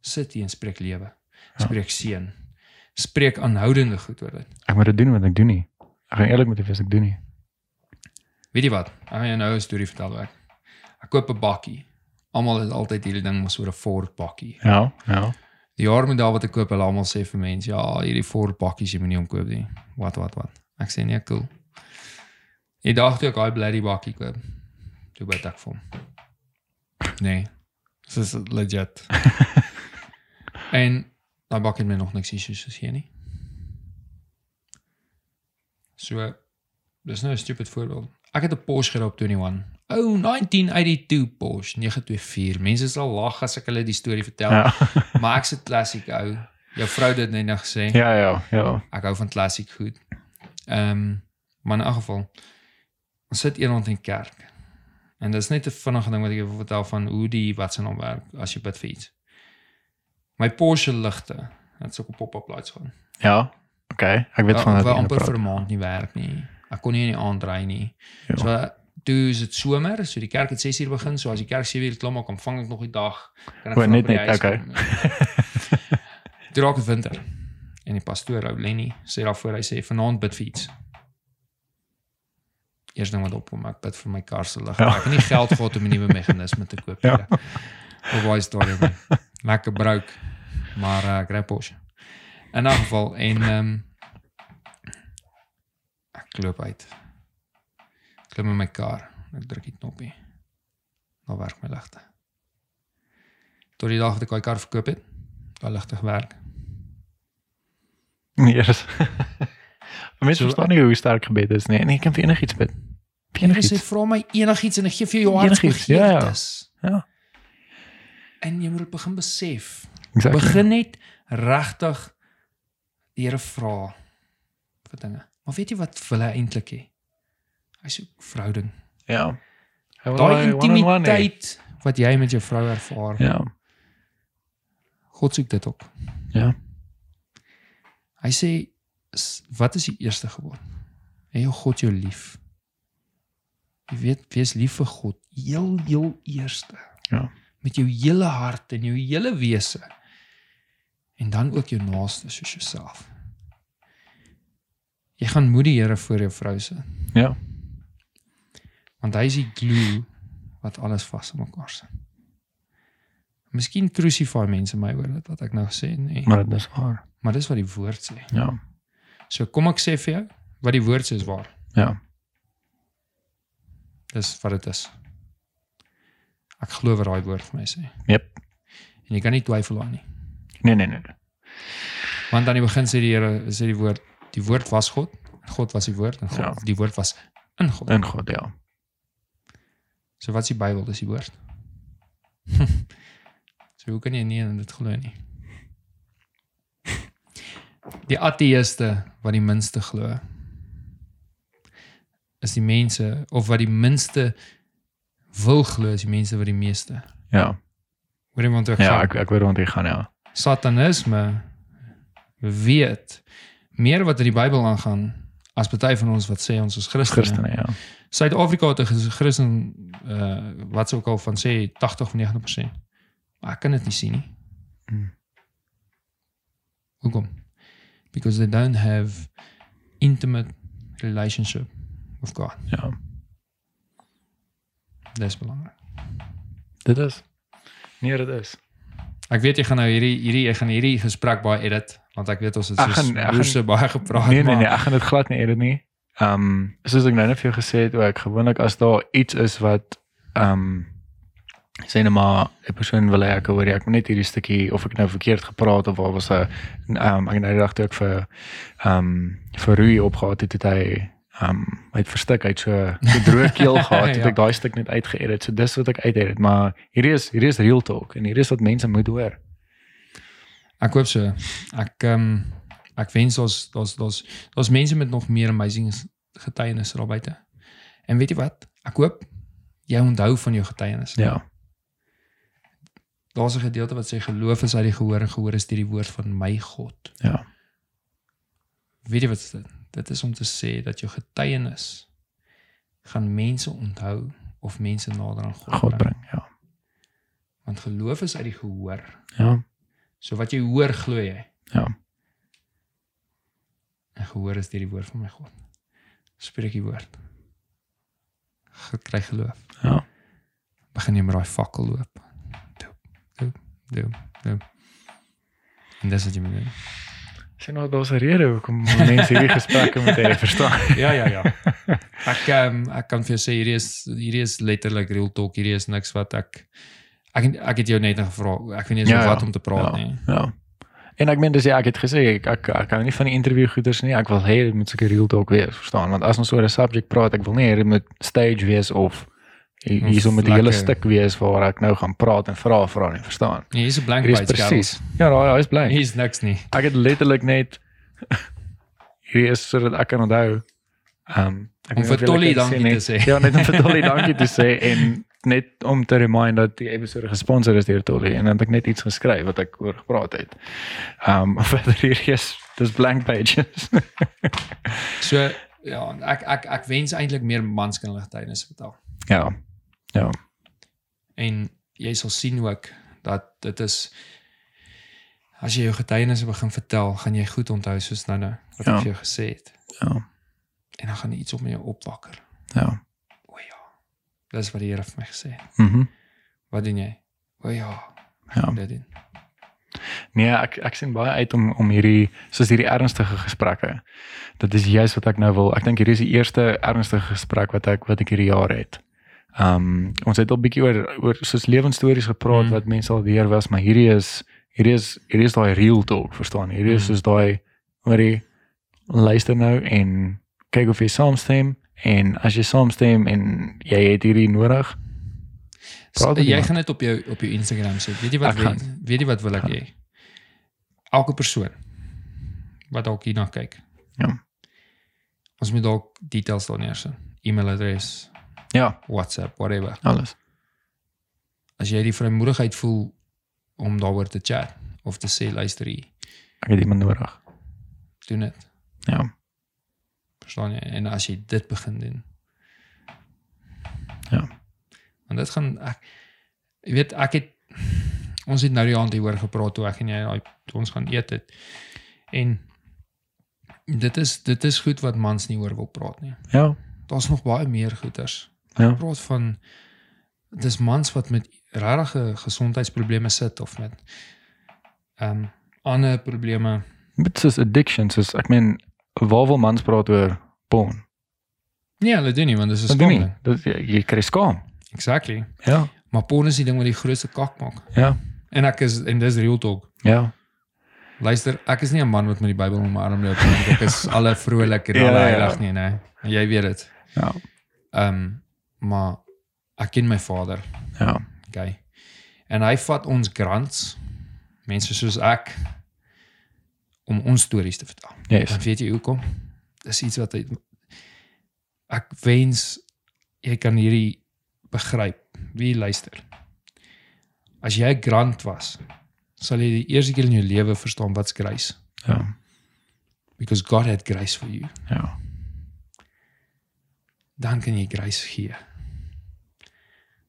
S2: Sit hier en spreek lewe. Spreek seën. Spreek aanhoudende goed oor dit.
S1: Ek moet dit doen wat ek doen nie. Ek gaan eerlik met jou wees, ek doen nie.
S2: Weet jy wat? Ek gaan jou nou 'n storie vertel wat. Ek koop 'n bakkie. Almal het altyd hierdie ding mos oor 'n Ford bakkie.
S1: Ja. Ja.
S2: Die jaarmodel wat ek koop, hulle almal sê vir mense, ja, hierdie Ford bakkies jy moet nie hom koop nie. Wat wat wat. Ek sê nee, cool. Die dag toe ek daai bloody bakkie koop, toe bid ek vir hom. Nee. Dit is legit. en daai bakkie het my nog niks issues soos hier nie. So dis nou 'n stupid voorbeeld. Ek het 'n Porsche gery op 21. Ou 1982 Porsche 924. Mense sal lag as ek hulle die storie vertel.
S1: Ja.
S2: Maar ek's 'n klassiek ou. Jou vrou het dit net nog gesê. Ja.
S1: Ja, ja, ja.
S2: Ek hou van klassiek goed. Ehm, um, maar in elk geval ons sit eendag in die kerk. En dis net 'n vinnige ding wat ek jou wil vertel van hoe die wat se naam werk as jy bid vir iets. My Porsche ligte, dit's ook op pop-up lights gaan.
S1: Ja. Okay. Ek weet van
S2: Ek
S1: dat
S2: wou
S1: jy
S2: amper
S1: praat.
S2: vir 'n maand nie werk nie. Ek kon nie in die aand ry nie.
S1: Ja.
S2: So toe is dit somer, so die kerk het 6uur begin, so as die kerk 7uur klaar maak, dan vang ek nog die dag. Kan
S1: O,
S2: vroeg
S1: net
S2: by die
S1: net,
S2: huis
S1: okay.
S2: kom. Toe raak dit winter. En die pastoor, ou Lenny, sê daarvoor hy sê vanaand bid vir iets. Eers ding wat opkom, ek bid vir my kar se lig.
S1: Ja.
S2: Ek het nie geld gehad om 'n nuwe meganisme te koop nie.
S1: Ja.
S2: Of waar is daai ding? Lekker brouk. Maar uh, kry 'n Porsche. In 'n geval en ehm um, ek klop uit. Ek Klim in my kar. Ek druk die knoppie. Dan werk my ligte. Tot die dag wat ek daai kar verkoop het, daai ligte gewerk.
S1: Nee, eers. Mense
S2: So-
S1: verstaan nie hoe sterk gebed is nie. En jy kan vir enigiets bid. Vir
S2: En hy sê
S1: enigiets.
S2: vra my enigiets en ek gee vir jou jou hartsbegeertes.
S1: Enigiets, ja, ja. Ja.
S2: En jy moet dit begin besef.
S1: Exactly.
S2: Begin net regtig die Here vra vir dinge. Maar weet jy wat wil hy eintlik hê? Hy soek verhouding.
S1: Ja. Hy wil
S2: Daai
S1: daai one-on-one hê.
S2: intimiteit wat jy met jou vrou ervaar.
S1: Ja.
S2: God soek dit op.
S1: Ja.
S2: Hy sê "S- wat is die eerste gebod? Hê jou God jou lief. Jy weet, wees lief vir God heel heel eerste.
S1: Ja.
S2: Met jou hele hart en jou hele wese. En dan ook jou naaste soos jouself. Jy gaan moed die Here voor jou vrou sit.
S1: Ja.
S2: Want hy is die glue wat alles vas aan mekaar sit. Miskien crucify mense my oor dit wat ek nou sê, nê.
S1: Maar dit is waar.
S2: Maar dis wat die woord sê.
S1: Ja.
S2: So kom ek sê vir jou, wat die woord sê is waar.
S1: Ja.
S2: Dis wat dit is. Ek glo wat daai woord vir my sê.
S1: Jep.
S2: En jy kan nie twyfel daaraan nie.
S1: Nee, nee, nee. nee.
S2: Want aan die begin sê die Here, sê die woord, die woord was God, en God was die woord en God,
S1: Ja.
S2: die woord was in God.
S1: In God, ja.
S2: So wat is die Bybel? Dis die woord. so hoe kan jy nie in dit glo nie? Die ateïste wat die minste glo is die mense of wat die minste wil glo is die mense wat die meeste.
S1: Ja.
S2: Hoor jy want ek
S1: Ja,
S2: gaan?
S1: ek ek weet waar dit gaan ja.
S2: Satanisme weet meer wat in die Bybel aangaan as party van ons wat sê ons is Christene.
S1: Christene, ja.
S2: Suid-Afrika het 'n ges- Christen uh wat sou ook al van sê 80 of 90%. Maar ek kan dit nie sien nie.
S1: Hmm.
S2: Hoekom? Because they don't have intimate relationship with God.
S1: Ja.
S2: Dis belangrik.
S1: Dit is. Nee, dit is.
S2: Ek weet jy gaan nou hierdie hierdie ek gaan hierdie gesprek baie edit want ek weet ons het
S1: Ek
S2: soos
S1: gaan- ek gaan-
S2: broerse baie gepraat
S1: Nee nee
S2: Oh, maar-
S1: nee, ek gaan dit glad nie edit nie. Ehm soos ek nou net vir jou gesê het, ook gewoonlik as daar iets is wat ehm sê net maar 'n persoon wil hê ek hoor jy, ek moet net hierdie stukkie of ek nou verkeerd gepraat of waar was 'n ehm ek het nou die dag toe ek vir ehm vir Rui opgehaat het het hy ehm hy het verstik hy het so 'n droë keel gehad het
S2: Ja.
S1: ek daai stuk net uitgeëdit. So dis wat ek uitedit, maar hierdie is hierdie is real talk en hierdie is wat mense moet hoor.
S2: Ek hoop so. Ek ehm um, ek wens ons daar's daar's daar's mense met nog meer amazing getuienisse daar buite. En weet jy wat? Ek hoop jy onthou van jou getuienis.
S1: Ja.
S2: Daar's 'n gedeelte wat sê geloof is uit die gehoor en gehoor is deur die woord van my God.
S1: Ja.
S2: Weet jy wat is dit? Dit is om te sê dat jou getuienis gaan mense onthou of mense nader aan God,
S1: God
S2: bring.
S1: bring, ja.
S2: Want geloof is uit die gehoor.
S1: Ja.
S2: So wat jy hoor, glo jy.
S1: Ja.
S2: En gehoor is deur die woord van my God. Spreek die woord. Ge- Kry geloof.
S1: Ja.
S2: Begin jy met daai fakkel loop. Doop, doop, doop, doop. En dis wat jy moet doen.
S1: Sien nou daar's 'n rede hoekom mense hierdie gesprekke moet hê, verstaan?
S2: Ja, ja, ja. Ek um, ek kan vir jou sê hierdie is hierdie is letterlik real talk. Hierdie is niks wat ek ek ek het jou net nou gevra. Ek weet nie eens
S1: Ja,
S2: ja,
S1: ja,
S2: wat om te praat ja. nie.
S1: Ja. En ek meen dis ja, ek het gesê ek ek, ek hou nie van die interview goeders nie. Ek wil hê dit moet seker real talk wees, verstaan? Want as ons oor 'n subject praat, ek wil nie hê dit moet stage wees of hi-
S2: Of
S1: hierso met 'n hele
S2: lekker.
S1: stuk wees waar ek nou gaan praat en vra vra nie, verstaan?
S2: Nee, hier's 'n blank
S1: Hier is
S2: page, Karel.
S1: presies. Ja, daai daai is blank.
S2: Hier's niks nie.
S1: Ek het letterlik net hierdie is sodat ek kan onthou. Ehm um, ek weet
S2: Om
S1: nie of
S2: vir
S1: julle
S2: Tolly
S1: kan sien
S2: dankie
S1: nie.
S2: te sê.
S1: Ja, net om vir Tolly dankie te sê en net om te remind dat die episode gesponsor is deur Tolly en dan het ek net iets geskryf wat ek oor gepraat het. Ehm um, verder hier is dis blank pages.
S2: So ja, ek ek ek wens eintlik meer mans kan hulle getuienisse vertel.
S1: ja. Ja.
S2: En jy sal sien ook dat dit is as jy jou getuienisse begin vertel, gaan jy goed onthou soos nou nou wat
S1: Ja.
S2: ek vir jou gesê het.
S1: Ja.
S2: En dan gaan iets op in jou opwakker.
S1: Ja.
S2: O ja. Dis wat die Here vir my gesê het.
S1: Mhm. Mm
S2: Wat doen jy? O ja,
S1: ja.
S2: dit doen.
S1: Nee, ek ek sien baie uit om om hierdie soos hierdie ernstige gesprekke. Dit is juist wat ek nou wil. Ek dink hierdie is die eerste ernstige gesprek wat ek wat ek hierdie jaar het. Ehm ons het al bietjie oor oor soos lewensstories gepraat
S2: Mm.
S1: mm. wat mense al deur was, maar hierdie is hierdie is hierdie is daai real talk, verstaan? Hierdie is
S2: Mm.
S1: soos daai wat jy luister nou en kyk of jy saamstem en as jy saamstem en jy het hierdie nodig,
S2: S-
S1: Praat met
S2: Jy
S1: iemand.
S2: gaan dit op jou op jou Instagram sit. Weet jy wat
S1: Ek
S2: wil,
S1: gaan.
S2: weet jy wat wil ek hê? Elke persoon wat dalk hierna kyk.
S1: Ja.
S2: Ons moet dalk details daar neersit. E-mailadres,
S1: ja,
S2: WhatsApp, whatever.
S1: alles.
S2: As jy die vrymoedigheid voel om daaroor te chat of te sê luister hier,
S1: Ek het iemand nodig.
S2: gedoen het.
S1: Ja.
S2: Verstaan je? En as jy dit begin doen.
S1: Ja.
S2: Want dit gaan ek jy weet ek het ons het nou die aand hieroor gepraat toe ek en jy daai toe ons gaan eet het. En dit is dit is goed wat mans nie oor wil praat nie.
S1: Ja.
S2: Daar's nog baie meer goeters.
S1: Ja.
S2: Ek praat van dis mans wat met regtige gesondheidsprobleme sit of met ehm ander probleme
S1: Dit is addictions, is ek meen waar wil mans praat oor porn?
S2: Nee, hulle doen nie want dis 'n
S1: Wat doen jy?
S2: skandale.
S1: Dit jy, jy kry skaam.
S2: Exactly.
S1: Ja.
S2: Maar porn is die ding wat die grootste kak maak.
S1: Ja.
S2: En ek is en dis real talk.
S1: Ja.
S2: Luister, ek is nie 'n man wat met die Bybel om my arm loop nie. want Ek is alle vrolik en
S1: Ja,
S2: alle
S1: ja, ja.
S2: heilig nie, né? En Jy weet dit.
S1: Ja.
S2: Ehm, um, maar ek ken my vader,
S1: Ja.
S2: okay? En hy vat ons grants, mense soos ek om ons stories te vertel.
S1: Yes.
S2: Dan weet jy hoekom. Dis iets wat hy ek wens jy kan hierdie begryp. Wie luister? As jy 'n grant was, sal jy die eerste keer in jou lewe verstaan wat's grace
S1: Ja.
S2: because God had grace for you.
S1: Ja.
S2: Dan kan jy grace gee.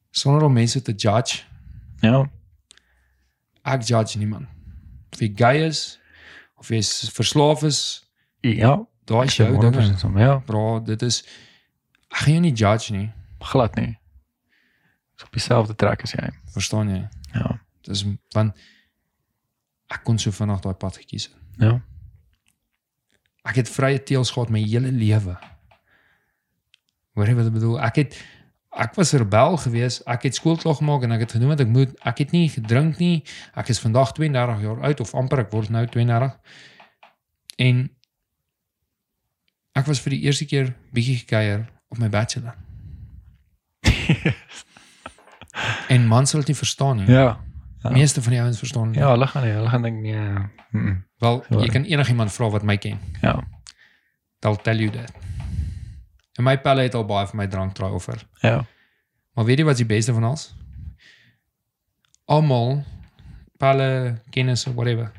S2: Sonder om mense te judge.
S1: Ja.
S2: Ek judge niemand. Of jy gay is of jy s- verslaaf is,
S1: Ja.
S2: daai is jou ding.
S1: Honderd persent saam, Ja.
S2: Bro, dit is ek gaan jou nie judge nie.
S1: Glad nie. Dis op dieselfde trek as jy.
S2: Verstaan jy?
S1: Ja.
S2: Dis want ek kon so vinnig daai pad gekies het.
S1: Ja.
S2: Ek het vrye teels gehad my hele lewe. Hoor jy wat ek bedoel? Ek het ek was rebel geweest. Ek het skool klaar gemaak en ek het gedoen wat ek moet. Ek het nie gedrink nie. Ek is vandag 32 jaar oud of amper ek word nou 32. En ek was vir die eerste keer bietjie gekuier op my bachelor. en man sal dit nie verstaan nie.
S1: Ja.
S2: Ja. Meeste van die ouens verstaan dit. nie.
S1: Ja, hulle gaan nie, hulle gaan dink nee. Mm -mm.
S2: Wel,
S1: Ja.
S2: jy kan enigiemand vra wat my ken.
S1: Ja.
S2: They'll tell you that. En my pelle het al baie vir my drank try offer.
S1: Ja.
S2: Maar weet jy wat is die beste van ons? Almal pelle kennis of whatever.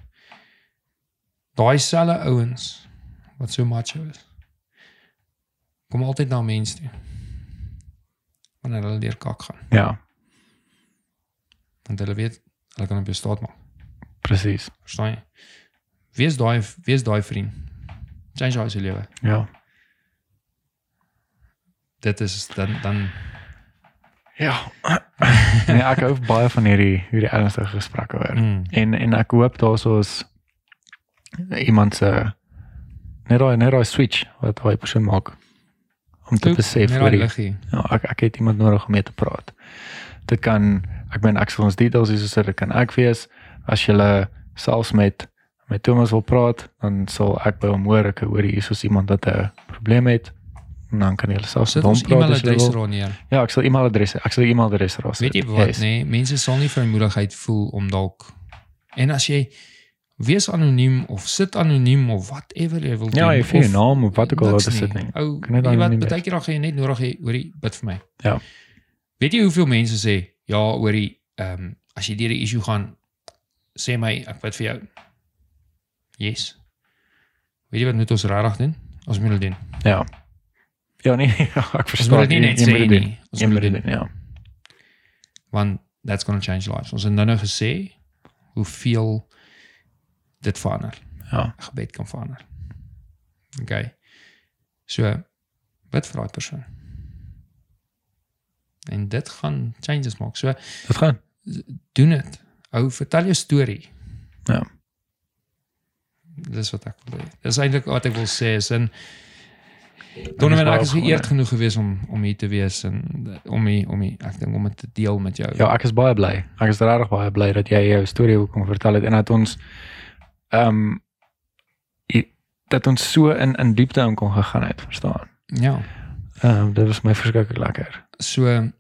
S2: Daai selle ouens wat so macho is. Kom altyd na mense toe. Wanneer hulle deur kak gaan,
S1: Ja.
S2: want hulle weet hulle kan op jou staat maak.
S1: Presies.
S2: Verstaan jy? Wees daai wees daai vriend. Change jou se lewe.
S1: Ja.
S2: Dit is dan dan
S1: Ja. nee, ek hou baie van hierdie hierdie ernstige gesprekke hoor.
S2: mm,
S1: En en ek hoop daarso is iemand se net daai net daai switch wat daai persoon maak om te
S2: Toe,
S1: besef
S2: net
S1: oor
S2: daai
S1: die
S2: liggie.
S1: Ja, ek ek het iemand nodig om mee te praat. Dit kan ek meen ek sal ons details hierso sit, dit kan ek wees as jy selfs met met Thomas wil praat, dan sal ek by hom hoor ek hoor hier is iemand wat 'n probleem het en dan kan jy selfs met
S2: Sit
S1: hom
S2: ons
S1: praat as jy
S2: e-mailadres
S1: wil.
S2: daar neer.
S1: Ja, ek sal e-mailadres ek sal e-mailadres raas.
S2: Weet jy wat, yes. nee, mense sal nie vrymoedigheid voel om dalk en as jy wees anoniem of sit anoniem of whatever jy wil
S1: Ja,
S2: doen.
S1: jy vir jou
S2: of
S1: naam of wat ook al
S2: niks
S1: wat is dit nee. nie.
S2: Ou,
S1: Kan net
S2: weet jy wat
S1: anoniem wees.
S2: baie keer dan gaan jy net nodig hê oor die bid vir my.
S1: Ja.
S2: Weet jy hoeveel mense sê ja oor die ehm um, as jy deur 'n issue gaan sê my ek bid vir jou. Yes. Weet jy wat moet ons regtig doen? Ons moet dit doen.
S1: Ja. Ja nee, ek
S2: Ons moet
S1: verstaan.
S2: dit nie
S1: jy-
S2: net
S1: jy moet
S2: sê
S1: dit doen.
S2: nie. Ons
S1: Jy
S2: moet
S1: moet
S2: dit
S1: dit
S2: doen.
S1: doen, ja.
S2: want that's going to change lives. Ons het nou nou gesê hoeveel dit verander.
S1: Ja.
S2: 'n Gebed kan verander. OK. So bid vir daai persoon. En dit gaan changes maak. So
S1: Dit gaan.
S2: doen dit. Ou vertel jou storie.
S1: Ja.
S2: Dis wat ek wil hê. Dis eintlik wat ek wil sê is en Donovan
S1: baie
S2: ek is
S1: opgewonde.
S2: geëerd genoeg gewees om om hier te wees en om hier, om hier, ek dink om dit te deel met jou.
S1: Ja, ek is baie bly. Ek is regtig baie bly dat jy jou storie wil kom vertel het en dat ons ehm i- dat ons so in in diepte in kon gegaan het, verstaan.
S2: ja.
S1: Ehm dit was my verskriklik lekker.
S2: so ehm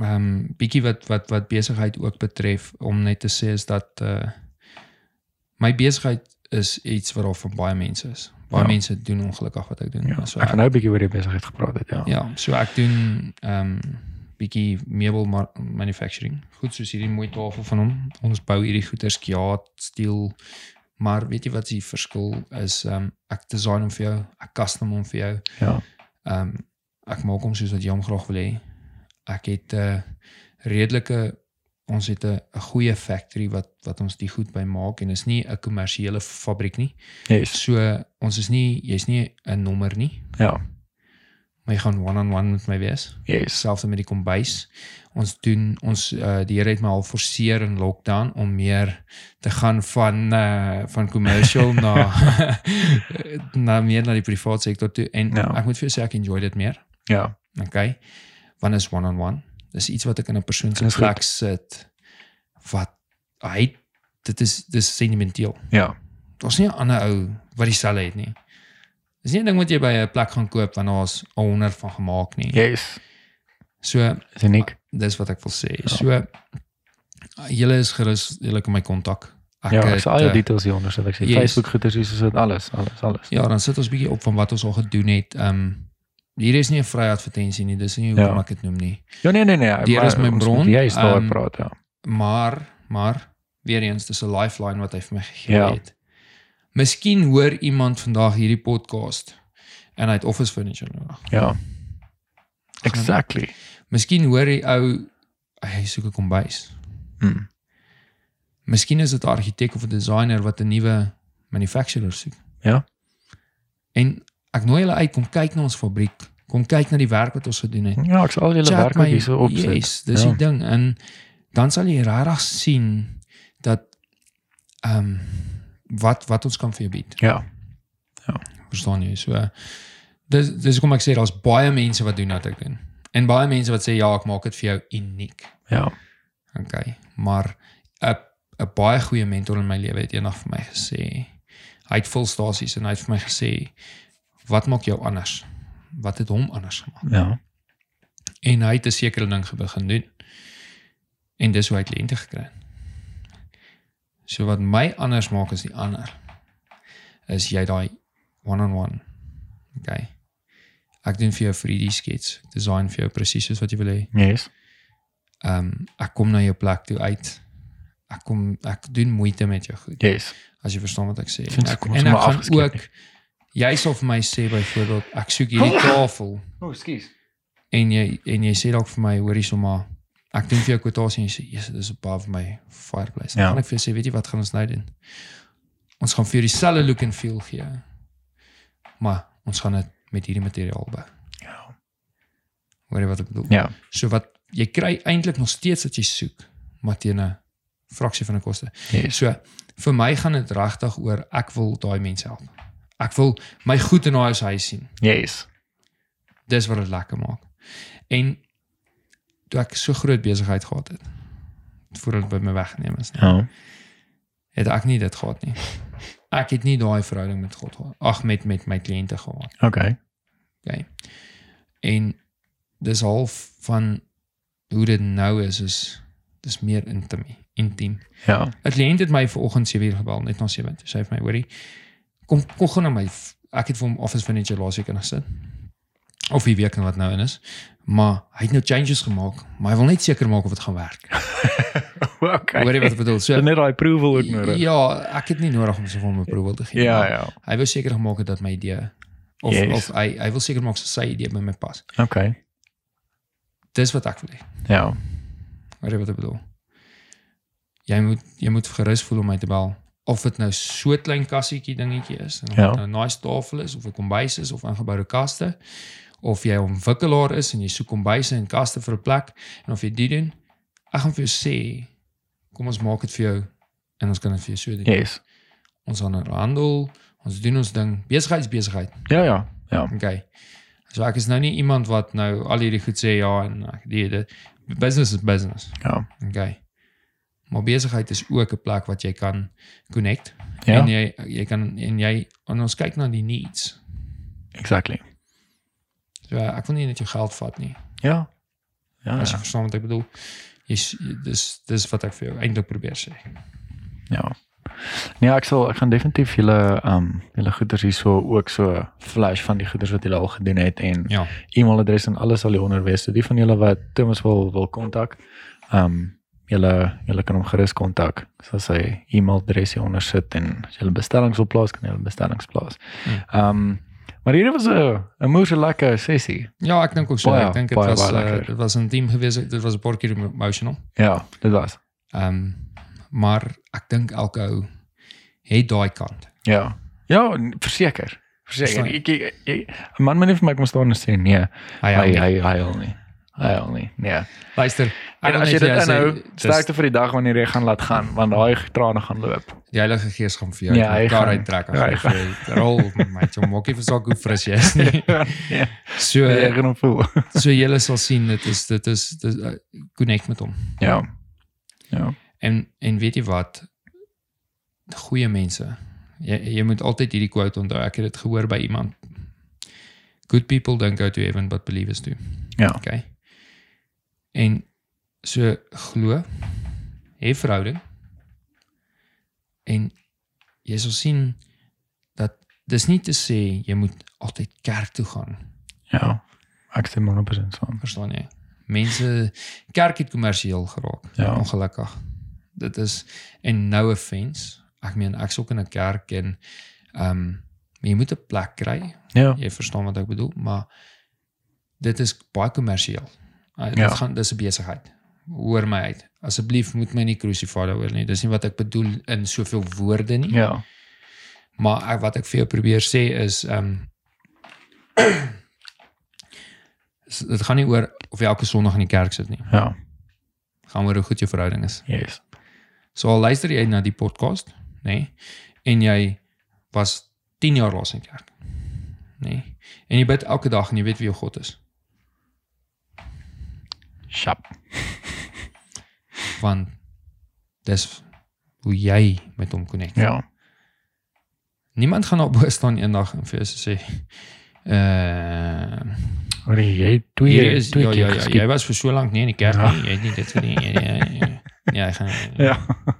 S2: um, bietjie wat wat wat besigheid ook betref om net te sê is dat uh my besigheid is iets wat daar van baie mense is. Baie
S1: Ja.
S2: ja. mense doen ongelukkig wat ek doen.
S1: Ja, so
S2: so
S1: ek
S2: ek,
S1: het nou 'n bietjie oor die besigheid gepraat het, ja.
S2: ja, so ek doen ehm um, bietjie meubel ma- manufacturing. Goed soos hierdie mooi tafel van hom. Ons bou hierdie goeder skiaat, steel, Maar weet jy wat die verskil is? Ehm ek design hom vir jou, ek custom hom vir jou.
S1: Ja.
S2: Ehm ek maak hom soos wat jy hom graag wil hê. Ek het 'n redelike ons het 'n 'n goeie factory wat wat ons die goed by maak en is nie 'n kommersiële fabriek nie.
S1: Yes.
S2: So ons is nie jy's nie 'n nommer nie.
S1: Ja.
S2: Maar jy gaan one-on-one -on -one met my wees.
S1: Yes.
S2: Selfs met die kombuis. Ons doen ons uh, die Here het my al forceer in lockdown om meer te gaan van uh, van commercial na na meer na die privaat sektor toe en
S1: Ja.
S2: ek moet vir jou sê ek enjoy dit meer.
S1: Ja.
S2: Okay. Want is one-on-one. Dis iets wat ek in 'n persoon se
S1: Dis goed.
S2: plek sit wat hy dit is dis sentimenteel.
S1: Ja.
S2: Daar's nie 'n ander ou wat dieselfde het nie. Dis nie 'n ding wat jy by 'n plek gaan koop want daar's 100 van gemaak nie.
S1: Yes.
S2: So
S1: Is uniek.
S2: dis wat ek wil sê.
S1: Ja.
S2: So julle is gerus, julle kan my kontak. Ek
S1: Ja,
S2: het,
S1: ek sal al die
S2: eh,
S1: details hier onder sit. Ek sê
S2: yes.
S1: Facebook goeders is dit alles, alles, alles.
S2: Ja, dan sit ons bietjie op van wat ons al gedoen het. Ehm um, hier is nie 'n vrye advertensie nie, dis nie hoekom
S1: Ja.
S2: ek dit noem nie.
S1: Ja nee nee nee.
S2: Hier is my
S1: ons
S2: bron,
S1: moet Juist daar
S2: ehm,
S1: praat ja.
S2: Maar, maar weer eens dis 'n lifeline wat hy vir my gegee
S1: Ja.
S2: het. Miskien hoor iemand vandag hierdie podcast en hy het office furniture nodig.
S1: Ja. Exactly.
S2: Miskien hoor die ou hy soek 'n kombuis.
S1: Hmm.
S2: Miskien is dit 'n argitek of 'n designer wat 'n nuwe manufacturer soek.
S1: Ja.
S2: En ek nooi julle uit kom kyk na ons fabriek, kom kyk na die werk wat ons gedoen het.
S1: Ja, ek sal al julle
S2: Chat
S1: werk ook
S2: my-
S1: hierso opsit.
S2: Yes, dis
S1: Ja.
S2: die ding en dan sal jy regtig sien dat ehm wat wat ons kan vir jou bied.
S1: Ja.
S2: Verstaan jy? So dis dis hoekom ek sê daar's baie mense wat doen wat ek doen. En baie mense wat sê ja, ek maak dit vir jou uniek.
S1: Ja.
S2: Okay, maar 'n 'n baie goeie mentor in my lewe het eendag vir my gesê, hy het veel stasies en hy het vir my gesê, wat maak jou anders? Wat het hom anders gemaak?
S1: Ja.
S2: En hy het 'n sekere ding ge- begin doen. En dis hoe hy het lente gekry. het. So wat my anders maak as die ander is jy daai one-on-one. Okay. Ek doen vir jou 3D skets. Ek design vir jou presies soos wat jy wil hê.
S1: Yes.
S2: Ehm ek kom na jou plek toe uit. Ek kom ek doen moeite met jou goed.
S1: Yes.
S2: As jy verstaan wat ek sê.
S1: Sinds
S2: ek,
S1: kom ons
S2: en
S1: maar
S2: ek gaan
S1: afgeskeep
S2: ook jy sal vir my sê byvoorbeeld ek soek hierdie tafel
S1: O, oh, skus.
S2: en jy en jy sê dalk vir my hoorie sommer ek doen vir jou kwotasie en jy sê yes dis above my fireplace.
S1: Ja.
S2: Ja. Dan kan ek vir jou sê weet jy wat gaan ons nou doen? Ons gaan vir jou dieselfde look and feel gee. Maar ons gaan dit met hierdie materiaal bou.
S1: Ja.
S2: Hoor jy wat ek bedoel?
S1: Ja.
S2: So wat jy kry eintlik nog steeds wat jy soek, maar teen 'n fraksie van die koste.
S1: Yes.
S2: So vir my gaan dit regtig oor ek wil daai mense help. Ek wil my goed in daai huis sien.
S1: Yes.
S2: Dis wat dit lekker maak. En toe ek so groot besigheid gehad het, voordat dit by my weggeneem is, nie,
S1: Ja.
S2: het ek nie dit gehad nie. Ek het nie daai verhouding met God gehad. Ag met met my kliënte gehad.
S1: Okay.
S2: Okay. En dis half van hoe dit nou is is dis meer intiem, intiem.
S1: Ja.
S2: 'n Kliënt het my vanoggend 7uur gebel, net na 7. Sy het my hoorie kom kom gou na my ek het vir hom office furniture laasweek ingesit. Of die week en wat nou in is. Maar hy het nou changes gemaak, maar hy wil net seker maak of dit gaan werk.
S1: Okay.
S2: Hoor jy wat ek bedoel? So
S1: Dit net daai approval ook nodig.
S2: Ja, ek het nie nodig om so vir hom 'n approval te gee.
S1: Ja,
S2: maar
S1: ja.
S2: Hy wou seker gemaak het dat my idee of
S1: Yes.
S2: of hy hy wil seker maak so sy idee by my pas.
S1: Okay.
S2: Dis wat ek wil hê.
S1: Ja.
S2: Weet jy wat ek bedoel? Jy moet jy moet gerus voel om my te bel of dit nou so klein kassietjie dingetjie is en of
S1: Ja.
S2: dit nou 'n nice tafel is of 'n kombuis is of ingeboude kaste of jy 'n ontwikkelaar is en jy soek kombuise en kaste vir 'n plek en of jy dit doen, ek gaan vir jou sê kom ons maak dit vir jou en ons kan dit vir jou so doen.
S1: Yes.
S2: Ons gaan handel, ons doen ons ding, besigheid is besigheid.
S1: Ja, ja. Ja.
S2: Okay. So ek is nou nie iemand wat nou al hierdie goed sê ja en ek die, die business is business.
S1: Ja.
S2: Okay. Maar besigheid is ook 'n plek wat jy kan connect en
S1: Ja.
S2: jy jy kan en jy en ons kyk na die needs.
S1: Exactly.
S2: So ek wil nie net jou geld vat nie.
S1: Ja. Ja.
S2: As jy
S1: Ja.
S2: verstaan wat ek bedoel. Jy s- dis dis wat ek vir jou eintlik probeer sê.
S1: ja. Nee, ek sal ek gaan definitief julle ehm um, julle goeders hierso ook so flash van die goeders wat julle al gedoen het en
S2: Ja.
S1: e-mailadres en alles sal hieronder wees. So die van julle wat Thomas wil wil kontak, ehm um, Julle julle kan hom gerus kontak. So sy e-mailadres hier onder sit en as julle bestellings wil plaas, kan julle bestellings plaas. Ehm um, maar hierdie was 'n 'n moeë lekker sessie.
S2: Ja, ek dink ook so.
S1: Baie,
S2: ek dink dit
S1: baie,
S2: was
S1: baie
S2: eh,
S1: lekker.
S2: dit was intiem geweest. Dit was 'n paar keer emotional.
S1: Ja, dit was.
S2: Ehm maar ek dink elke ou het daai kant.
S1: Ja. Ja, n- verseker. Verseker.
S2: Verstaan.
S1: Ek, ek, ek 'n man moet nie vir my kom staan en sê nee.
S2: Hy
S1: Hy
S2: hy.
S1: hy hy al nie. Hy al nie. Nee.
S2: Luister,
S1: En
S2: wil
S1: as jy
S2: net
S1: dit
S2: vir jou sê,
S1: inhou,
S2: dis-
S1: sterkte vir die dag wanneer jy gaan laat gaan want daai trane gaan loop.
S2: Die Heilige Gees gaan vir jou
S1: Ja, hy
S2: daar
S1: gaan-
S2: uittrek
S1: ja, hy
S2: as jy rol met jou mokkie vir saak hoe fris jy is nie.
S1: Ja.
S2: So
S1: Jy gaan hom voel.
S2: so julle sal sien dit is dit is dit uh, connect met hom.
S1: Ja. Ja.
S2: En en weet jy wat? Goeie mense. Jy jy moet altyd hierdie quote onthou. Ek het dit gehoor by iemand. Good people don't go to heaven but believers do.
S1: Ja.
S2: Okay. En so glo, hê verhouding. En jy sal sien dat dis nie te sê jy moet altyd kerk toe gaan
S1: Ja. Ek stem 100% saam.
S2: verstaan jy? Mense kerk het kommersieel geraak, ja.
S1: Ja.
S2: ongelukkig. Dit is en nou 'n fens. Ek meen ek's ook in 'n kerk en ehm um, jy moet 'n plek kry.
S1: Ja.
S2: Jy verstaan wat ek bedoel, maar dit is baie kommersieel. Uh, dit
S1: Ja.
S2: ja. gaan dis 'n besigheid. Hoor my uit. Asseblief moet my nie crucify daaroor nie. Dis nie wat ek bedoel in soveel woorde nie.
S1: Ja.
S2: Maar ek, wat ek vir jou probeer sê is ehm um, dit gaan nie oor of jy elke Sondag in die kerk sit nie.
S1: Ja.
S2: Het gaan oor hoe goed jou verhouding is.
S1: Yes.
S2: So al luister jy na die podcast, nê? En jy was 10 jaar laas in die kerk. Nê? En jy bid elke dag en jy weet wie jou God is,
S1: Sharp.
S2: want dis hoe jy met hom connect.
S1: Ja.
S2: Niemand gaan op bo staan eendag en vir jou sê eh
S1: Maar jy
S2: Hier
S1: twee
S2: is
S1: twee
S2: ja, ja,
S1: keer
S2: ja,
S1: geskiet.
S2: jy was vir so lank nie in die kerk
S1: Ja.
S2: nie. Jy het nie dit gedoen nie. Ja, ja, ja. ja, ek gaan ja.
S1: Ja.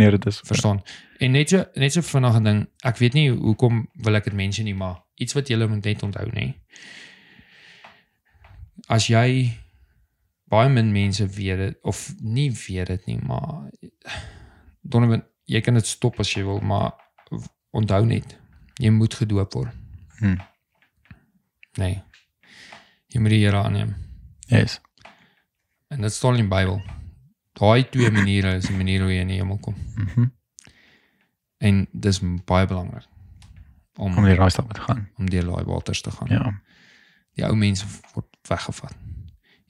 S1: Nee, dit is
S2: verstaan. En net so net so vinnige ding, ek weet nie hoekom wil ek dit mention nie, maar iets wat jy moet net onthou nê. As jy baie min mense weet dit of nie weet dit nie, maar Donovan, jy kan dit stop as jy wil, maar onthou net, jy moet gedoop word.
S1: Hmm.
S2: Nee. Jy moet die Here aanneem.
S1: Yes.
S2: En dit staan in die Bybel. Daai twee maniere is die manier hoe jy in die hemel kom.
S1: Mhm.
S2: En dis baie belangrik om
S1: Om die raai stap te gaan.
S2: om deur daai waters te gaan.
S1: Ja.
S2: Die ou mense word weggevat.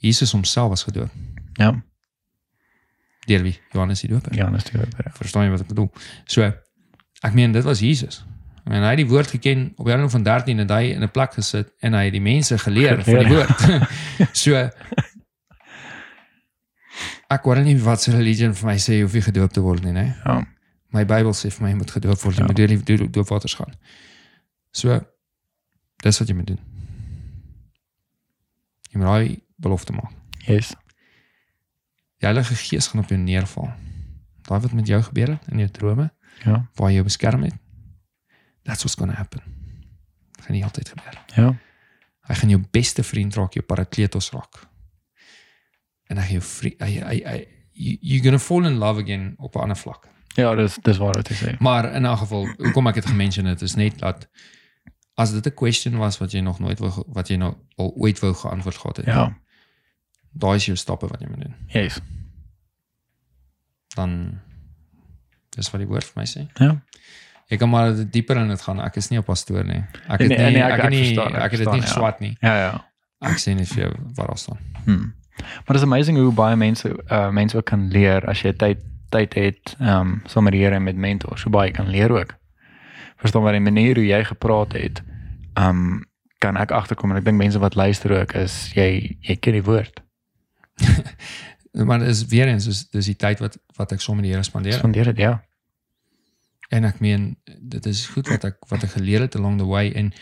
S2: Jesus homself was gedoop
S1: Ja.
S2: deur wie? Johannes die Doper.
S1: Ja, natuurlijk.
S2: Verstaan jy wat ek bedoel? So ek meen dit was Jesus. En hy het die woord geken op die ouderdom van 13 en hy het in 'n plek gesit en hy het die mense geleer van die
S1: Geleer. ja.
S2: woord. so ek hoor nie wat se religie vir my sê hoef jy gedoop te word nie, né?
S1: Ja.
S2: My Bybel sê vir my jy moet gedoop word, jy
S1: Ja.
S2: moet deur die deur die doopwaters gaan. So dis wat jy moet doen. Jy moet daai belofte maak.
S1: Yes.
S2: Die Heilige Gees gaan op jou neerval. Daai wat met jou gebeur het in jou drome,
S1: Ja.
S2: waar jy jou beskerm het. That's what's going to happen. Dit gaan nie altyd gebeur.
S1: Ja.
S2: Hy gaan jou beste vriend raak, jou parakletos raak. En hy gaan jou vriend, hy, hy, hy, you- you're going to fall in love again op 'n ander vlak.
S1: Ja, dis dis waar wat jy sê.
S2: Maar in 'n geval, hoekom ek dit gemention het, is net dat as dit 'n question was wat jy nog nooit wou ge- wat jy nou al ooit wou geantwoord gehad het,
S1: Ja.
S2: daai is jou stappe wat jy moet doen.
S1: Yes.
S2: Dan dis wat die woord vir my sê.
S1: Ja.
S2: Ek kan maar dieper in dit gaan. Ek is nie 'n pastoor nie. Ek
S1: Nee,
S2: het nie,
S1: nee,
S2: ek,
S1: ek-
S2: het
S1: ek
S2: nie
S1: verstaan, ek
S2: ek het dit nie
S1: verstaan, ja.
S2: geswat nie.
S1: Ja, ja.
S2: Ek sê net vir jou wat daar staan.
S1: Hm. Maar dis amazing hoe baie mense uh mense ook kan leer as jy tyd tyd het, ehm um, saam met die Here en met mentors, so baie jy kan leer ook. Verstaan maar die manier hoe jy gepraat het, ehm um, kan ek agterkom en ek dink mense wat luister ook is jy jy ken die woord.
S2: Maar dit is weer eens is dis die tyd wat wat ek saam met die Here
S1: Ja.
S2: spandeer.
S1: Spandeer dit, ja.
S2: En ek meen dit is goed wat ek wat ek geleer het along the way en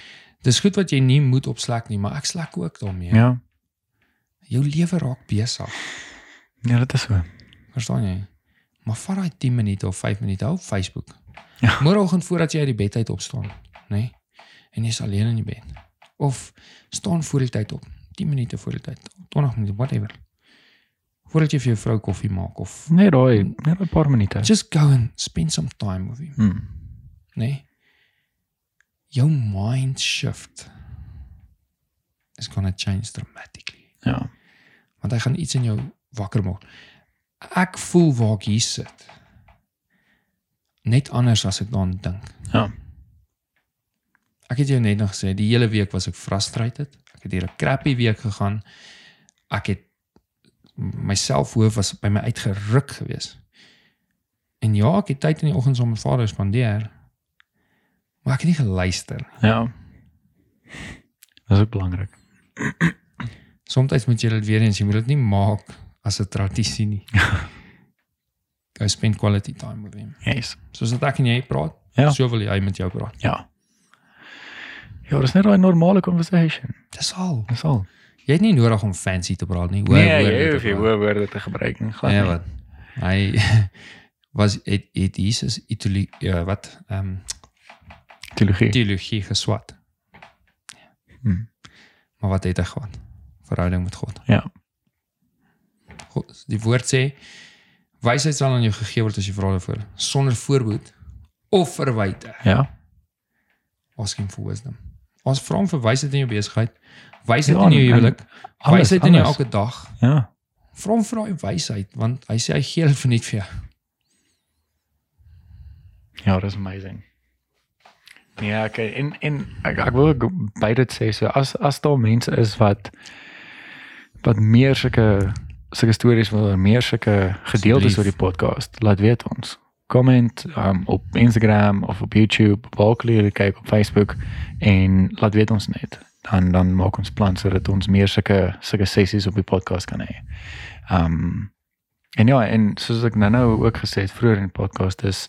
S2: dis goed wat jy nie moet opslak nie, maar ek slak ook daarmee.
S1: Ja.
S2: Jou lewe raak besig.
S1: Ja, dit is so.
S2: Verstaan jy? Maar vat daai 10 minute of 5 minute hou op Facebook.
S1: Ja.
S2: Môreoggend voordat jy uit die bed uit opstaan, nê? Nee? En jy's alleen in die bed. Of staan voor die tyd op, 10 minute voor die tyd, 20 minute, whatever. voordat jy vir jou vrou koffie maak of
S1: Net Nee, daai, net 'n paar minute.
S2: just go and spend some time with him,
S1: Hmm.
S2: né? Nee? Jou mind shift is going to change dramatically.
S1: Ja.
S2: want hy gaan iets in jou wakker maak. Ek voel waar ek hier sit. Net anders as ek daaraan dink.
S1: Ja.
S2: Ek het jou net nog gesê, die hele week was ek frustrated. Ek het hier 'n crappy week gegaan. Ek het my selfhoof was by my uitgeruk geweest. En ja, ek het tyd in die oggends om my vader spandeer. Maar ek het nie geluister nie.
S1: Ja. Dis ook belangrik.
S2: Soms moet jy dit weer eens, jy moet dit nie maak as 'n tradisie nie. Go spend quality time with him.
S1: Yes.
S2: Soos dat ek en jy praat,
S1: Ja.
S2: so wil hy met jou praat.
S1: Ja. Ja, dis net 'n normale conversation.
S2: Dis al.
S1: Dis al.
S2: Jy het nie nodig om fancy te praat nie.
S1: Nee, jy hoef
S2: te
S1: nie
S2: praat.
S1: hoë woorde te gebruik nie. Glad
S2: Nee,
S1: nie.
S2: wat? Hy was het, het Jesus Itali ja, wat ehm um,
S1: Teologie.
S2: teologie geswat.
S1: Hmm.
S2: Maar wat het hy gehad? Verhouding met God.
S1: Ja.
S2: God, die woord sê wysheid sal aan jou gegee word as jy vra daarvoor, sonder voorbehoed of verwyte.
S1: Ja.
S2: Ask him for wisdom. Ons vra hom vir wysheid in jou besigheid, wysheid
S1: Ja,
S2: in jou
S1: en-
S2: huwelik,
S1: alles,
S2: wysheid in jou
S1: alles.
S2: elke dag.
S1: Ja.
S2: Vra hom vir daai wysheid want hy sê hy gee dit verniet vir jou.
S1: Ja, dis amazing. Ja, okay. En en ek ek wil ook by dit sê so as as daar mense is wat wat meer sulke sulke stories wil hoor, meer sulke gedeeltes
S2: Asseblief.
S1: oor die podcast, laat weet ons. Comment um, op Instagram of op YouTube, balkie julle kyk op Facebook en laat weet ons net. Dan dan maak ons plan sodat ons meer sulke sulke sessies op die podcast kan hê. Um en ja, en soos ek nou-nou ook gesê het vroeër in die podcast is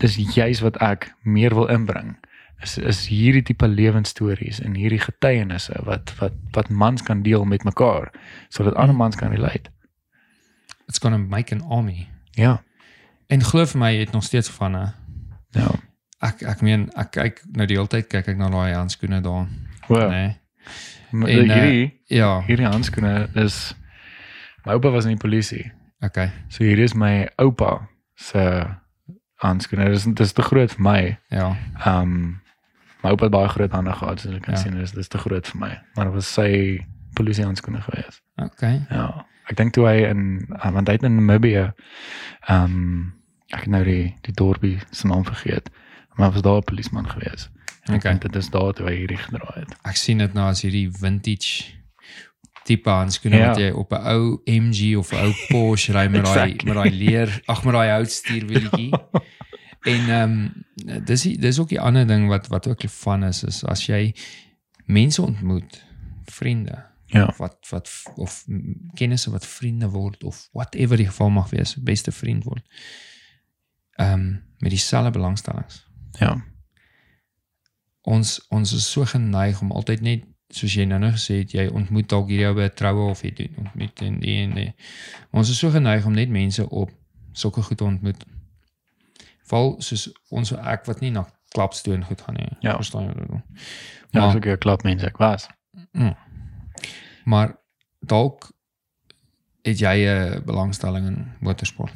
S1: dis juis wat ek meer wil inbring is is hierdie tipe lewensstories en hierdie getuienisse wat wat wat mans kan deel met mekaar sodat
S2: Mm.
S1: ander mans kan relate.
S2: It's going to make an army.
S1: Ja.
S2: En glo vir my, jy het nog steeds van 'n
S1: Ja.
S2: ek ek meen ek kyk nou die hele tyd kyk ek na daai handskoene daar,
S1: Wow.
S2: nê. Nee.
S1: Nee,
S2: en, eh,
S1: hierdie
S2: Ja,
S1: hierdie handskoene is my oupa was in die polisie.
S2: okay.
S1: So hier is my oupa se handskoene. Dis dis te groot vir my.
S2: Ja.
S1: Ehm um, my oupa het baie groot hande gehad, so ek kan
S2: Ja.
S1: sien dis dis te groot vir my. Maar dit was sy polisie handskoene gewees.
S2: Okay.
S1: Ja, ek dink toe hy in uh, want hy het in Namibië ehm um, ek het nou die die dorpie se naam vergeet, maar hy was daar 'n polisieman gewees. En ek
S2: Okay.
S1: okay. dink dit is daar toe hy hierdie gedra het.
S2: Ek sien dit nou as hierdie vintage tipe handskoene
S1: Ja.
S2: wat jy op 'n ou MG of 'n ou Porsche ry met daai
S1: Exactly.
S2: met daai leer, ag met daai houtstuurwielietjie.
S1: Ja,
S2: En ehm um, dis die- dis ook die ander ding wat wat ook van is is as jy mense ontmoet, vriende
S1: Ja.
S2: wat wat of m- kennisse wat vriende word of whatever die geval mag wees, beste vriend word. Ehm um, met dieselfde belangstellings.
S1: Ja.
S2: Ons ons is so geneig om altyd net soos jy nou nou gesê het, jy ontmoet dalk hierdie ou by 'n troue of jy doen ontmoet en die en die. Ons is so geneig om net mense op sulke goed te ontmoet. Val soos ons ek wat nie na klapstoon goed gaan nie.
S1: Ja.
S2: Verstaan jy wat ek bedoel?
S1: Ja,
S2: Maar-
S1: so ek klap mense ek was.
S2: Maar dalk het jy 'n eh, belangstelling in motorsport.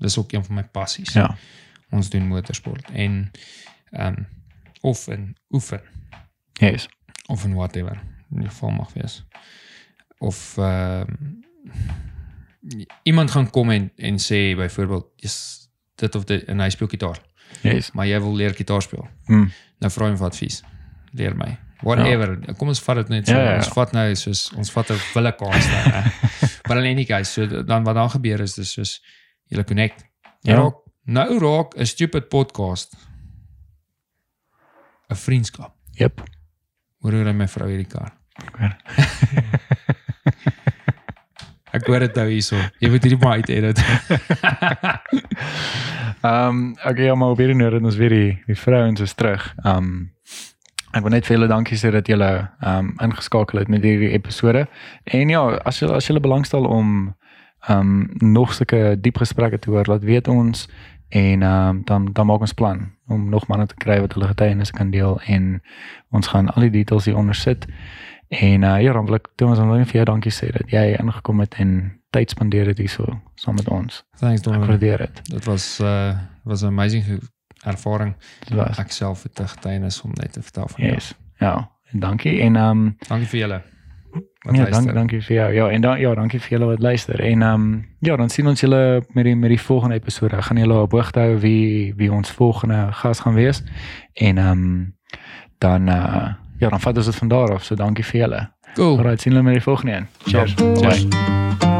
S2: Dis ook een van my passies.
S1: Ja.
S2: Ons doen motorsport en ehm um, of in oefen
S1: Yes.
S2: of in whatever in die geval mag wees. Of ehm iemand gaan kom en en sê byvoorbeeld, "Jy's dit of dit en hy speel gitaar,
S1: Yes.
S2: maar jy wil leer gitaar speel."
S1: Mm.
S2: Nou vra hom vir advies. Leer my. Whatever. Ja. Kom ons vat dit net so.
S1: Ja,
S2: Ja,
S1: ja, ja.
S2: ja. Ons vat nou soos ons vat 'n wille kans nou. hè. maar alleen nie guys, so dan wat dan gebeur is dis soos jy connect. Jy
S1: Ja.
S2: ja. raak nou raak 'n stupid podcast 'n vriendskap.
S1: Yep.
S2: Hoor hoe ry my vrou hierdie kar.
S1: hoor.
S2: Ek hoor dit nou hierso. Jy moet hierdie maar uit edit.
S1: Ehm okay, ja, maar op hierdie noot het ons weer die die vrouens is terug. Ehm ek wil net vir julle dankie sê dat julle ehm ingeskakel het met hierdie episode. En ja, as julle as julle belangstel om ehm nog sulke diep gesprekke te hoor, laat weet ons en ehm dan dan maak ons plan om nog manne te kry wat hulle getuienisse kan deel en ons gaan al die eh, details hier onder sit. En uh, ja, dan wil ek Thomas en Lynn vir jou dankie sê dat jy ingekom het en tyd spandeer het hierso saam met ons.
S2: Thanks
S1: Ek
S2: Donovan.
S1: waardeer dit.
S2: Dit was uh was 'n amazing ge- ervaring.
S1: Dit was
S2: Ek self het 'n getuienis om net te vertel van jou.
S1: yes. Ja, en dankie en ehm um,
S2: Dankie vir julle. Wat
S1: ja,
S2: luister.
S1: dank, dankie vir jou. Ja, en dan ja, dankie vir julle wat luister. En ehm um, ja, dan sien ons julle met die met die volgende episode. Ek gaan julle op hoogte hou wie wie ons volgende gas gaan wees. En ehm um, dan uh, ja, dan vat ons dit van daar af. So dankie vir julle.
S2: Cool.
S1: Alraai, sien julle met die volgende een. Cheers.
S2: Ja,
S1: Bye.
S2: cheers.